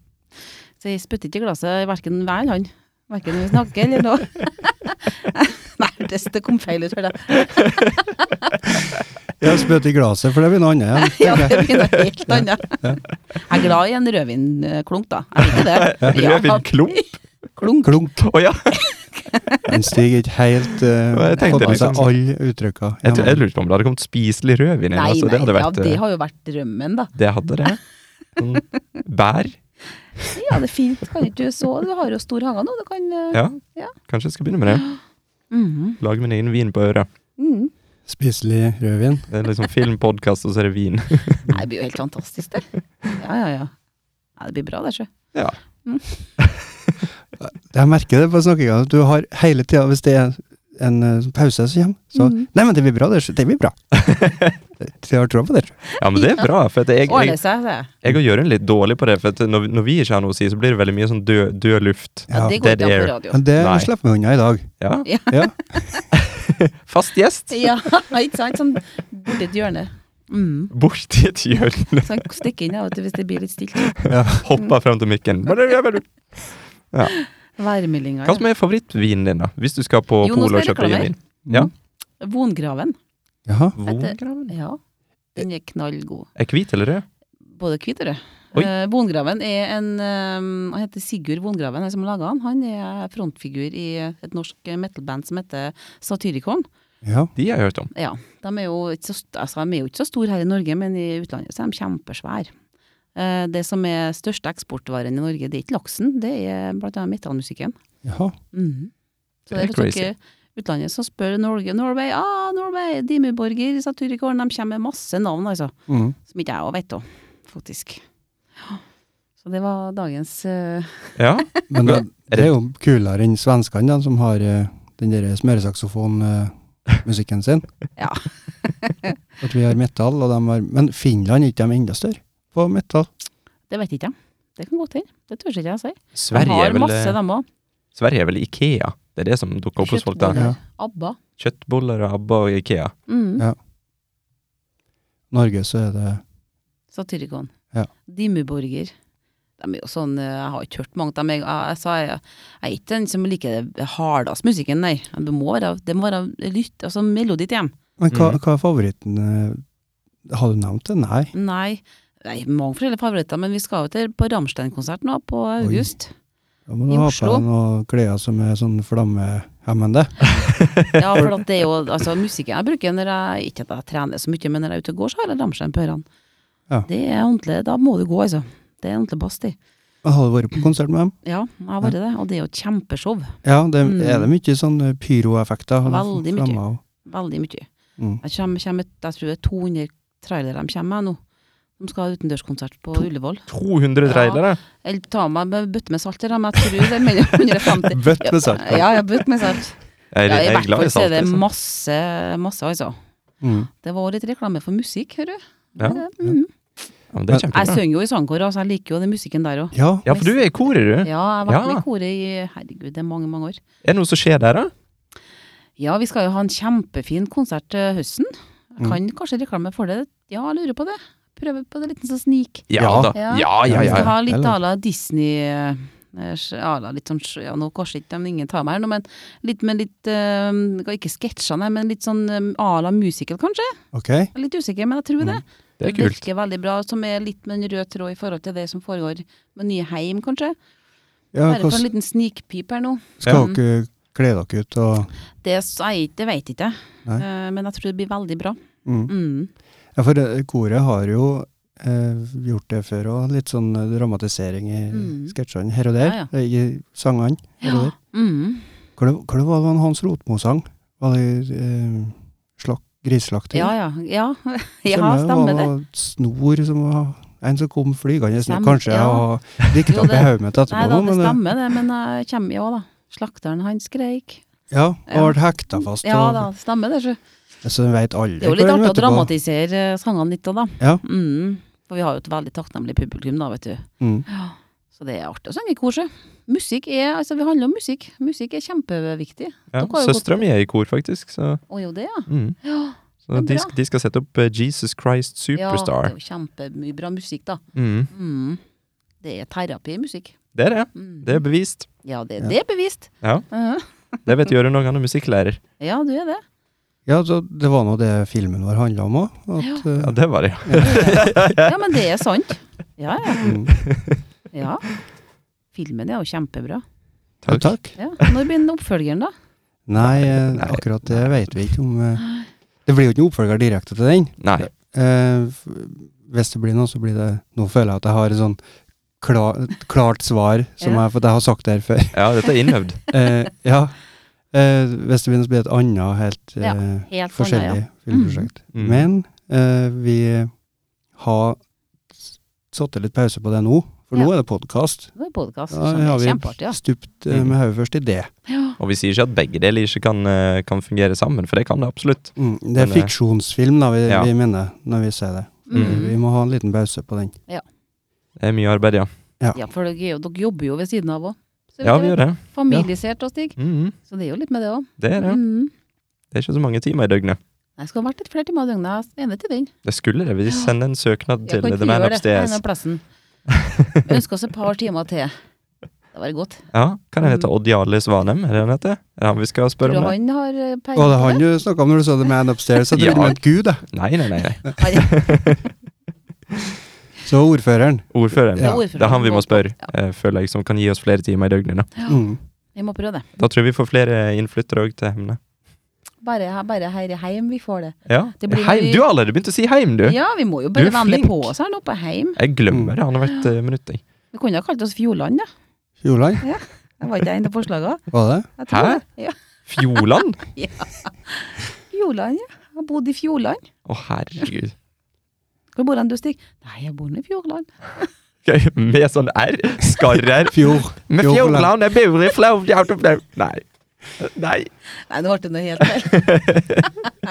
[SPEAKER 3] Så jeg spytter ikke i glasset verken hver eller han. Verken når vi snakker eller noe. Nei, det, det kom feil ut, hører jeg.
[SPEAKER 1] Ja, spytt i glasset, for det blir noe annet igjen.
[SPEAKER 3] Ja, det blir noe helt annet. Jeg er glad i en rødvinklunk, da. Jeg liker det.
[SPEAKER 2] Rødvinklump?
[SPEAKER 3] Klunk.
[SPEAKER 1] Klunk.
[SPEAKER 2] Å ja!
[SPEAKER 1] Den stiger ikke helt eh,
[SPEAKER 2] Ja, jeg tenkte
[SPEAKER 1] Fått med seg
[SPEAKER 2] liksom-
[SPEAKER 1] alle uttrykka.
[SPEAKER 2] Jeg, tror, jeg lurte på om det hadde kommet spiselig rødvin inn.
[SPEAKER 3] Nei,
[SPEAKER 2] Altså,
[SPEAKER 3] nei,
[SPEAKER 2] det hadde
[SPEAKER 3] ja,
[SPEAKER 2] vært
[SPEAKER 3] det
[SPEAKER 2] eh,
[SPEAKER 3] har jo vært drømmen, da.
[SPEAKER 2] Det hadde det. Sånn Bær.
[SPEAKER 3] Ja, det er fint. Kan ikke du så Du har jo stor hage nå, du kan eh,
[SPEAKER 2] Ja.
[SPEAKER 3] Ja.
[SPEAKER 2] Kanskje jeg skal begynne med det.
[SPEAKER 3] mhm,
[SPEAKER 2] Lage min egen vin på øret.
[SPEAKER 3] mhm.
[SPEAKER 1] Spiselig rødvin.
[SPEAKER 2] Det er liksom filmpodkast, og så er det vin.
[SPEAKER 3] Nei, det blir jo helt fantastisk, det. Ja, ja, ja. Nei, det blir bra, det, sjø.
[SPEAKER 2] Ja.
[SPEAKER 1] Jeg merker det på snakkinga. Du har hele tida, hvis det er en eh, pause som kommer, så
[SPEAKER 3] Mhm.
[SPEAKER 1] Nei, men det blir bra, det. Det blir bra. Jeg har tro på det.
[SPEAKER 2] ja, men det er bra. For at jeg, jeg,
[SPEAKER 3] Ordner seg, det.
[SPEAKER 2] jeg og Jørund er litt dårlig på det. For at når, vi- når vi ikke har noe å si, så blir det veldig mye sånn død, død luft.
[SPEAKER 3] Ja, det går
[SPEAKER 2] Dead
[SPEAKER 3] ikke an
[SPEAKER 2] air.
[SPEAKER 3] på radio.
[SPEAKER 1] Men det
[SPEAKER 2] Nei.
[SPEAKER 1] slipper vi unna i dag.
[SPEAKER 2] Ja.
[SPEAKER 1] Ja.
[SPEAKER 2] Fast gjest
[SPEAKER 3] Ja, ikke sant? Sånn borti et hjørne. Mm.
[SPEAKER 2] borti et hjørne.
[SPEAKER 3] Så jeg stikker inn av og til hvis det blir litt stilt.
[SPEAKER 2] Hopper frem til mikken. Hva
[SPEAKER 3] Værmeldinga.
[SPEAKER 2] som er favorittvinen din, da? Hvis du skal på
[SPEAKER 3] Jo, nå skal
[SPEAKER 2] polet og
[SPEAKER 3] jeg
[SPEAKER 2] kjøpe
[SPEAKER 3] reklamere.
[SPEAKER 2] vin? Ja.
[SPEAKER 3] Vongraven.
[SPEAKER 1] Jaha.
[SPEAKER 3] Heter-
[SPEAKER 2] Vongraven?
[SPEAKER 3] Ja. Den er knallgod.
[SPEAKER 2] Er hvit eller rød?
[SPEAKER 3] Både hvit og rød.
[SPEAKER 2] Oi.
[SPEAKER 3] Eh, Vongraven er en eh, Han heter Sigurd Vongraven, han som laga han. Han er frontfigur i et norsk metal-band som heter Satyricon.
[SPEAKER 1] Ja.
[SPEAKER 2] De har jeg hørt om.
[SPEAKER 3] Ja, de er, jo ikke så, st- altså, de er jo ikke så store her i Norge, men i utlandet så er de kjempesvære. Eh, Det som er største eksportvaren i Norge, det er ikke laksen, det er blant annet metalmusikken.
[SPEAKER 1] Jaha.
[SPEAKER 3] Mhm. Så det
[SPEAKER 2] Det er
[SPEAKER 3] er sånn for
[SPEAKER 2] crazy.
[SPEAKER 3] ikke utlandet som spør Norge, Norway, ah, Norway, Dimmeborger, Saturikorn, de kommer med masse navn, altså.
[SPEAKER 1] Mm.
[SPEAKER 3] Som ikke jeg òg vet om, faktisk. Ja. Så det var dagens eh,
[SPEAKER 2] Ja.
[SPEAKER 1] Men
[SPEAKER 2] Ja,
[SPEAKER 1] det, det er jo kulere enn svenskene, da, som har eh, den der smøresaksofonmusikken sin.
[SPEAKER 3] Ja.
[SPEAKER 1] At vi har metal, og de har Men Finland er ikke de enda større på metal?
[SPEAKER 3] Det vet ikke jeg. Det kan godt hende. Det tør ikke jeg si. De
[SPEAKER 2] Sverige er
[SPEAKER 3] har
[SPEAKER 2] vel, eh,
[SPEAKER 3] masse, dem òg.
[SPEAKER 2] Sverige er vel Ikea. Det er det som dukker opp hos folk der.
[SPEAKER 1] Kjøttboller. Ja.
[SPEAKER 3] ABBA.
[SPEAKER 2] Kjøttboller og ABBA og Ikea.
[SPEAKER 3] Mhm.
[SPEAKER 1] Ja. Norge, så er det
[SPEAKER 3] Satyricon.
[SPEAKER 1] Ja.
[SPEAKER 3] Dimmeborger. De er jo sånn, eh, jeg har ikke hørt mange av dem. Jeg, jeg, jeg, sa jeg, jeg er ikke den som liker det hardest musikken, nei. Det må være, det må være lytt, altså melodi til dem.
[SPEAKER 1] Men hva,
[SPEAKER 2] Mhm.
[SPEAKER 1] hva er favoritten? eh, Har du nevnt det? Nei.
[SPEAKER 3] Nei, nei mange forskjellige favoritter, men vi skal jo til på Rammstein-konsert nå på august.
[SPEAKER 1] Da må du
[SPEAKER 3] I
[SPEAKER 1] ha på
[SPEAKER 3] Oslo.
[SPEAKER 1] deg noen klær som er sånn flammehemmende.
[SPEAKER 3] Ja, for at det er jo altså, musikken jeg bruker når jeg ikke at jeg trener så mye, men når jeg er ute og går, så har jeg Rammstein på ørene.
[SPEAKER 1] Ja.
[SPEAKER 3] Det er ordentlig, da må du gå, altså. Det er ordentlig bass, det.
[SPEAKER 1] Har du vært på konsert med dem?
[SPEAKER 3] Ja, jeg har vært det, og det er jo et kjempeshow.
[SPEAKER 1] Ja, det,
[SPEAKER 3] Mm.
[SPEAKER 1] er det mye sånn eh, pyroeffekter? og
[SPEAKER 3] Veldig mye.
[SPEAKER 1] flammer og-
[SPEAKER 3] Veldig mye.
[SPEAKER 1] Mm.
[SPEAKER 3] Jeg, kommer, kommer, jeg tror det er 200 trailere de kommer med nå. De skal ha utendørskonsert på Ullevål.
[SPEAKER 2] 200 trailere!
[SPEAKER 3] Eller ta meg med bøtte med salt, her, men jeg tror det er mellom 150
[SPEAKER 1] Bøtt med salt.
[SPEAKER 3] Ja, ja, bøtte med salt.
[SPEAKER 2] Jeg,
[SPEAKER 3] Ja, I
[SPEAKER 2] jeg er
[SPEAKER 3] hvert
[SPEAKER 2] glad i
[SPEAKER 3] fall så
[SPEAKER 2] salt.
[SPEAKER 3] er det
[SPEAKER 2] Liksom.
[SPEAKER 3] masse, masse, altså.
[SPEAKER 1] Mm.
[SPEAKER 3] Det var litt reklame for musikk, hører du.
[SPEAKER 2] Ja.
[SPEAKER 3] Eh, mhm.
[SPEAKER 2] Ja, men det er
[SPEAKER 3] Jeg
[SPEAKER 2] kjempebra.
[SPEAKER 3] synger jo i sangkor, altså. Jeg liker jo den musikken der òg.
[SPEAKER 1] Ja,
[SPEAKER 2] Ja, for du er i koret, du.
[SPEAKER 3] Ja, jeg har vært
[SPEAKER 2] Ja.
[SPEAKER 3] med i koret i herregud, det er mange, mange år.
[SPEAKER 2] Er det noe som skjer der, da?
[SPEAKER 3] Ja, vi skal jo ha en kjempefin konsert til høsten. Jeg kan
[SPEAKER 2] Mm.
[SPEAKER 3] kanskje reklame for det. Ja, jeg lurer på det. Prøver på det liten sånn snik.
[SPEAKER 1] Ja.
[SPEAKER 2] da.
[SPEAKER 3] Ja.
[SPEAKER 2] Ja, ja,
[SPEAKER 3] Vi
[SPEAKER 2] ja.
[SPEAKER 3] skal ha litt
[SPEAKER 1] Eller?
[SPEAKER 3] à la Disney eh, à la litt sånn, ja, nå kanskje ikke de ingen tar meg her nå, men litt med litt eh, Ikke sketsjene, men litt sånn eh, à la musical, kanskje?
[SPEAKER 1] ok.
[SPEAKER 3] Jeg er litt usikker, men jeg tror det.
[SPEAKER 2] Det er kult.
[SPEAKER 3] virker veldig bra, som er litt med en rød tråd i forhold til det som foregår med nye heim, kanskje.
[SPEAKER 1] Ja,
[SPEAKER 3] Bare Mm. få en
[SPEAKER 1] hvordan
[SPEAKER 3] liten snikpip her nå.
[SPEAKER 1] skal
[SPEAKER 3] Ja.
[SPEAKER 1] dere kle dere ut og
[SPEAKER 3] Det, s- jeg, det vet ikke jeg,
[SPEAKER 1] Nei.
[SPEAKER 3] Eh, men jeg tror det blir veldig bra.
[SPEAKER 1] mm.
[SPEAKER 3] Mm.
[SPEAKER 1] Ja, for eh, koret har jo eh, gjort det før òg. Litt sånn eh, dramatisering i
[SPEAKER 3] Mm.
[SPEAKER 1] sketsjene her og der.
[SPEAKER 3] Ja,
[SPEAKER 1] eh, I sangene her og der.
[SPEAKER 3] Mm.
[SPEAKER 1] Hva det- hva det var det Hans Rotmo-sang? Var det eh, slak, griseslakting?
[SPEAKER 3] Ja, ja. Ja, ja stemmer det.
[SPEAKER 1] var snor som var en som kom flygende snor.
[SPEAKER 3] Stemmer,
[SPEAKER 1] Kanskje jeg
[SPEAKER 3] ja.
[SPEAKER 1] har dikta
[SPEAKER 3] Jo,
[SPEAKER 1] opp
[SPEAKER 3] det-
[SPEAKER 1] i hodet mitt etterpå.
[SPEAKER 3] Nei da,
[SPEAKER 1] nå,
[SPEAKER 3] det
[SPEAKER 1] men eh,
[SPEAKER 3] stemmer det, men jeg kommer jo òg, da. Slakteren, han skreik.
[SPEAKER 1] Ja, og
[SPEAKER 3] Ja.
[SPEAKER 1] ble hekta fast.
[SPEAKER 3] Ja
[SPEAKER 1] og,
[SPEAKER 3] da, det stemmer det. sjø.
[SPEAKER 1] Så de veit aldri
[SPEAKER 3] Det er jo litt
[SPEAKER 1] hva de
[SPEAKER 3] artig å
[SPEAKER 1] møter på.
[SPEAKER 3] dramatisere eh, sangene litt òg, da.
[SPEAKER 1] Ja.
[SPEAKER 3] Mm. For vi har jo et veldig takknemlig publikum, da, vet du.
[SPEAKER 1] Mm.
[SPEAKER 3] Så det er artig å synge i kor, sjø. Musikk er Altså, vi handler om musikk. Musikk er kjempeviktig.
[SPEAKER 2] Ja,
[SPEAKER 3] Dere har jo
[SPEAKER 2] Søstera mi er i kor, faktisk. Så,
[SPEAKER 3] Å jo, det, ja.
[SPEAKER 2] mm.
[SPEAKER 3] Ja,
[SPEAKER 2] så
[SPEAKER 3] Men
[SPEAKER 2] de,
[SPEAKER 3] bra.
[SPEAKER 2] sk- de skal sette opp eh, Jesus Christ
[SPEAKER 3] ja det
[SPEAKER 2] Superstar.
[SPEAKER 3] er jo kjempemye bra musikk, da.
[SPEAKER 2] Mm.
[SPEAKER 3] Mm. Det er terapi i musikk.
[SPEAKER 2] Det er det.
[SPEAKER 3] Mm.
[SPEAKER 2] Det er bevist.
[SPEAKER 3] Ja, det,
[SPEAKER 1] Ja.
[SPEAKER 3] det er bevist.
[SPEAKER 2] Ja.
[SPEAKER 3] Mhm.
[SPEAKER 2] Det vet Jørund òg, han er musikklærer.
[SPEAKER 3] ja, du er det.
[SPEAKER 1] Ja, så det var nå det filmen vår handla om òg. At eh,
[SPEAKER 2] Ja, det var det, ja.
[SPEAKER 3] Ja, men det er sant. Ja, ja.
[SPEAKER 1] mm.
[SPEAKER 3] ja. Filmen er jo kjempebra.
[SPEAKER 1] ja,
[SPEAKER 2] Takk.
[SPEAKER 1] Takk.
[SPEAKER 3] Ja. Når begynner oppfølgeren, da?
[SPEAKER 1] Nei, eh,
[SPEAKER 2] Nei.
[SPEAKER 1] akkurat det vet vi ikke om eh, Det blir jo ikke noen oppfølger direkte til den.
[SPEAKER 2] Nei.
[SPEAKER 1] Eh, f- hvis det blir noe, så blir det Nå føler jeg at jeg har et sånn klar, et klart svar, som
[SPEAKER 3] Ja.
[SPEAKER 1] jeg, for jeg har sagt det her før.
[SPEAKER 2] Ja, dette er innøvd.
[SPEAKER 1] Eh, ja. Eh, hvis det blir noe, så blir det et annet, helt, eh,
[SPEAKER 3] Ja, Helt
[SPEAKER 1] forskjellig
[SPEAKER 3] annet,
[SPEAKER 1] filmprosjekt.
[SPEAKER 2] Mm. Mm.
[SPEAKER 1] Men eh, vi har s- satt litt pause på det nå, for nå
[SPEAKER 3] Ja.
[SPEAKER 1] er det podkast.
[SPEAKER 3] ja. Det er podkast.
[SPEAKER 1] Da
[SPEAKER 3] som
[SPEAKER 1] har
[SPEAKER 3] er
[SPEAKER 1] vi
[SPEAKER 3] kjempeartig, ja.
[SPEAKER 1] stupt eh, med hodet først i det.
[SPEAKER 3] ja.
[SPEAKER 2] Og vi sier ikke at begge deler ikke kan, eh, kan fungere sammen, for det kan det absolutt.
[SPEAKER 1] Mm, det er
[SPEAKER 2] Men, eh,
[SPEAKER 1] fiksjonsfilm da, vi,
[SPEAKER 2] ja.
[SPEAKER 1] vi mener når vi ser det.
[SPEAKER 2] Mm.
[SPEAKER 1] Vi
[SPEAKER 3] Mm.
[SPEAKER 1] må ha en liten pause på den.
[SPEAKER 2] Det er mye arbeid, ja.
[SPEAKER 3] ja, for dere, er jo- dere jobber jo ved siden av òg.
[SPEAKER 2] Ja, vi gjør det.
[SPEAKER 3] Familisert og Stig.
[SPEAKER 2] Mhm.
[SPEAKER 3] Så det er jo litt med det òg.
[SPEAKER 2] Det er det.
[SPEAKER 3] Mm.
[SPEAKER 2] Det er ikke så mange timer i døgnet.
[SPEAKER 3] Jeg skulle ha vært litt flere timer i døgnet. Jeg er enig til den.
[SPEAKER 2] Det skulle det. Vi sender en søknad
[SPEAKER 3] Jeg
[SPEAKER 2] til
[SPEAKER 3] kan
[SPEAKER 2] The
[SPEAKER 3] ikke
[SPEAKER 2] Man
[SPEAKER 3] gjøre det. Jeg er
[SPEAKER 2] Upstairs.
[SPEAKER 3] med plassen. Vi ønsker oss et par timer til. Det hadde vært godt.
[SPEAKER 2] Ja, kan han hete Odd Jarle Svanem? Er det han heter? Er det han vi skal
[SPEAKER 3] Tror Mm. du
[SPEAKER 2] spørre om det?
[SPEAKER 3] han har eh, peiling
[SPEAKER 1] Og det er
[SPEAKER 3] på
[SPEAKER 1] han
[SPEAKER 3] det?
[SPEAKER 1] du snakka om når du så The Man Upstairs, så
[SPEAKER 2] Ja.
[SPEAKER 1] trodde du mente Gud, jeg.
[SPEAKER 2] Nei, nei, nei. nei.
[SPEAKER 1] Så ordføreren.
[SPEAKER 2] Ordføreren.
[SPEAKER 1] Ja.
[SPEAKER 2] Det er han vi må spørre, eh, føler jeg, som kan gi oss flere timer i døgnet. Da,
[SPEAKER 1] Mm.
[SPEAKER 3] Vi må prøve det.
[SPEAKER 2] da tror jeg vi får flere innflyttere òg til Hemne.
[SPEAKER 3] Bare, bare her i heim vi får det.
[SPEAKER 2] Ja.
[SPEAKER 3] Det blir
[SPEAKER 2] heim.
[SPEAKER 3] mye-
[SPEAKER 2] Du har allerede begynt å si heim, du!
[SPEAKER 3] Ja, vi må jo
[SPEAKER 2] Du
[SPEAKER 3] bare
[SPEAKER 2] er
[SPEAKER 3] vende
[SPEAKER 2] flink.
[SPEAKER 3] på oss her nå på heim.
[SPEAKER 2] Jeg glemmer det annethvert eh, minutt, jeg.
[SPEAKER 3] Vi kunne ha kalt oss Fjordland, da.
[SPEAKER 1] Fjordland,
[SPEAKER 3] Det var ikke en av forslagene.
[SPEAKER 1] var det?
[SPEAKER 3] Jeg tror
[SPEAKER 2] Hæ?
[SPEAKER 3] det. Ja.
[SPEAKER 2] Fjordland?
[SPEAKER 3] Fjordland, ja. Jeg har bodd i Fjordland.
[SPEAKER 2] Å, herregud.
[SPEAKER 3] Hvor bor han du, Stig? Nei, jeg bor nå i Fjordland.
[SPEAKER 2] Ok, Med sånn R? Skarr-R?
[SPEAKER 1] Fjord.
[SPEAKER 2] Med Fjordland, jeg bor i Flauvjaut og Flau... Nei. Nei.
[SPEAKER 3] Nei, nå ble det noe helt feil.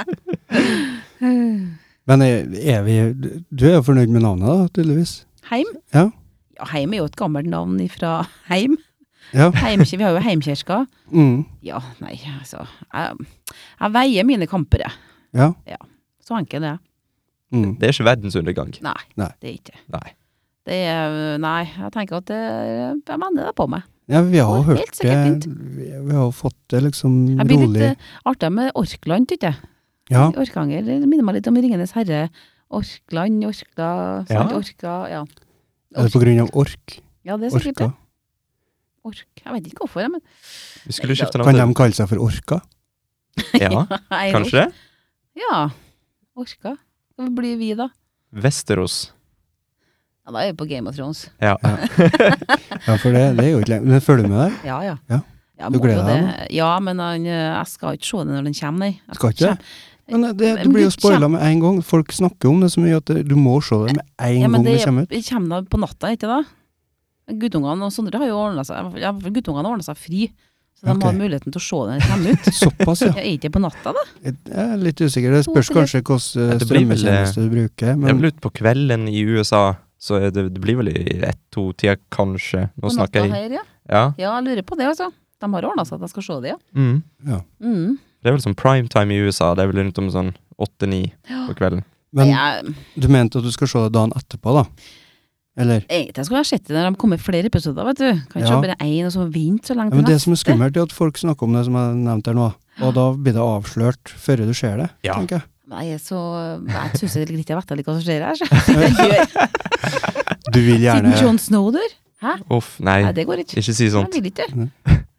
[SPEAKER 1] Men er, er vi Du er jo fornøyd med navnet, da, tydeligvis?
[SPEAKER 3] Heim?
[SPEAKER 1] Ja.
[SPEAKER 3] Ja, Heim er jo et gammelt navn fra heim.
[SPEAKER 1] Ja.
[SPEAKER 3] Heimkir- vi har jo heimkirka.
[SPEAKER 1] Mm.
[SPEAKER 3] Ja, nei, altså. Jeg, jeg veier mine kamper, jeg.
[SPEAKER 1] Ja.
[SPEAKER 3] Så enkel er jeg.
[SPEAKER 1] Mm.
[SPEAKER 2] Det er ikke verdens undergang.
[SPEAKER 3] Nei,
[SPEAKER 1] Nei.
[SPEAKER 3] det er ikke det.
[SPEAKER 2] Nei.
[SPEAKER 3] Det er Nei, jeg tenker at det, jeg vender det på meg.
[SPEAKER 1] ja, vi har
[SPEAKER 3] Å,
[SPEAKER 1] jo
[SPEAKER 3] helt
[SPEAKER 1] hørt det.
[SPEAKER 3] sikkert fint.
[SPEAKER 1] Vi, vi har jo fått det liksom
[SPEAKER 3] Jeg blir litt
[SPEAKER 1] rolig.
[SPEAKER 3] eh, artig med Orkland, tykker jeg.
[SPEAKER 1] Ja.
[SPEAKER 3] Orkanger det minner meg litt om Ringenes herre. Orkland, Orkla, sant?
[SPEAKER 2] Ja.
[SPEAKER 3] Orka, ja.
[SPEAKER 1] Er det på grunn av ork?
[SPEAKER 3] Ja, det er sikkert
[SPEAKER 1] Orka?
[SPEAKER 3] det. Ork. Jeg vet ikke hvorfor, jeg, men
[SPEAKER 2] Vi skulle skifte
[SPEAKER 1] Kan de
[SPEAKER 2] navn.
[SPEAKER 1] kalle seg for orka?
[SPEAKER 2] Ja,
[SPEAKER 3] Nei,
[SPEAKER 2] kanskje det?
[SPEAKER 3] Ja. Orka. Hva blir vi, da?
[SPEAKER 2] Vesterås.
[SPEAKER 3] Ja, Da er vi på Game of Thrones.
[SPEAKER 2] Ja.
[SPEAKER 1] Ja, for det, det er jo ikke lenge. Men følger du med der?
[SPEAKER 3] Ja, ja.
[SPEAKER 1] Ja.
[SPEAKER 3] Jeg
[SPEAKER 1] Du
[SPEAKER 3] må jo
[SPEAKER 1] gleder deg,
[SPEAKER 3] det. Ja, men han, eh, jeg skal ikke se det når den kommer, nei. Jeg
[SPEAKER 1] Skal ikke det? Men det, det, du
[SPEAKER 3] Men
[SPEAKER 1] blir jo
[SPEAKER 3] det kjem-
[SPEAKER 1] spoila med en gang. Folk snakker om det så mye at du må se det med en
[SPEAKER 3] Ja, men
[SPEAKER 1] gang det
[SPEAKER 3] det
[SPEAKER 1] kommer ut.
[SPEAKER 3] kommer da på natta, ikke da? Guttungene og Sondre har jo ordna seg i hvert fall- i hvert fall Guttungene har ordna seg fri. Så de
[SPEAKER 1] Ok.
[SPEAKER 3] har muligheten til å se den når de kommer ut.
[SPEAKER 1] Såpass, ja.
[SPEAKER 3] Jeg er ikke på natta, da.
[SPEAKER 1] Jeg er litt usikker. Det
[SPEAKER 3] To
[SPEAKER 1] spørs
[SPEAKER 3] til
[SPEAKER 1] kanskje hvilken
[SPEAKER 2] Ja,
[SPEAKER 1] eh,
[SPEAKER 2] det blir vel, eh,
[SPEAKER 1] strømmetjeneste du bruker.
[SPEAKER 2] Det er
[SPEAKER 1] Men
[SPEAKER 2] vel ut på kvelden i USA, så er det, det blir vel i ett-to-tida, kanskje. Nå
[SPEAKER 3] På
[SPEAKER 2] snakker
[SPEAKER 3] natta
[SPEAKER 2] jeg
[SPEAKER 3] her, ja.
[SPEAKER 2] Ja.
[SPEAKER 3] ja, jeg lurer på det, altså. De har ordna seg at jeg skal se det, ja.
[SPEAKER 2] Mm.
[SPEAKER 3] Mm.
[SPEAKER 2] Det er vel sånn primetime i USA. Det er vel rundt om sånn åtte-ni på kvelden.
[SPEAKER 1] men
[SPEAKER 3] jeg,
[SPEAKER 1] du mente at du skal se det dagen etterpå, da? Eller?
[SPEAKER 3] egentlig skulle jeg sett det når de kommer flere episoder, vet du. Kan ikke
[SPEAKER 1] Ja.
[SPEAKER 3] se bare én og så vente så lenge
[SPEAKER 1] Ja,
[SPEAKER 3] til
[SPEAKER 1] men det
[SPEAKER 3] neste.
[SPEAKER 1] som er skummelt, er at folk snakker om det som jeg nevnte her nå. Og da blir det avslørt før du ser det,
[SPEAKER 2] Ja.
[SPEAKER 1] tenker jeg.
[SPEAKER 3] Nei, jeg er så Jeg syns jeg litt jeg vet ikke hva som skjer her, så. Jeg gjør-
[SPEAKER 1] Du vil
[SPEAKER 3] Siden
[SPEAKER 1] gjerne
[SPEAKER 3] John Snow dør.
[SPEAKER 2] Uff,
[SPEAKER 3] Nei,
[SPEAKER 2] nei.
[SPEAKER 3] det går ikke.
[SPEAKER 2] Ikke si
[SPEAKER 3] Jeg
[SPEAKER 2] sånt.
[SPEAKER 3] vil ikke.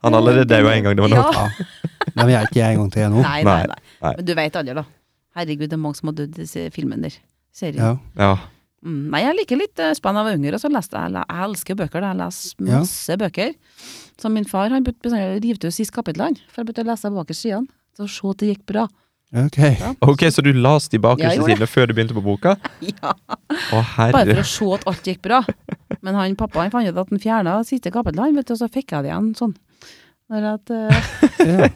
[SPEAKER 2] Han allerede daua en gang. Det var nok.
[SPEAKER 3] Ja.
[SPEAKER 1] Nei, men jeg er ikke jeg en gang til jeg nå.
[SPEAKER 3] Nei, nei,
[SPEAKER 2] Nei,
[SPEAKER 3] nei.
[SPEAKER 2] nei.
[SPEAKER 3] Men du veit aldri, da. Herregud, det er mange som har dødd i disse filmene der. Serien.
[SPEAKER 1] Ja.
[SPEAKER 2] Ja.
[SPEAKER 3] Mm, nei, jeg liker litt uh, spenn av unger, og så leste jeg, le- jeg elsker bøker, da. jeg leser
[SPEAKER 1] Ja.
[SPEAKER 3] masse bøker. Så min far han begynte bestandig å rive til siste kapittel, han, for jeg begynte å lese bakerst sidene. Så se at det gikk bra.
[SPEAKER 1] Ok.
[SPEAKER 2] Ok, så du las de
[SPEAKER 3] Jeg
[SPEAKER 2] bakerste
[SPEAKER 3] gjorde det.
[SPEAKER 2] sidene før du begynte på boka?
[SPEAKER 3] Ja,
[SPEAKER 2] Å,
[SPEAKER 3] bare for
[SPEAKER 2] herre.
[SPEAKER 3] å se at alt gikk bra. Men han pappa han fant ut at han fjerna siste kapittel, han, vet du, og så fikk jeg det igjen sånn. Når at, eh,
[SPEAKER 1] Ja.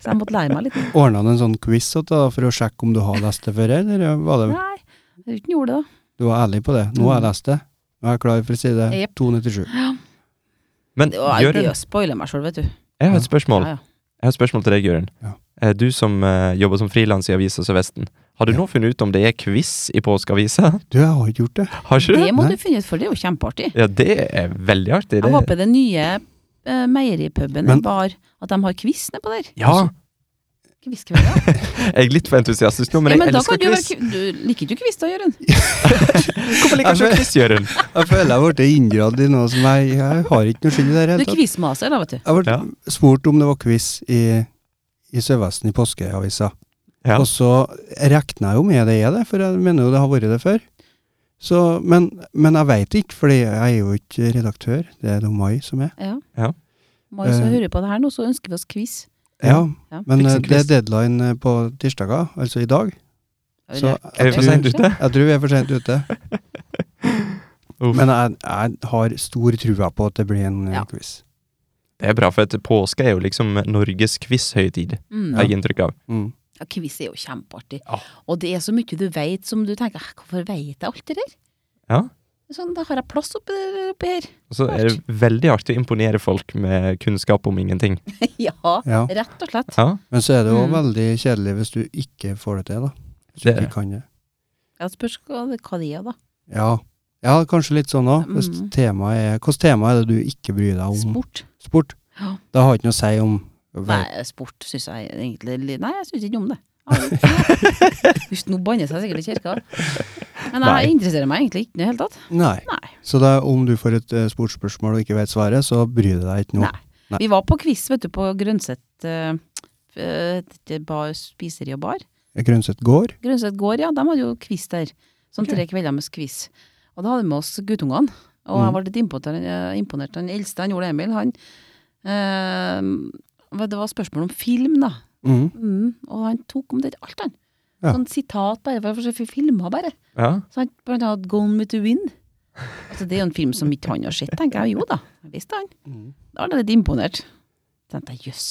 [SPEAKER 3] så jeg måtte lære meg litt.
[SPEAKER 1] Ordna han en sånn quiz åt deg da, for å sjekke om du har lest det før, eller var det
[SPEAKER 3] Nei, jeg tror ikke han gjorde det, da.
[SPEAKER 1] Du var ærlig på det. Nå har jeg lest det. Nå er jeg klar for side
[SPEAKER 3] Mm. Jep.
[SPEAKER 1] 297.
[SPEAKER 2] Men
[SPEAKER 3] Det var-
[SPEAKER 2] Jørund,
[SPEAKER 3] det å spoile meg sjøl, vet du.
[SPEAKER 2] jeg har et spørsmål.
[SPEAKER 3] Ja, ja.
[SPEAKER 2] Jeg har et spørsmål til deg, Jørund.
[SPEAKER 1] Ja.
[SPEAKER 2] Eh, Du som eh, jobber som frilans i Avisa Sør-Vesten. Har du nå funnet ut om det er quiz i påskeavisa?
[SPEAKER 1] Du, jeg har ikke gjort det.
[SPEAKER 2] Har ikke du?
[SPEAKER 3] Det må
[SPEAKER 1] Nei.
[SPEAKER 3] du finne ut, for det er jo kjempeartig.
[SPEAKER 2] Ja, det er veldig artig.
[SPEAKER 3] Jeg
[SPEAKER 2] Det.
[SPEAKER 3] håper den nye eh, meieripuben
[SPEAKER 1] Men-
[SPEAKER 3] var at de har quiz nedpå der.
[SPEAKER 2] Ja,
[SPEAKER 3] Quizkvelder.
[SPEAKER 2] jeg er litt for entusiastisk nå, men
[SPEAKER 3] Ja,
[SPEAKER 2] jeg
[SPEAKER 3] men da
[SPEAKER 2] elsker
[SPEAKER 3] kan du være
[SPEAKER 2] quiz.
[SPEAKER 3] ki- Du liker ikke du quiz da, Jørund?
[SPEAKER 2] Hvorfor liker ikke du quiz, Jørund?
[SPEAKER 1] Jeg føler jeg ble inndratt i noe som jeg, jeg har ikke noe skyld i det
[SPEAKER 3] Du
[SPEAKER 1] hele
[SPEAKER 3] er
[SPEAKER 1] tatt.
[SPEAKER 3] quizmaser, da, vet du.
[SPEAKER 1] Jeg ble
[SPEAKER 2] Ja.
[SPEAKER 1] spurt om det var quiz i, i Sør-Vesten i påskeavisa.
[SPEAKER 2] Ja.
[SPEAKER 1] Og så regna jeg jo med det er det, for jeg mener jo det har vært det før. Så, men, men jeg veit ikke, fordi jeg er jo ikke redaktør. Det er det Mai som er.
[SPEAKER 3] Ja.
[SPEAKER 2] Ja.
[SPEAKER 3] Mai, så
[SPEAKER 1] Eh.
[SPEAKER 3] hører du på det her nå, så ønsker vi oss quiz.
[SPEAKER 1] Ja,
[SPEAKER 3] Ja.
[SPEAKER 1] Men
[SPEAKER 2] Fiks en
[SPEAKER 1] eh, det er deadline eh, på tirsdager, altså i dag.
[SPEAKER 3] Jeg
[SPEAKER 1] Så
[SPEAKER 3] vil-
[SPEAKER 2] Er vi for
[SPEAKER 1] tror-
[SPEAKER 2] sent ute?
[SPEAKER 1] Jeg tror vi er for sent ute.
[SPEAKER 2] Uff.
[SPEAKER 1] Men jeg, jeg har stor trua på at det blir en eh,
[SPEAKER 3] Ja.
[SPEAKER 1] quiz.
[SPEAKER 2] Det er bra, for at påske er jo liksom Norges quiz-høytid,
[SPEAKER 3] Mm.
[SPEAKER 2] har jeg inntrykk av.
[SPEAKER 1] Mm.
[SPEAKER 3] Ja, quiz er jo kjempeartig.
[SPEAKER 2] Ja.
[SPEAKER 3] Og det er så mye du veit som du tenker "Hæ, Hvorfor veit jeg alt det der?
[SPEAKER 2] Ja.
[SPEAKER 3] Sånn, da har jeg plass oppi, der- oppi her.
[SPEAKER 2] Og så er det veldig artig å imponere folk med kunnskap om ingenting.
[SPEAKER 3] ja,
[SPEAKER 1] Ja.
[SPEAKER 3] rett og slett.
[SPEAKER 2] Ja,
[SPEAKER 1] Men så er det jo
[SPEAKER 3] Mm.
[SPEAKER 1] veldig kjedelig hvis du ikke får det til, da. Hvis du
[SPEAKER 2] Det er
[SPEAKER 1] ikke kan det.
[SPEAKER 3] Jeg spørs hva det hva det er, da.
[SPEAKER 1] Ja. ja, kanskje litt sånn òg. Hvis
[SPEAKER 3] Mm.
[SPEAKER 1] temaet er Hvilket tema er det du ikke bryr deg om?
[SPEAKER 3] Sport.
[SPEAKER 1] Sport.
[SPEAKER 3] Ja.
[SPEAKER 1] Det har ikke noe å si om
[SPEAKER 3] Nei, sport syns jeg egentlig li- Nei, jeg syns ikke om det. Jeg- Husk, nå bannes jeg sikkert i kirka. Men jeg
[SPEAKER 2] Nei.
[SPEAKER 3] interesserer meg egentlig ikke i det hele tatt.
[SPEAKER 1] Nei.
[SPEAKER 3] Nei.
[SPEAKER 1] Så det er om du får et eh, sportsspørsmål og ikke vet svaret, så bryr du deg ikke noe.
[SPEAKER 3] Nei. Vi var på quiz, vet du, på Grønset eh, eh, det bar, spiseri og bar.
[SPEAKER 1] Grønset gård.
[SPEAKER 3] Grønset gård, ja. De hadde jo quiz der. Sånn tre kvelder med quiz. Og da hadde vi med oss guttungene. Og jeg var litt imponert, eh, imponert. Den eldste, han Ole Emil, han eh, Det var spørsmål om film, da.
[SPEAKER 1] Mm.
[SPEAKER 3] Mm, og han tok om det alt, han.
[SPEAKER 1] Ja.
[SPEAKER 3] Sånn sitat bare for å se filmer, bare.
[SPEAKER 2] ja.
[SPEAKER 3] Så han blant annet Gone with the Wind. Altså, det er jo en film som ikke han har sett, tenker jeg. Jo da, jeg visste han.
[SPEAKER 1] Mm.
[SPEAKER 3] Da ble jeg litt imponert. Så tenkte jeg jøss.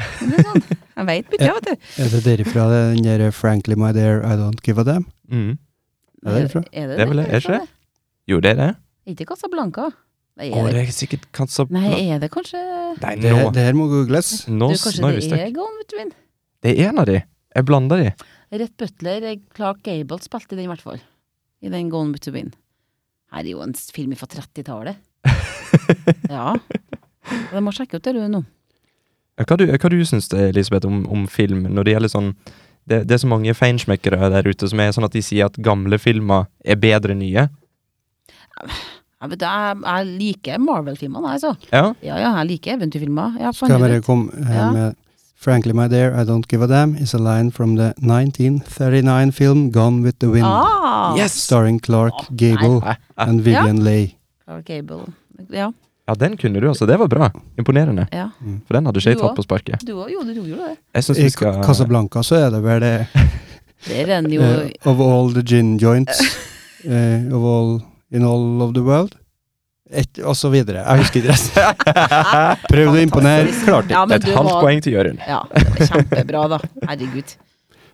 [SPEAKER 3] Men det er sånn. Jeg veit ikke, jeg, vet du.
[SPEAKER 1] Er det derifra den der 'Frankly, my dear, I don't give a damn'?
[SPEAKER 2] Mm.
[SPEAKER 1] Er det derfra?
[SPEAKER 2] Det er vel det, er ikke det? Jo, det er det.
[SPEAKER 3] Er ikke Casablanca? Nei,
[SPEAKER 2] Å,
[SPEAKER 3] er det,
[SPEAKER 2] det er sikkert kanskje
[SPEAKER 3] nei, er det kanskje
[SPEAKER 2] Nei,
[SPEAKER 1] Det,
[SPEAKER 2] nå,
[SPEAKER 1] det her må googles.
[SPEAKER 2] nå,
[SPEAKER 3] du,
[SPEAKER 2] nå
[SPEAKER 3] Kanskje
[SPEAKER 2] er vi
[SPEAKER 3] det
[SPEAKER 2] stuck.
[SPEAKER 3] er Gone with the Wind?
[SPEAKER 2] Det er en av de. Jeg blander de.
[SPEAKER 3] Rett Butler, eh, Clark Gable spilte i den, i hvert fall. I den Gone with the Wind. Her er jo en s- film fra 30-tallet. Ja. Jeg må sjekke ut det, du, nå.
[SPEAKER 2] Hva, du, hva du syns du, Elisabeth, om, om film når det gjelder sånn det, det er så mange feinschmeckere der ute som er sånn at de sier at gamle filmer er bedre enn nye.
[SPEAKER 3] Jeg, vet, jeg, jeg liker Marvel-filmene, jeg, altså.
[SPEAKER 2] Ja,
[SPEAKER 3] Ja, ja, jeg liker eventyrfilmer. Ja,
[SPEAKER 1] Skal jeg bare
[SPEAKER 3] fandenitt.
[SPEAKER 1] komme eh,
[SPEAKER 3] Ja.
[SPEAKER 1] med 'Frankly, my dear, I don't give a damn' is a line from the 1939 film 'Gone with the Wind'.
[SPEAKER 3] ah,
[SPEAKER 2] yes!
[SPEAKER 1] Starring Clark
[SPEAKER 3] Å, nei.
[SPEAKER 1] Gable
[SPEAKER 2] Nei, nei.
[SPEAKER 1] and Vivian Leigh.
[SPEAKER 3] Clark Gable. Ja,
[SPEAKER 2] Ja, den kunne du, altså. Det var bra. Imponerende.
[SPEAKER 3] ja.
[SPEAKER 2] For den hadde ikke jeg
[SPEAKER 3] Du
[SPEAKER 2] tatt
[SPEAKER 3] også?
[SPEAKER 2] på sparket.
[SPEAKER 3] Du òg? Jo, du gjorde jo det.
[SPEAKER 2] Jeg synes
[SPEAKER 1] I
[SPEAKER 2] vi skal
[SPEAKER 1] Ca- Casablanca så er det vel det
[SPEAKER 3] Der er den jo
[SPEAKER 1] eh, Of all the gin joints eh, of all, in all of the world. Et, og så videre. Jeg husker ikke resten. Prøvde å imponere, klarte ikke.
[SPEAKER 3] Ja, men
[SPEAKER 2] Et
[SPEAKER 3] du
[SPEAKER 2] halvt
[SPEAKER 3] var-
[SPEAKER 2] poeng til Jørund.
[SPEAKER 3] Ja, det var kjempebra, da. Herregud.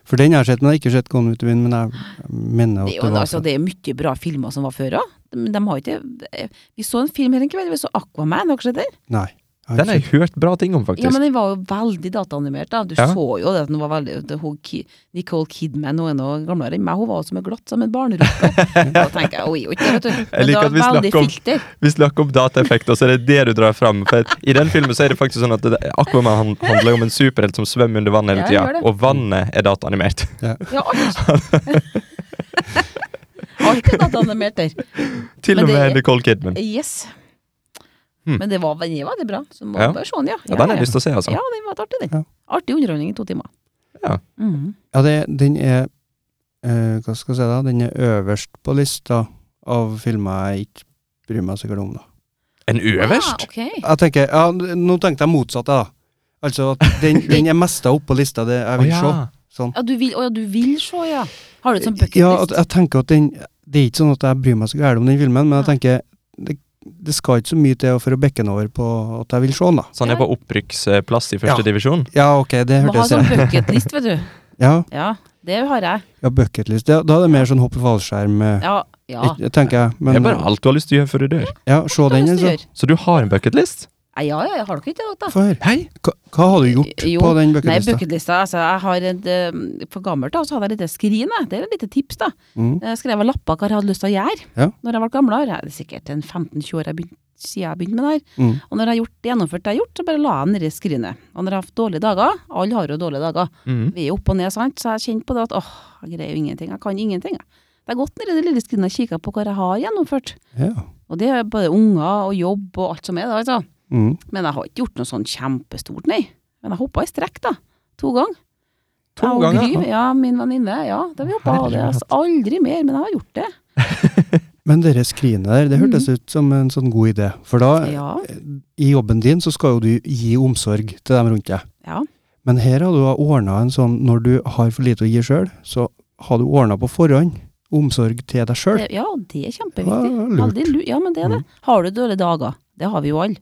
[SPEAKER 1] For den har jeg sett, men jeg har ikke sett Konvutevin. Men jeg mener at
[SPEAKER 3] Det er,
[SPEAKER 1] det
[SPEAKER 3] jo,
[SPEAKER 1] var sånn.
[SPEAKER 3] altså, det er mye bra filmer som var før òg. Men de har ikke eh, Vi så en film her en kveld, vi så Aquaman, har dere sett den?
[SPEAKER 1] Nei. jeg har
[SPEAKER 2] Den har
[SPEAKER 1] ikke
[SPEAKER 2] jeg hørt bra ting om, faktisk.
[SPEAKER 3] Ja, men den var jo veldig dataanimert, da. Du
[SPEAKER 2] Ja.
[SPEAKER 3] så jo det at den var veldig det- hun, Ki- Nicole Kidman, hun er nå gamlere enn meg, hun var jo som en glatt som en barnerotte. Da tenker jeg oi, oi, vet du. Men
[SPEAKER 2] Jeg
[SPEAKER 3] det
[SPEAKER 2] liker at vi
[SPEAKER 3] var veldig
[SPEAKER 2] snakker om-
[SPEAKER 3] filter.
[SPEAKER 2] Vi snakker om dataeffekter, så er det det du drar fram. For at I den filmen så er det faktisk sånn at det, Aquaman han- handler jo om en superhelt som svømmer under vann hele
[SPEAKER 3] Ja, gjør
[SPEAKER 2] tida,
[SPEAKER 3] det.
[SPEAKER 2] og vannet er dataanimert.
[SPEAKER 3] Ja, alt. Alt er dataanimert der.
[SPEAKER 2] Til
[SPEAKER 3] Men
[SPEAKER 2] og
[SPEAKER 3] det
[SPEAKER 2] med
[SPEAKER 3] er-
[SPEAKER 2] Nicole Kidman.
[SPEAKER 3] Yes.
[SPEAKER 1] Hm.
[SPEAKER 2] Hmm.
[SPEAKER 3] Men det var, den var veldig bra, så må
[SPEAKER 2] Ja.
[SPEAKER 3] bare se den, ja.
[SPEAKER 2] Ja, den har jeg lyst til å se, altså.
[SPEAKER 3] Ja, den var artig, den.
[SPEAKER 1] Ja.
[SPEAKER 3] Artig underholdning i to timer.
[SPEAKER 2] Ja.
[SPEAKER 3] Mhm.
[SPEAKER 1] Ja, det, den er eh, Hva skal jeg si da? Den er øverst på lista av filmer jeg ikke bryr meg sikkert om, da.
[SPEAKER 2] En
[SPEAKER 3] Ah,
[SPEAKER 2] øverst?
[SPEAKER 3] ok.
[SPEAKER 1] Jeg tenker, ja, Nå tenkte jeg motsatt, jeg, da. Altså at den, den er mesta opp på lista det jeg
[SPEAKER 2] Å,
[SPEAKER 1] vil
[SPEAKER 2] ja.
[SPEAKER 1] se. Sånn.
[SPEAKER 3] Ja, du vil, å ja, du vil se, ja. Har du et sånt bucketlist?
[SPEAKER 1] Ja, at, jeg tenker at den Det er ikke sånn at jeg bryr meg så gærent om den filmen, men jeg tenker det, det skal ikke så mye til for å bekke den over på at jeg vil se den, da.
[SPEAKER 2] Så han er på Sånn opprykksplass i første
[SPEAKER 1] Ja.
[SPEAKER 2] divisjon?
[SPEAKER 1] Ja, ok, det
[SPEAKER 3] Må ha
[SPEAKER 1] hørtes
[SPEAKER 3] sånn
[SPEAKER 1] rett
[SPEAKER 3] bucketlist, vet du.
[SPEAKER 1] Ja,
[SPEAKER 3] Ja, det har jeg.
[SPEAKER 1] ja bucketlist. Da, da er det mer sånn hopp i fallskjerm, eh,
[SPEAKER 3] Ja, ja.
[SPEAKER 1] ikke- tenker jeg.
[SPEAKER 2] Det
[SPEAKER 1] Men
[SPEAKER 2] er bare alt du har lyst til å gjøre før du dør.
[SPEAKER 1] ja, se
[SPEAKER 3] Hva har
[SPEAKER 1] den,
[SPEAKER 3] du lyst til å
[SPEAKER 1] altså.
[SPEAKER 3] gjøre?
[SPEAKER 2] Så du har en bucketlist?
[SPEAKER 3] Nei, Ja, ja, jeg har dere ikke det, da?
[SPEAKER 1] Få høre.
[SPEAKER 2] Hei!
[SPEAKER 1] Hva, hva har du gjort
[SPEAKER 3] Jo,
[SPEAKER 1] på den
[SPEAKER 3] Nei,
[SPEAKER 1] bucketlista?
[SPEAKER 3] bucketlista, altså, jeg har et, eh, for gammelt da, så hadde jeg litt skrin, jeg. det er et lite tips da.
[SPEAKER 1] Mm.
[SPEAKER 3] Jeg skrev av Eh, lapper hva jeg hadde lyst til å gjøre,
[SPEAKER 1] Ja.
[SPEAKER 3] når jeg ble gamlere. Det er sikkert en 15-20 år jeg begyn- siden jeg begynte med det her.
[SPEAKER 1] Mm.
[SPEAKER 3] Og når jeg har gjort, gjennomført det jeg har gjort, så bare la jeg den ned i skrinet. Og når jeg har hatt dårlige dager, alle har jo dårlige dager,
[SPEAKER 2] Mhm.
[SPEAKER 3] vi er opp og ned, sant? så jeg kjente på det at åh, jeg greier jo ingenting, jeg kan ingenting. Jeg. Det er godt nede i det lille skrinet og kikke på hva jeg har gjennomført.
[SPEAKER 1] Ja.
[SPEAKER 3] Og det er både unger og jobb og alt som er da, altså.
[SPEAKER 1] Mm.
[SPEAKER 3] Men jeg har ikke gjort noe sånn kjempestort, nei. Men jeg hoppa i strekk, da. To ganger.
[SPEAKER 2] To
[SPEAKER 3] Jeg og
[SPEAKER 2] ganger?
[SPEAKER 3] Gry, ja, min venninne. Ja, da vi hoppa. Det er altså aldri mer, men jeg har gjort det.
[SPEAKER 1] Men dere skrinet der, det hørtes ut som en sånn god idé. For da,
[SPEAKER 3] Mm. Ja.
[SPEAKER 1] i jobben din, så skal jo du gi omsorg til dem rundt deg.
[SPEAKER 3] ja.
[SPEAKER 1] Men her har du ordna en sånn når du har for lite å gi sjøl, så har du ordna på forhånd omsorg til deg sjøl.
[SPEAKER 3] Det, ja, det er kjempeviktig.
[SPEAKER 1] Ja, lurt.
[SPEAKER 3] Veldig lurt. Mm. Ja, men det er det. Har du dårlige dager? Det har vi jo alle.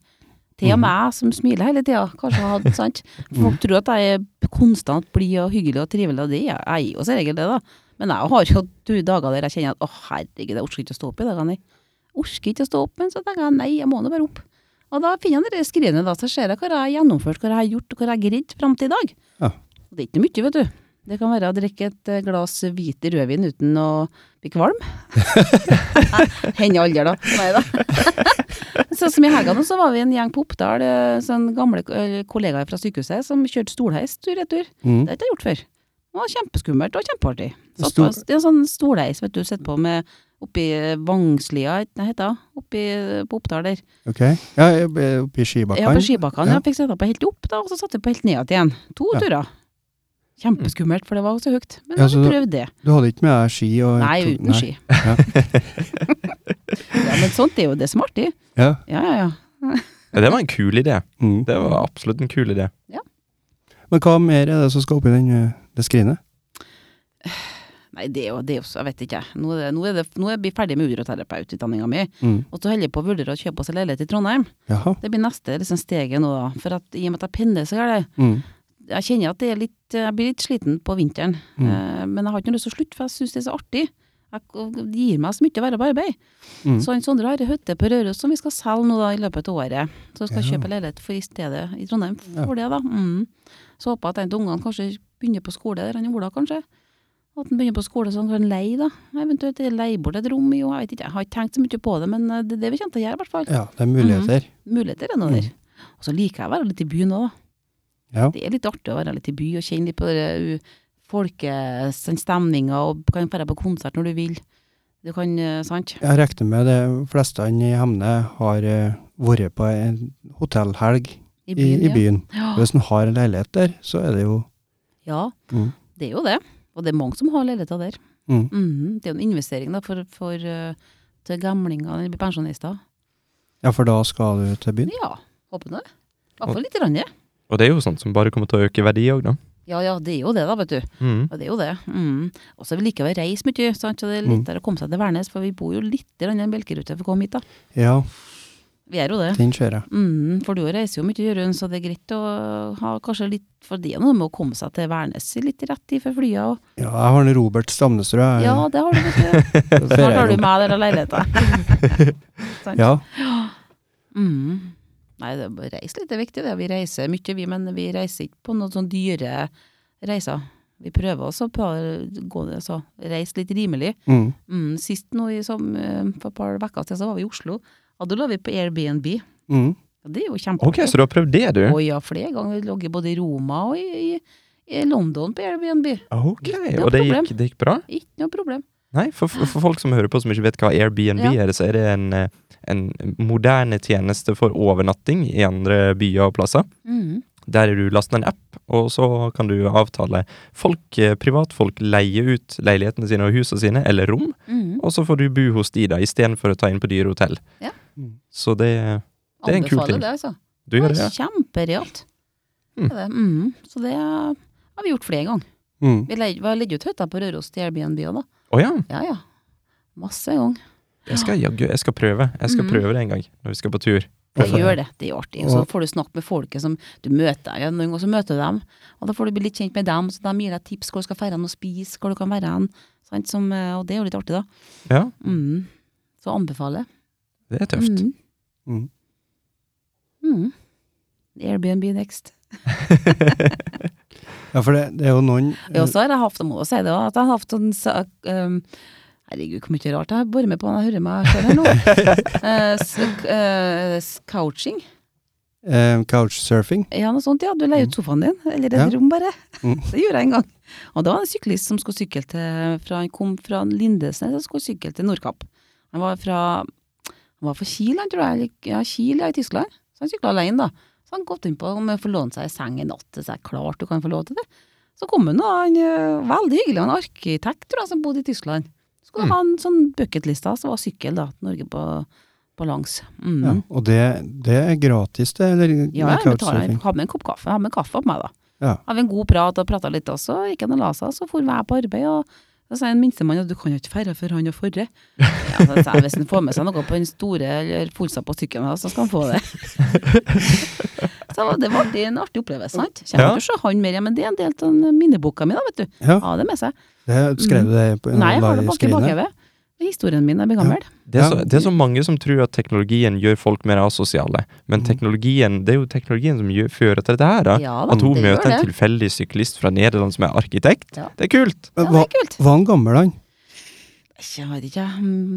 [SPEAKER 3] Til og med jeg som smiler hele tida, kanskje har hatt sant. Folk tror at jeg er konstant blid og hyggelig og trivelig, og det er jeg er jo som regel det, da. Men jeg har jo du dager der jeg kjenner at å herregud, jeg orker ikke å stå opp i dag, nei. Orker ikke å stå opp, men så tenker jeg nei, jeg må nå bare opp. Og da finner jeg det skrinet, da, så ser jeg hva jeg har gjennomført, hva jeg har gjort, og hva jeg har greid fram til i dag.
[SPEAKER 1] Ja.
[SPEAKER 3] Og det er ikke mye, vet du. Det kan være å drikke et eh, glass hvit rødvin uten å bli kvalm. Hender aldri, da. Nei da. Sånn som i helga nå, så var vi en gjeng på Oppdal, eh, sånn gamle eh, kollegaer fra sykehuset, som kjørte stolheis tur-retur.
[SPEAKER 1] Mm.
[SPEAKER 3] Det har jeg ikke gjort før. Det var kjempeskummelt og kjempeartig.
[SPEAKER 1] Det
[SPEAKER 3] Satt
[SPEAKER 1] sto-
[SPEAKER 3] på, det er en sånn stolheis, vet du, sitter på med oppi Vangslia, hva heter det, oppi på Oppdal der.
[SPEAKER 1] Ok. Ja, jeg er oppe i
[SPEAKER 3] Ja, på
[SPEAKER 1] skibakkene.
[SPEAKER 3] skibakkene.
[SPEAKER 1] Ja.
[SPEAKER 3] Jeg fikk sette på helt opp, da, og så satte jeg på helt ned igjen. To
[SPEAKER 1] Ja.
[SPEAKER 3] turer. Kjempeskummelt, for det var så høyt. Men
[SPEAKER 1] Ja,
[SPEAKER 3] jeg
[SPEAKER 1] så da-
[SPEAKER 3] prøvde det.
[SPEAKER 1] Du hadde ikke med deg ski og
[SPEAKER 3] Nei, uten ski.
[SPEAKER 1] Ja.
[SPEAKER 3] ja, men sånt er jo det som er artig.
[SPEAKER 1] Ja.
[SPEAKER 3] Ja, ja, ja.
[SPEAKER 2] Ja, Det var en kul idé.
[SPEAKER 1] Mm.
[SPEAKER 2] Det var absolutt en kul idé.
[SPEAKER 1] Men hva mer er det som skal oppi den, eh, det skrinet?
[SPEAKER 3] Nei, det er jo det er også, jeg vet ikke. jeg. Nå er, det, nå, er det, nå er vi ferdig med uroterapeututdanninga mi,
[SPEAKER 1] Mm.
[SPEAKER 3] og så holder jeg på å vurdere å kjøpe oss en leilighet i Trondheim.
[SPEAKER 1] Jaha.
[SPEAKER 3] Det blir neste liksom, steget nå, da. For at, i og med at jeg pendler, så er det
[SPEAKER 1] Mm.
[SPEAKER 3] Jeg kjenner at det er litt, jeg blir litt sliten på vinteren.
[SPEAKER 1] Mm.
[SPEAKER 3] Eh, men jeg har ikke noe lyst til å slutte, for jeg syns det er så artig. Jeg, og det gir meg så mye å være på arbeid.
[SPEAKER 1] Mm.
[SPEAKER 3] Så han Sondre har ei hytte på Røros som vi skal selge nå da i løpet av året. Så skal jeg
[SPEAKER 1] Ja.
[SPEAKER 3] kjøpe leilighet for i stedet i Trondheim for det, da. Mm. Så håper jeg at en av ungene kanskje begynner på skole der, han Ola kanskje. At han begynner på skole så han kan leie, da. Eventuelt leie bort et rom, jo, jeg vet ikke. Jeg har ikke tenkt så mye på det, men eh, det er det vi kommer til å gjøre, i hvert fall.
[SPEAKER 1] Ja, det er muligheter.
[SPEAKER 3] Muligheter er nå
[SPEAKER 1] Mm.
[SPEAKER 3] der. Og så liker jeg å være litt i byen òg, da.
[SPEAKER 1] Ja.
[SPEAKER 3] Det er litt artig å være litt i by og kjenne litt på den folkestemninga, og kan dra på konsert når du vil. Du kan, eh, sant?
[SPEAKER 1] Jeg regner med de fleste i Hemne har eh, vært på en hotellhelg
[SPEAKER 3] I
[SPEAKER 1] i, i byen.
[SPEAKER 3] Ja. Ah.
[SPEAKER 1] Hvis en har en leilighet der, så er det jo
[SPEAKER 3] ja,
[SPEAKER 1] Mm.
[SPEAKER 3] det er jo det. Og det er mange som har leiligheter der.
[SPEAKER 1] Mm.
[SPEAKER 3] Mhm, det er jo en investering da, for, for eh, til gamlinger eller pensjonister.
[SPEAKER 1] Ja, for da skal du til byen?
[SPEAKER 3] Ja, håper nå det. I hvert fall litt. Rann, ja.
[SPEAKER 2] Og det er jo sånt som bare kommer til å øke verdi òg, da.
[SPEAKER 3] ja ja, det er jo det, da, vet du.
[SPEAKER 2] Mhm.
[SPEAKER 3] Ja, det er jo det. Mm. Og så liker vi å reise mye, sant? så det er
[SPEAKER 1] Mm.
[SPEAKER 3] lettere å komme seg til Værnes, for vi bor jo litt i en bjelkerute for å komme hit, da.
[SPEAKER 1] Ja.
[SPEAKER 3] Vi er jo det.
[SPEAKER 1] Den kjører jeg.
[SPEAKER 3] Mm, for du reiser jo mye, Jørund, så det er greit å ha kanskje litt For det er noe med å komme seg til Værnes i litt rett tid før flyet. Og,
[SPEAKER 1] Ja, jeg har en Robert Stamnestrø. jeg.
[SPEAKER 3] ja, det har du, vet du.
[SPEAKER 1] Så fer
[SPEAKER 3] Snart
[SPEAKER 1] jeg
[SPEAKER 3] har du
[SPEAKER 1] rundt.
[SPEAKER 3] meg der og leiligheta. Sant?
[SPEAKER 1] Ja,
[SPEAKER 3] Mm. Nei, det er bare reis litt, det er viktig det. Vi reiser mye, vi, men vi reiser ikke på noen sånn dyre reiser. Vi prøver også på å gå det, så reise litt rimelig.
[SPEAKER 1] mm.
[SPEAKER 3] Mm, sist nå i som, eh, for et par uker siden så var vi i Oslo, og da lå vi på Airbnb.
[SPEAKER 1] Mm.
[SPEAKER 3] Og Det er jo kjempeartig.
[SPEAKER 2] Ok, så du har prøvd det, du?
[SPEAKER 3] Å ja, flere ganger. Vi lå både i Roma og i, i, i London på Airbnb.
[SPEAKER 2] Ok,
[SPEAKER 3] Det er
[SPEAKER 2] Og det
[SPEAKER 3] problem.
[SPEAKER 2] gikk, det gikk bra?
[SPEAKER 3] Ikke noe problem.
[SPEAKER 2] Nei, for, for folk som hører på som ikke vet hva Airbnb
[SPEAKER 3] Ja.
[SPEAKER 2] er, så er det en, eh, en moderne tjeneste for overnatting i andre byer og plasser.
[SPEAKER 3] Mm.
[SPEAKER 2] Der er du laster en app, og så kan du avtale folk, eh, privatfolk leier ut leilighetene sine og husene sine, eller rom,
[SPEAKER 3] Mm.
[SPEAKER 2] og så får du bo hos de da, istedenfor å ta inn på dyre hotell.
[SPEAKER 3] Ja.
[SPEAKER 1] Mm.
[SPEAKER 2] Så det Det er en kul
[SPEAKER 3] Anbefaler
[SPEAKER 2] ting.
[SPEAKER 3] Det, altså.
[SPEAKER 2] Du gjør det, ja.
[SPEAKER 3] Kjemperealt.
[SPEAKER 2] Mm.
[SPEAKER 3] Det er det. Mm. Så det har vi gjort flere ganger.
[SPEAKER 1] Mm.
[SPEAKER 3] Vi leide- var leid ut hytta på Røros til Airbnb òg, da.
[SPEAKER 2] Å ja.
[SPEAKER 3] Ja ja. Masse ganger.
[SPEAKER 2] Jeg skal, jaggu- jeg skal prøve. Jeg skal
[SPEAKER 3] Mm.
[SPEAKER 2] prøve det en gang, når vi skal på tur.
[SPEAKER 3] Det
[SPEAKER 2] Prøve.
[SPEAKER 3] gjør det. Det er jo artig. Og så får du snakke med folket som du møter. Ja, noen ganger så møter du dem, og da får du bli litt kjent med dem. Så de gir deg tips hvor du skal dra og spise, hvor du kan være hen. Sant? Som, eh, Og det er jo litt artig, da.
[SPEAKER 2] Ja,
[SPEAKER 3] Mm. Så anbefaler jeg.
[SPEAKER 2] det er tøft.
[SPEAKER 3] Mm.
[SPEAKER 1] Mm.
[SPEAKER 3] Mm. Airbnb next.
[SPEAKER 1] ja, for det, det er jo noen
[SPEAKER 3] Og så har jeg hatt, må jeg si det også, at jeg har hatt en sak ehm, Herregud, hvor mye rart jeg borer med på når jeg hører meg sjøl her nå. Eh, s- eh, s- couching.
[SPEAKER 1] eh, couchsurfing.
[SPEAKER 3] Ja, noe sånt, ja. Du leier ut sofaen din, eller et
[SPEAKER 1] Mm. Ja.
[SPEAKER 3] rom, bare.
[SPEAKER 1] Mm.
[SPEAKER 3] Det gjorde jeg en gang. Og da var det en syklist som skulle sykle til fra, Han kom fra Lindesnes og skulle sykle til Nordkapp. Han var fra Han var fra Kiel, han tror jeg. Eller, ja, Kiel ja, i Tyskland. Så han sykla alene, da. Så han gått inn på om jeg får låne seg en seng en natt. Så jeg klart du kan få lov til det. Så kom han, og han eh, veldig hyggelig, han arkitekt, tror jeg, som bodde i Tyskland. Skulle
[SPEAKER 1] Mm.
[SPEAKER 3] ha en sånn bucketlista, så var sykkel, da. til Norge på, på langs. Mm.
[SPEAKER 1] Ja, og det, det er gratis, det? Eller,
[SPEAKER 3] Ja,
[SPEAKER 1] med
[SPEAKER 3] jeg betaler.
[SPEAKER 1] couchsurfing?
[SPEAKER 3] Jeg Har med en kopp kaffe. Jeg Har med kaffe på meg, da.
[SPEAKER 1] Ja.
[SPEAKER 3] Har vi en god prat og prata litt også. Gikk han og la seg, så for jeg på arbeid. Og så sier en minstemann at du kan jo ikke ferde før han og forre. Ja, så sa jeg hvis han får med seg noe på den store, eller fulsa på sykkelen, hans, så skal han få det. så det var alltid en artig opplevelse, sant. Kommer
[SPEAKER 2] Ja.
[SPEAKER 3] ikke til å se han mer, ja, men det er en del av minneboka mi, da, vet du.
[SPEAKER 1] Ja.
[SPEAKER 3] Ha det med seg.
[SPEAKER 1] Det, skrev du det på
[SPEAKER 3] Mm. Nei, jeg har det bak i
[SPEAKER 1] skrinet?
[SPEAKER 3] bakhevet. Det er Historien min, jeg blir gammel.
[SPEAKER 2] Det er,
[SPEAKER 1] Ja.
[SPEAKER 2] så, det er så mange som tror at teknologien gjør folk mer asosiale,
[SPEAKER 1] Mm.
[SPEAKER 2] men teknologien, det er jo teknologien som gjør, fører til dette her. da.
[SPEAKER 3] Ja da,
[SPEAKER 2] At hun
[SPEAKER 3] det
[SPEAKER 2] møter
[SPEAKER 3] gjør
[SPEAKER 2] en
[SPEAKER 3] det.
[SPEAKER 2] tilfeldig syklist fra Nederland som er arkitekt,
[SPEAKER 3] Ja.
[SPEAKER 2] det er kult!
[SPEAKER 1] Men
[SPEAKER 3] Ja, det
[SPEAKER 1] hva-
[SPEAKER 3] er kult.
[SPEAKER 1] Var han gammel, han?
[SPEAKER 3] Jeg vet ikke,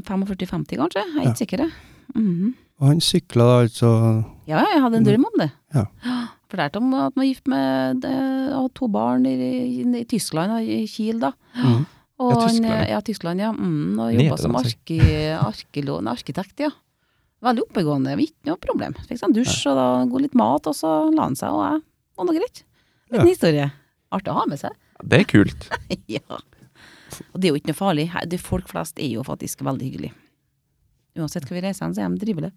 [SPEAKER 3] 45-50 kanskje? Jeg er
[SPEAKER 1] Ja.
[SPEAKER 3] ikke sikker. jeg. Mhm.
[SPEAKER 1] Og han sykla da altså
[SPEAKER 3] Ja, jeg hadde en drøm om det.
[SPEAKER 1] Ja.
[SPEAKER 3] Fortalte om at man var gift med eh, og to barn i, i, i Tyskland og i Kiel, da.
[SPEAKER 1] mm.
[SPEAKER 3] Og
[SPEAKER 2] Ja,
[SPEAKER 3] han, eh,
[SPEAKER 2] Tyskland. altså.
[SPEAKER 3] ja, Tyskland, ja. Mm, og jobba som
[SPEAKER 2] Nederland,
[SPEAKER 3] arki, arkilo- nei, arkitekt, ja. Veldig oppegående, ikke noe problem. Fikk seg en dusj og da god litt mat, og så la han seg, og jeg var nå greit. Liten
[SPEAKER 1] Ja.
[SPEAKER 3] historie. Artig å ha med seg.
[SPEAKER 2] Det er kult.
[SPEAKER 3] ja. Og det er jo ikke noe farlig. Her- det- Folk flest er jo faktisk veldig hyggelige. Uansett hvor vi reiser hen, så er de drivelige.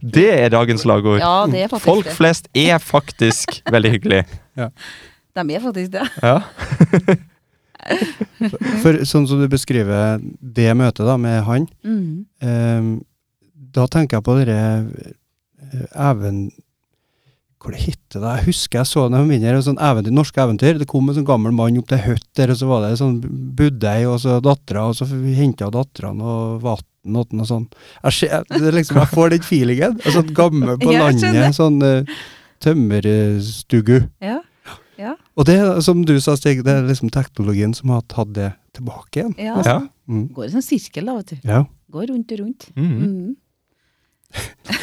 [SPEAKER 2] Det er dagens slagord.
[SPEAKER 3] Ja, det er faktisk
[SPEAKER 2] Folk
[SPEAKER 3] det.
[SPEAKER 2] flest er faktisk veldig hyggelige.
[SPEAKER 3] De er faktisk det.
[SPEAKER 2] Ja.
[SPEAKER 1] For sånn som du beskriver det møtet da med han,
[SPEAKER 3] Mm.
[SPEAKER 1] ehm, da tenker jeg på dere eh, even... Hvor det heter det? Jeg husker jeg så det var mindre, sånn eventyr, norske eventyr. Det kom en sånn gammel mann opp til høtt der, og så var det en sånn budei og så dattera, og så henta dattera og vann og noe sånt. Jeg, ser, det er liksom, jeg får den feelingen. En sånn gammel på
[SPEAKER 3] Ja, jeg skjønner.
[SPEAKER 1] landet, sånn uh, tømmerstugu.
[SPEAKER 3] Ja.
[SPEAKER 1] Og det, som du sa, Stig, det er liksom teknologien som har tatt det tilbake igjen.
[SPEAKER 3] ja.
[SPEAKER 2] ja.
[SPEAKER 1] Mm.
[SPEAKER 3] Går i sånn sirkel, da, vet du.
[SPEAKER 1] Ja.
[SPEAKER 3] Går rundt og rundt.
[SPEAKER 2] Mm.
[SPEAKER 3] Mm.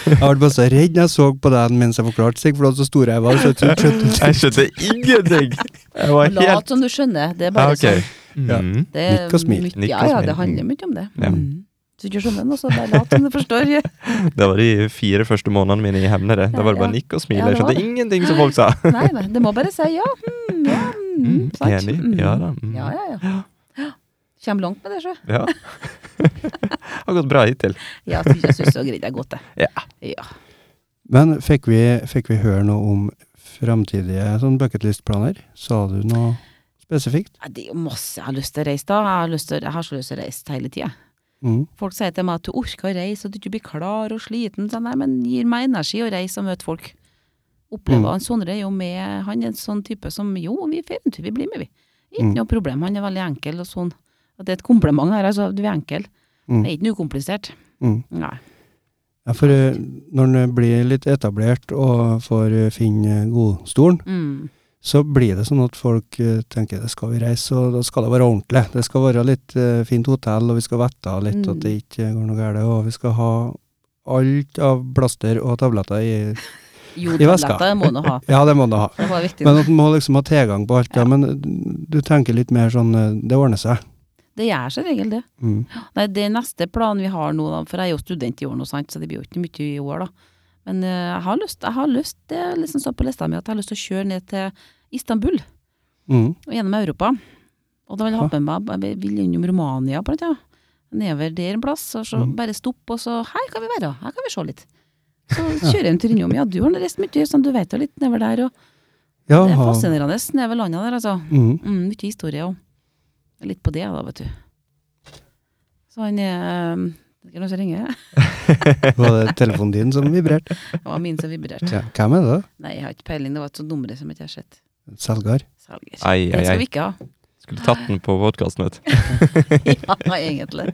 [SPEAKER 1] Jeg ble bare så redd når jeg så på deg mens jeg forklarte, Stig, for du hadde så store øyne. så jeg skjønte- skjønte-
[SPEAKER 2] Jeg skjønte ingenting! Jeg var helt
[SPEAKER 3] Lat som du skjønner, det er
[SPEAKER 2] Ja,
[SPEAKER 3] bare
[SPEAKER 2] ok.
[SPEAKER 3] sånn.
[SPEAKER 1] Ja.
[SPEAKER 2] Mm.
[SPEAKER 3] Det er
[SPEAKER 1] Nikk og smil.
[SPEAKER 3] mye-
[SPEAKER 2] Nikk
[SPEAKER 3] ja,
[SPEAKER 2] og
[SPEAKER 3] ja,
[SPEAKER 2] smil.
[SPEAKER 3] det handler mye om det.
[SPEAKER 2] Ja.
[SPEAKER 3] Mm. Hvis du ikke skjønner noe, så bare lat som du forstår.
[SPEAKER 2] Det var de fire første månedene mine i Hemne. det. Da var det bare
[SPEAKER 3] Ja.
[SPEAKER 2] nikk og smil.
[SPEAKER 3] Ja, det
[SPEAKER 2] Jeg
[SPEAKER 3] var
[SPEAKER 2] skjønte
[SPEAKER 3] det.
[SPEAKER 2] ingenting som folk sa.
[SPEAKER 3] Nei, nei, det må bare si ja. Mm, ja mm, sant.
[SPEAKER 2] Enig?
[SPEAKER 3] Mm.
[SPEAKER 2] Ja da. Mm.
[SPEAKER 3] Ja, ja, ja. Kjem langt med det, sjø.
[SPEAKER 2] Ja. Har gått bra hittil.
[SPEAKER 3] Ja, jeg syns det er greit. Det er godt, det.
[SPEAKER 2] Ja.
[SPEAKER 3] Ja.
[SPEAKER 1] Men fikk vi, fikk vi høre noe om framtidige sånn bucketlist-planer? Sa du noe spesifikt?
[SPEAKER 3] Ja, Det er jo masse jeg har lyst til å reise, da. Jeg har, lyst til, jeg har så lyst til å reise hele tida.
[SPEAKER 1] Mm.
[SPEAKER 3] Folk sier til meg at du orker å reise, og at du ikke blir klar og sliten. Så jeg, nei, men gir meg energi å reise og møte folk. Opplever
[SPEAKER 1] Mm.
[SPEAKER 3] han Sondre er jo med, han er en sånn type som jo, vi får en tur, vi blir med, vi. Ikke
[SPEAKER 1] Mm.
[SPEAKER 3] noe problem, han er veldig enkel og sånn. At det er et kompliment her, altså, du er enkel.
[SPEAKER 1] Mm.
[SPEAKER 3] Det er ikke noe ukomplisert.
[SPEAKER 1] Mm.
[SPEAKER 3] Nei.
[SPEAKER 1] Ja, for eh, når en blir litt etablert og får eh, finne godstolen,
[SPEAKER 3] Mm.
[SPEAKER 1] så blir det sånn at folk eh, tenker det skal vi reise, og da skal det være ordentlig. Det skal være litt eh, fint hotell, og vi skal vette av litt
[SPEAKER 3] Mm.
[SPEAKER 1] at det ikke går noe galt, og vi skal ha alt av plaster og tabletter i
[SPEAKER 3] Jo,
[SPEAKER 1] I veska.
[SPEAKER 3] tabletter må du ha.
[SPEAKER 1] Ja, det må du ha.
[SPEAKER 3] Det var viktig.
[SPEAKER 1] Men at en må liksom ha tilgang på alt. Ja. Men eh, du tenker litt mer sånn eh, Det ordner seg.
[SPEAKER 3] Det gjør som regel det.
[SPEAKER 1] Mm.
[SPEAKER 3] Nei, det er neste planen vi har nå, da, for jeg er jo student i år nå, sant, så det blir jo ikke mye i år, da. Men eh, jeg har lyst, jeg har lyst, det er liksom sånn på lista mi, at jeg har lyst til å kjøre ned til Istanbul
[SPEAKER 1] Mm.
[SPEAKER 3] og gjennom Europa. Og da vil jeg
[SPEAKER 1] Ja.
[SPEAKER 3] ha med meg, jeg vil innom Romania blant annet. Nedover der en plass, og så
[SPEAKER 1] Mhm.
[SPEAKER 3] bare stopp, og så her kan vi være, her kan vi se litt. Så kjører jeg en tur innom, ja du har reist mye, sånn du vet jo litt nedover der, og
[SPEAKER 1] Ja,
[SPEAKER 3] det er
[SPEAKER 1] ha-
[SPEAKER 3] fascinerende nedover landet der, altså.
[SPEAKER 1] mm.
[SPEAKER 3] Mm, mye historie òg. Litt på det, da, vet du. Så han er um, Det er noen som ringer.
[SPEAKER 1] Var det telefonen din som vibrerte?
[SPEAKER 3] Det var min som vibrerte.
[SPEAKER 1] Ja. Hvem er det?
[SPEAKER 3] Nei, jeg har ikke peiling. Det var et sånt nummer som ikke jeg har sett.
[SPEAKER 1] Selger?
[SPEAKER 3] Selger.
[SPEAKER 2] Ai,
[SPEAKER 3] Det
[SPEAKER 2] ai,
[SPEAKER 3] skal
[SPEAKER 2] ai.
[SPEAKER 3] vi ikke ha.
[SPEAKER 2] Skulle tatt den på podkasten, vet du.
[SPEAKER 3] Ja, egentlig.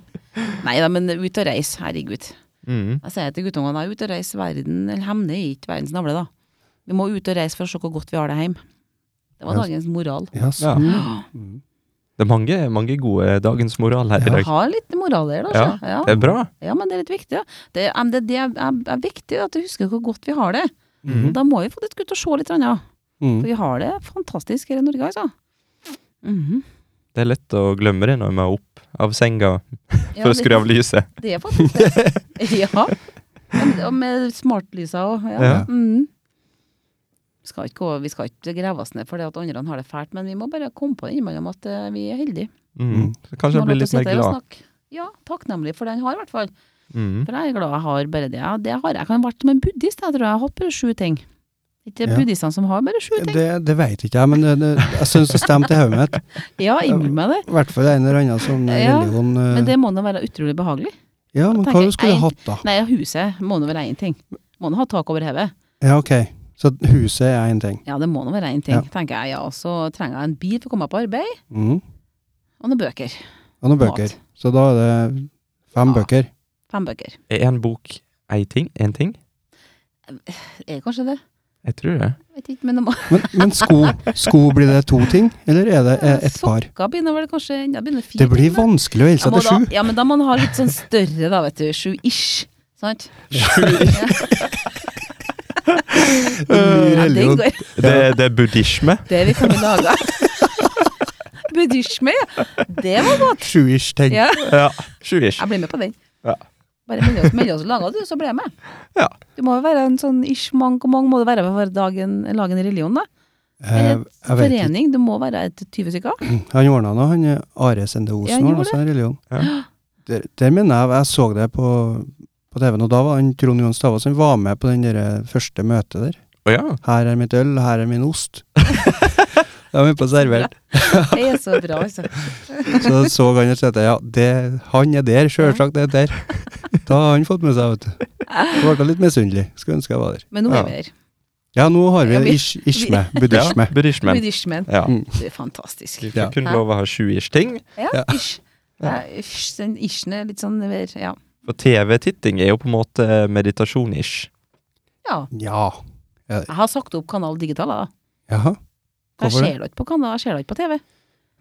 [SPEAKER 3] Nei da, men ut og reise. Herregud.
[SPEAKER 2] Mm.
[SPEAKER 3] Jeg sier til guttungene at ut og reise verden Eller Hemne er ikke verdens navle, da. Vi må ut og reise for å se hvor godt vi har det hjemme. Det var
[SPEAKER 1] Ja.
[SPEAKER 3] dagens moral.
[SPEAKER 1] Ja, sånn. Mm.
[SPEAKER 2] Det er mange, mange gode dagens moral her
[SPEAKER 1] Ja.
[SPEAKER 2] i dag.
[SPEAKER 3] Har litt moral der, da.
[SPEAKER 2] Ja,
[SPEAKER 3] så. Ja.
[SPEAKER 2] Det er bra.
[SPEAKER 3] Ja, men det er litt viktig. Ja. Det, er- det, det er, er, er viktig at du husker hvor godt vi har det.
[SPEAKER 2] Mhm.
[SPEAKER 3] Da må vi få ut og se litt, annet.
[SPEAKER 1] Mm.
[SPEAKER 3] for vi har det fantastisk her i Norge, altså. Mhm.
[SPEAKER 2] Det er lett å glemme det når vi er opp av senga
[SPEAKER 3] Ja,
[SPEAKER 2] for å
[SPEAKER 3] det-
[SPEAKER 2] skru av lyset.
[SPEAKER 3] Det er faktisk det. ja. Ja, men- Og med smartlysa og ja.
[SPEAKER 2] Ja.
[SPEAKER 3] Mhm. Skal ikke gå, vi skal ikke grave oss ned for det at andre har det fælt, men vi må bare komme på innimellom at eh, vi er heldige.
[SPEAKER 2] Mm. Så kanskje
[SPEAKER 3] Må
[SPEAKER 2] jeg blir
[SPEAKER 3] lov til å
[SPEAKER 2] litt mer
[SPEAKER 3] sitte her og
[SPEAKER 2] glad.
[SPEAKER 3] snakke. Ja, takknemlig for den jeg har, i hvert fall.
[SPEAKER 2] Mm.
[SPEAKER 3] For jeg er glad jeg har bare det. Ja, det har jeg. Jeg kan ha vært som en buddhist, jeg tror jeg har hatt bare sju ting. Ikke
[SPEAKER 1] Ja.
[SPEAKER 3] buddhistene som har bare sju ting.
[SPEAKER 1] Det, det veit ikke jeg, men det, det, jeg syns det stemte i hodet mitt.
[SPEAKER 3] Ja, innbill meg det.
[SPEAKER 1] I hvert fall en eller annen sånn
[SPEAKER 3] Ja,
[SPEAKER 1] religion. eh,
[SPEAKER 3] Men det må nå være utrolig behagelig.
[SPEAKER 1] ja, men hva
[SPEAKER 3] tenker jeg
[SPEAKER 1] skulle
[SPEAKER 3] en-
[SPEAKER 1] du hatt, da?
[SPEAKER 3] Nei, huset må nå være én ting. Må nå ha tak over hodet.
[SPEAKER 1] Ja, ok. Så huset er én ting.
[SPEAKER 3] Ja, det må nå være én ting,
[SPEAKER 1] Ja.
[SPEAKER 3] tenker jeg. Ja, og så trenger jeg en bil for å komme meg på arbeid,
[SPEAKER 1] Mm.
[SPEAKER 3] og noen bøker.
[SPEAKER 1] Og noen
[SPEAKER 3] Mat.
[SPEAKER 1] bøker. Så da er det fem
[SPEAKER 3] Ja.
[SPEAKER 1] bøker.
[SPEAKER 3] Fem bøker.
[SPEAKER 2] Er en bok ei ting? En ting?
[SPEAKER 3] Er det kanskje det?
[SPEAKER 2] Jeg tror det.
[SPEAKER 3] Vet ikke, men det må
[SPEAKER 1] Men, men sko, sko, blir det to ting, eller er det eh, ett par?
[SPEAKER 3] Sokker begynner vel kanskje ja, begynner fire
[SPEAKER 1] Det blir
[SPEAKER 3] ting, da.
[SPEAKER 1] vanskelig å holde
[SPEAKER 3] Ja,
[SPEAKER 1] seg
[SPEAKER 3] må
[SPEAKER 1] til
[SPEAKER 3] da,
[SPEAKER 1] sju.
[SPEAKER 3] ja, men da må man ha litt sånn større, da, vet du. Sju-ish. Sant?
[SPEAKER 1] Ny
[SPEAKER 3] Ja, den
[SPEAKER 1] religion.
[SPEAKER 3] går.
[SPEAKER 2] Det, det er buddhisme.
[SPEAKER 3] Det vi kan lage. Buddhisme, ja. Det var godt.
[SPEAKER 1] Sju-ish ting.
[SPEAKER 3] Ja.
[SPEAKER 2] Ja. Sjuish.
[SPEAKER 3] Jeg blir med på den.
[SPEAKER 2] Ja.
[SPEAKER 3] Bare meld oss, meld oss og lage, du, så blir jeg med.
[SPEAKER 2] Ja.
[SPEAKER 3] Du må jo være en sånn ish mang og mang, må det være for dagen, lage en religion, da?
[SPEAKER 1] Eh, jeg vet ikke. Mm,
[SPEAKER 3] Forening, du må være et 20 stykker.
[SPEAKER 1] Han ordna noe, han eh, Are Sende
[SPEAKER 3] Ja,
[SPEAKER 1] Osen
[SPEAKER 3] han
[SPEAKER 1] ordna
[SPEAKER 3] gjorde
[SPEAKER 1] seg en religion.
[SPEAKER 2] Ja.
[SPEAKER 1] Der, der mener jeg jeg så det på, på TV-en, og da var han Trond Johan Stavås han var med på den der eh, første møtet der.
[SPEAKER 2] Å ja.
[SPEAKER 1] Her er mitt øl, her er min ost. Da var vi på servert.
[SPEAKER 3] Det er så bra, altså.
[SPEAKER 1] Så så han og tenkte ja, det, han er der, sjølsagt det er der. Da har han fått med seg, vet du. Så Ble jeg litt misunnelig. Skulle ønske jeg var der.
[SPEAKER 3] Men nå
[SPEAKER 2] Ja.
[SPEAKER 3] er vi her.
[SPEAKER 1] Ja, nå har
[SPEAKER 3] Ja,
[SPEAKER 1] vi
[SPEAKER 3] vi-
[SPEAKER 1] ish, ish med, buddhisme.
[SPEAKER 2] Ja, buddhismen.
[SPEAKER 3] Buddhismen.
[SPEAKER 2] Ja.
[SPEAKER 1] Mm.
[SPEAKER 3] Det er fantastisk.
[SPEAKER 2] Vi
[SPEAKER 1] Ja.
[SPEAKER 2] fikk kun lov å ha sjuish ting.
[SPEAKER 3] Ja,
[SPEAKER 1] Ja.
[SPEAKER 3] ish. Ja, ish, den ishen er litt sånn mer, ja.
[SPEAKER 2] For TV-titting er jo på en måte meditasjon-ish.
[SPEAKER 3] ja.
[SPEAKER 1] Ja.
[SPEAKER 3] Jeg har sagt opp Kanal Digital, da.
[SPEAKER 1] Jaha.
[SPEAKER 3] Jeg
[SPEAKER 1] Hvorfor det?
[SPEAKER 3] ser det ikke på kanal, jeg ser det ikke på TV.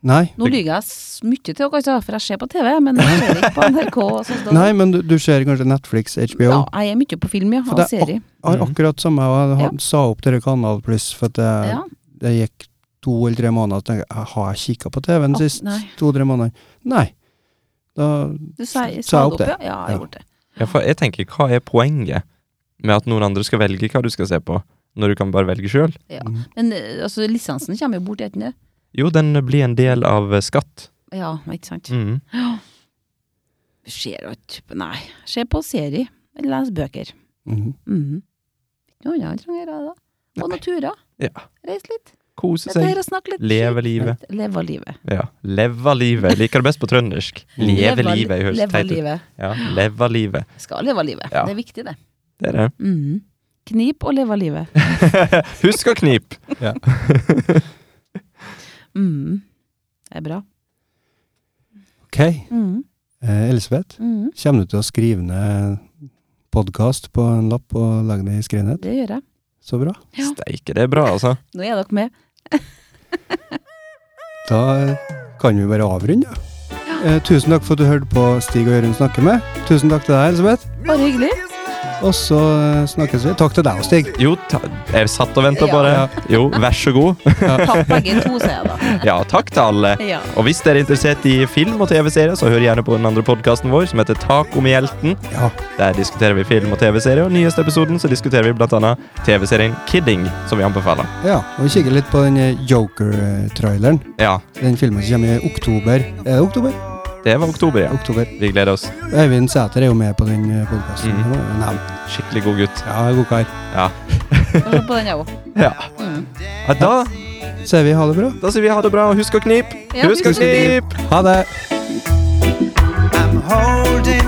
[SPEAKER 1] Nei.
[SPEAKER 3] Nå lyver jeg s- mye til dere, altså, for jeg ser på TV, men jeg ser ikke på NRK. og sånt. da-
[SPEAKER 1] Nei, men du, du ser kanskje Netflix, HBO?
[SPEAKER 3] Ja, jeg er mye på film, ja.
[SPEAKER 1] For
[SPEAKER 3] Og
[SPEAKER 1] det er
[SPEAKER 3] serie.
[SPEAKER 1] Jeg har
[SPEAKER 2] Mhm.
[SPEAKER 1] akkurat samme, og jeg ha- sa opp dere Kanal Pluss, for at jeg,
[SPEAKER 3] Ja.
[SPEAKER 1] det gikk to eller tre måneder, og tenkte jeg, har jeg kikket på TV-en
[SPEAKER 3] Å,
[SPEAKER 1] sist
[SPEAKER 3] nei.
[SPEAKER 1] to-tre måneder? Nei. Da,
[SPEAKER 3] Du
[SPEAKER 1] Sa
[SPEAKER 3] sa, sa
[SPEAKER 1] jeg
[SPEAKER 3] det
[SPEAKER 1] opp
[SPEAKER 3] opp,
[SPEAKER 1] det?
[SPEAKER 3] ja? Ja, jeg
[SPEAKER 1] Ja.
[SPEAKER 3] gjorde det.
[SPEAKER 2] Ja, for jeg tenker, hva er poenget med at noen andre skal velge hva du skal se på, når du kan bare velge sjøl?
[SPEAKER 3] Ja.
[SPEAKER 1] Mm.
[SPEAKER 3] Men eh, altså, lisensen kommer jo bort, gjør den ikke det?
[SPEAKER 2] Jo, den blir en del av eh, skatt.
[SPEAKER 3] Ja, ikke sant.
[SPEAKER 2] Mm.
[SPEAKER 3] Ser jo ikke Nei. Ser på serie. Eller leser bøker. Mm.
[SPEAKER 1] Mhm.
[SPEAKER 3] Mhm. Ikke noe annet jeg trenger da. Og noen turer.
[SPEAKER 2] Ja.
[SPEAKER 3] Reis litt.
[SPEAKER 2] Kose
[SPEAKER 3] Dette
[SPEAKER 2] seg.
[SPEAKER 3] her å snakke litt
[SPEAKER 2] Leve livet.
[SPEAKER 3] skit. Leve livet.
[SPEAKER 2] Ja. Leve livet. Jeg Liker det best på trøndersk. Leve livet. Jeg høres
[SPEAKER 3] Leve
[SPEAKER 2] teit ut.
[SPEAKER 3] livet.
[SPEAKER 2] Ja. Leve livet.
[SPEAKER 3] Skal leve livet.
[SPEAKER 2] Ja.
[SPEAKER 3] Det er viktig, det.
[SPEAKER 2] Det er det.
[SPEAKER 3] Mhm. Knip og leve livet.
[SPEAKER 2] Husk å knipe!
[SPEAKER 3] Mhm. Det er bra.
[SPEAKER 1] Ok.
[SPEAKER 3] Mhm.
[SPEAKER 1] Eh, Elisabeth,
[SPEAKER 3] Mhm.
[SPEAKER 1] kommer du til å skrive ned podkast på en lapp og legge det i skrinhet?
[SPEAKER 3] Det gjør jeg.
[SPEAKER 1] Så bra.
[SPEAKER 3] Ja.
[SPEAKER 2] Steike, det er bra, altså.
[SPEAKER 3] Nå er dere med.
[SPEAKER 1] Da eh, kan vi bare avrunde, da. Eh, tusen takk for at du hørte på Stig og Jørund snakke med. Tusen takk til deg, Elisabeth.
[SPEAKER 3] Bare hyggelig.
[SPEAKER 1] Og så eh, snakkes vi. Takk til deg og Stig.
[SPEAKER 2] Jo, ta jeg satt og venta på det.
[SPEAKER 1] Ja.
[SPEAKER 2] Jo, vær så god.
[SPEAKER 3] Takk begge to, sier jeg da.
[SPEAKER 2] Ja, takk til alle.
[SPEAKER 3] Ja.
[SPEAKER 2] Og hvis dere er interessert i film og TV-serier, så hør gjerne på den andre podkasten vår som heter Tak om hjelten.
[SPEAKER 1] Ja.
[SPEAKER 2] Der diskuterer vi film og TV-serier, og i nyeste episoden så diskuterer vi blant annet TV-serien Kidding, som vi anbefaler.
[SPEAKER 1] ja. Og kikke litt på den eh, Joker-traileren.
[SPEAKER 2] Ja,
[SPEAKER 1] Den filmen som kommer i oktober. Er det oktober?
[SPEAKER 2] det var oktober, ja.
[SPEAKER 1] Oktober.
[SPEAKER 2] Vi gleder oss.
[SPEAKER 1] Øyvind Sæter er jo med på den eh, podkasten.
[SPEAKER 2] Mhm.
[SPEAKER 1] Mm.
[SPEAKER 2] Skikkelig god gutt.
[SPEAKER 1] Ja, god kar.
[SPEAKER 2] Ja.
[SPEAKER 3] Skal se på den, jeg òg.
[SPEAKER 2] ja.
[SPEAKER 3] Mhm.
[SPEAKER 2] ja da,
[SPEAKER 1] Sier vi ha det bra?
[SPEAKER 2] da sier vi ha det bra, og husk å knipe!
[SPEAKER 3] Ja,
[SPEAKER 2] Husk å
[SPEAKER 3] husk å knipe.
[SPEAKER 2] knipe!
[SPEAKER 1] Ha det!
[SPEAKER 4] I'm holding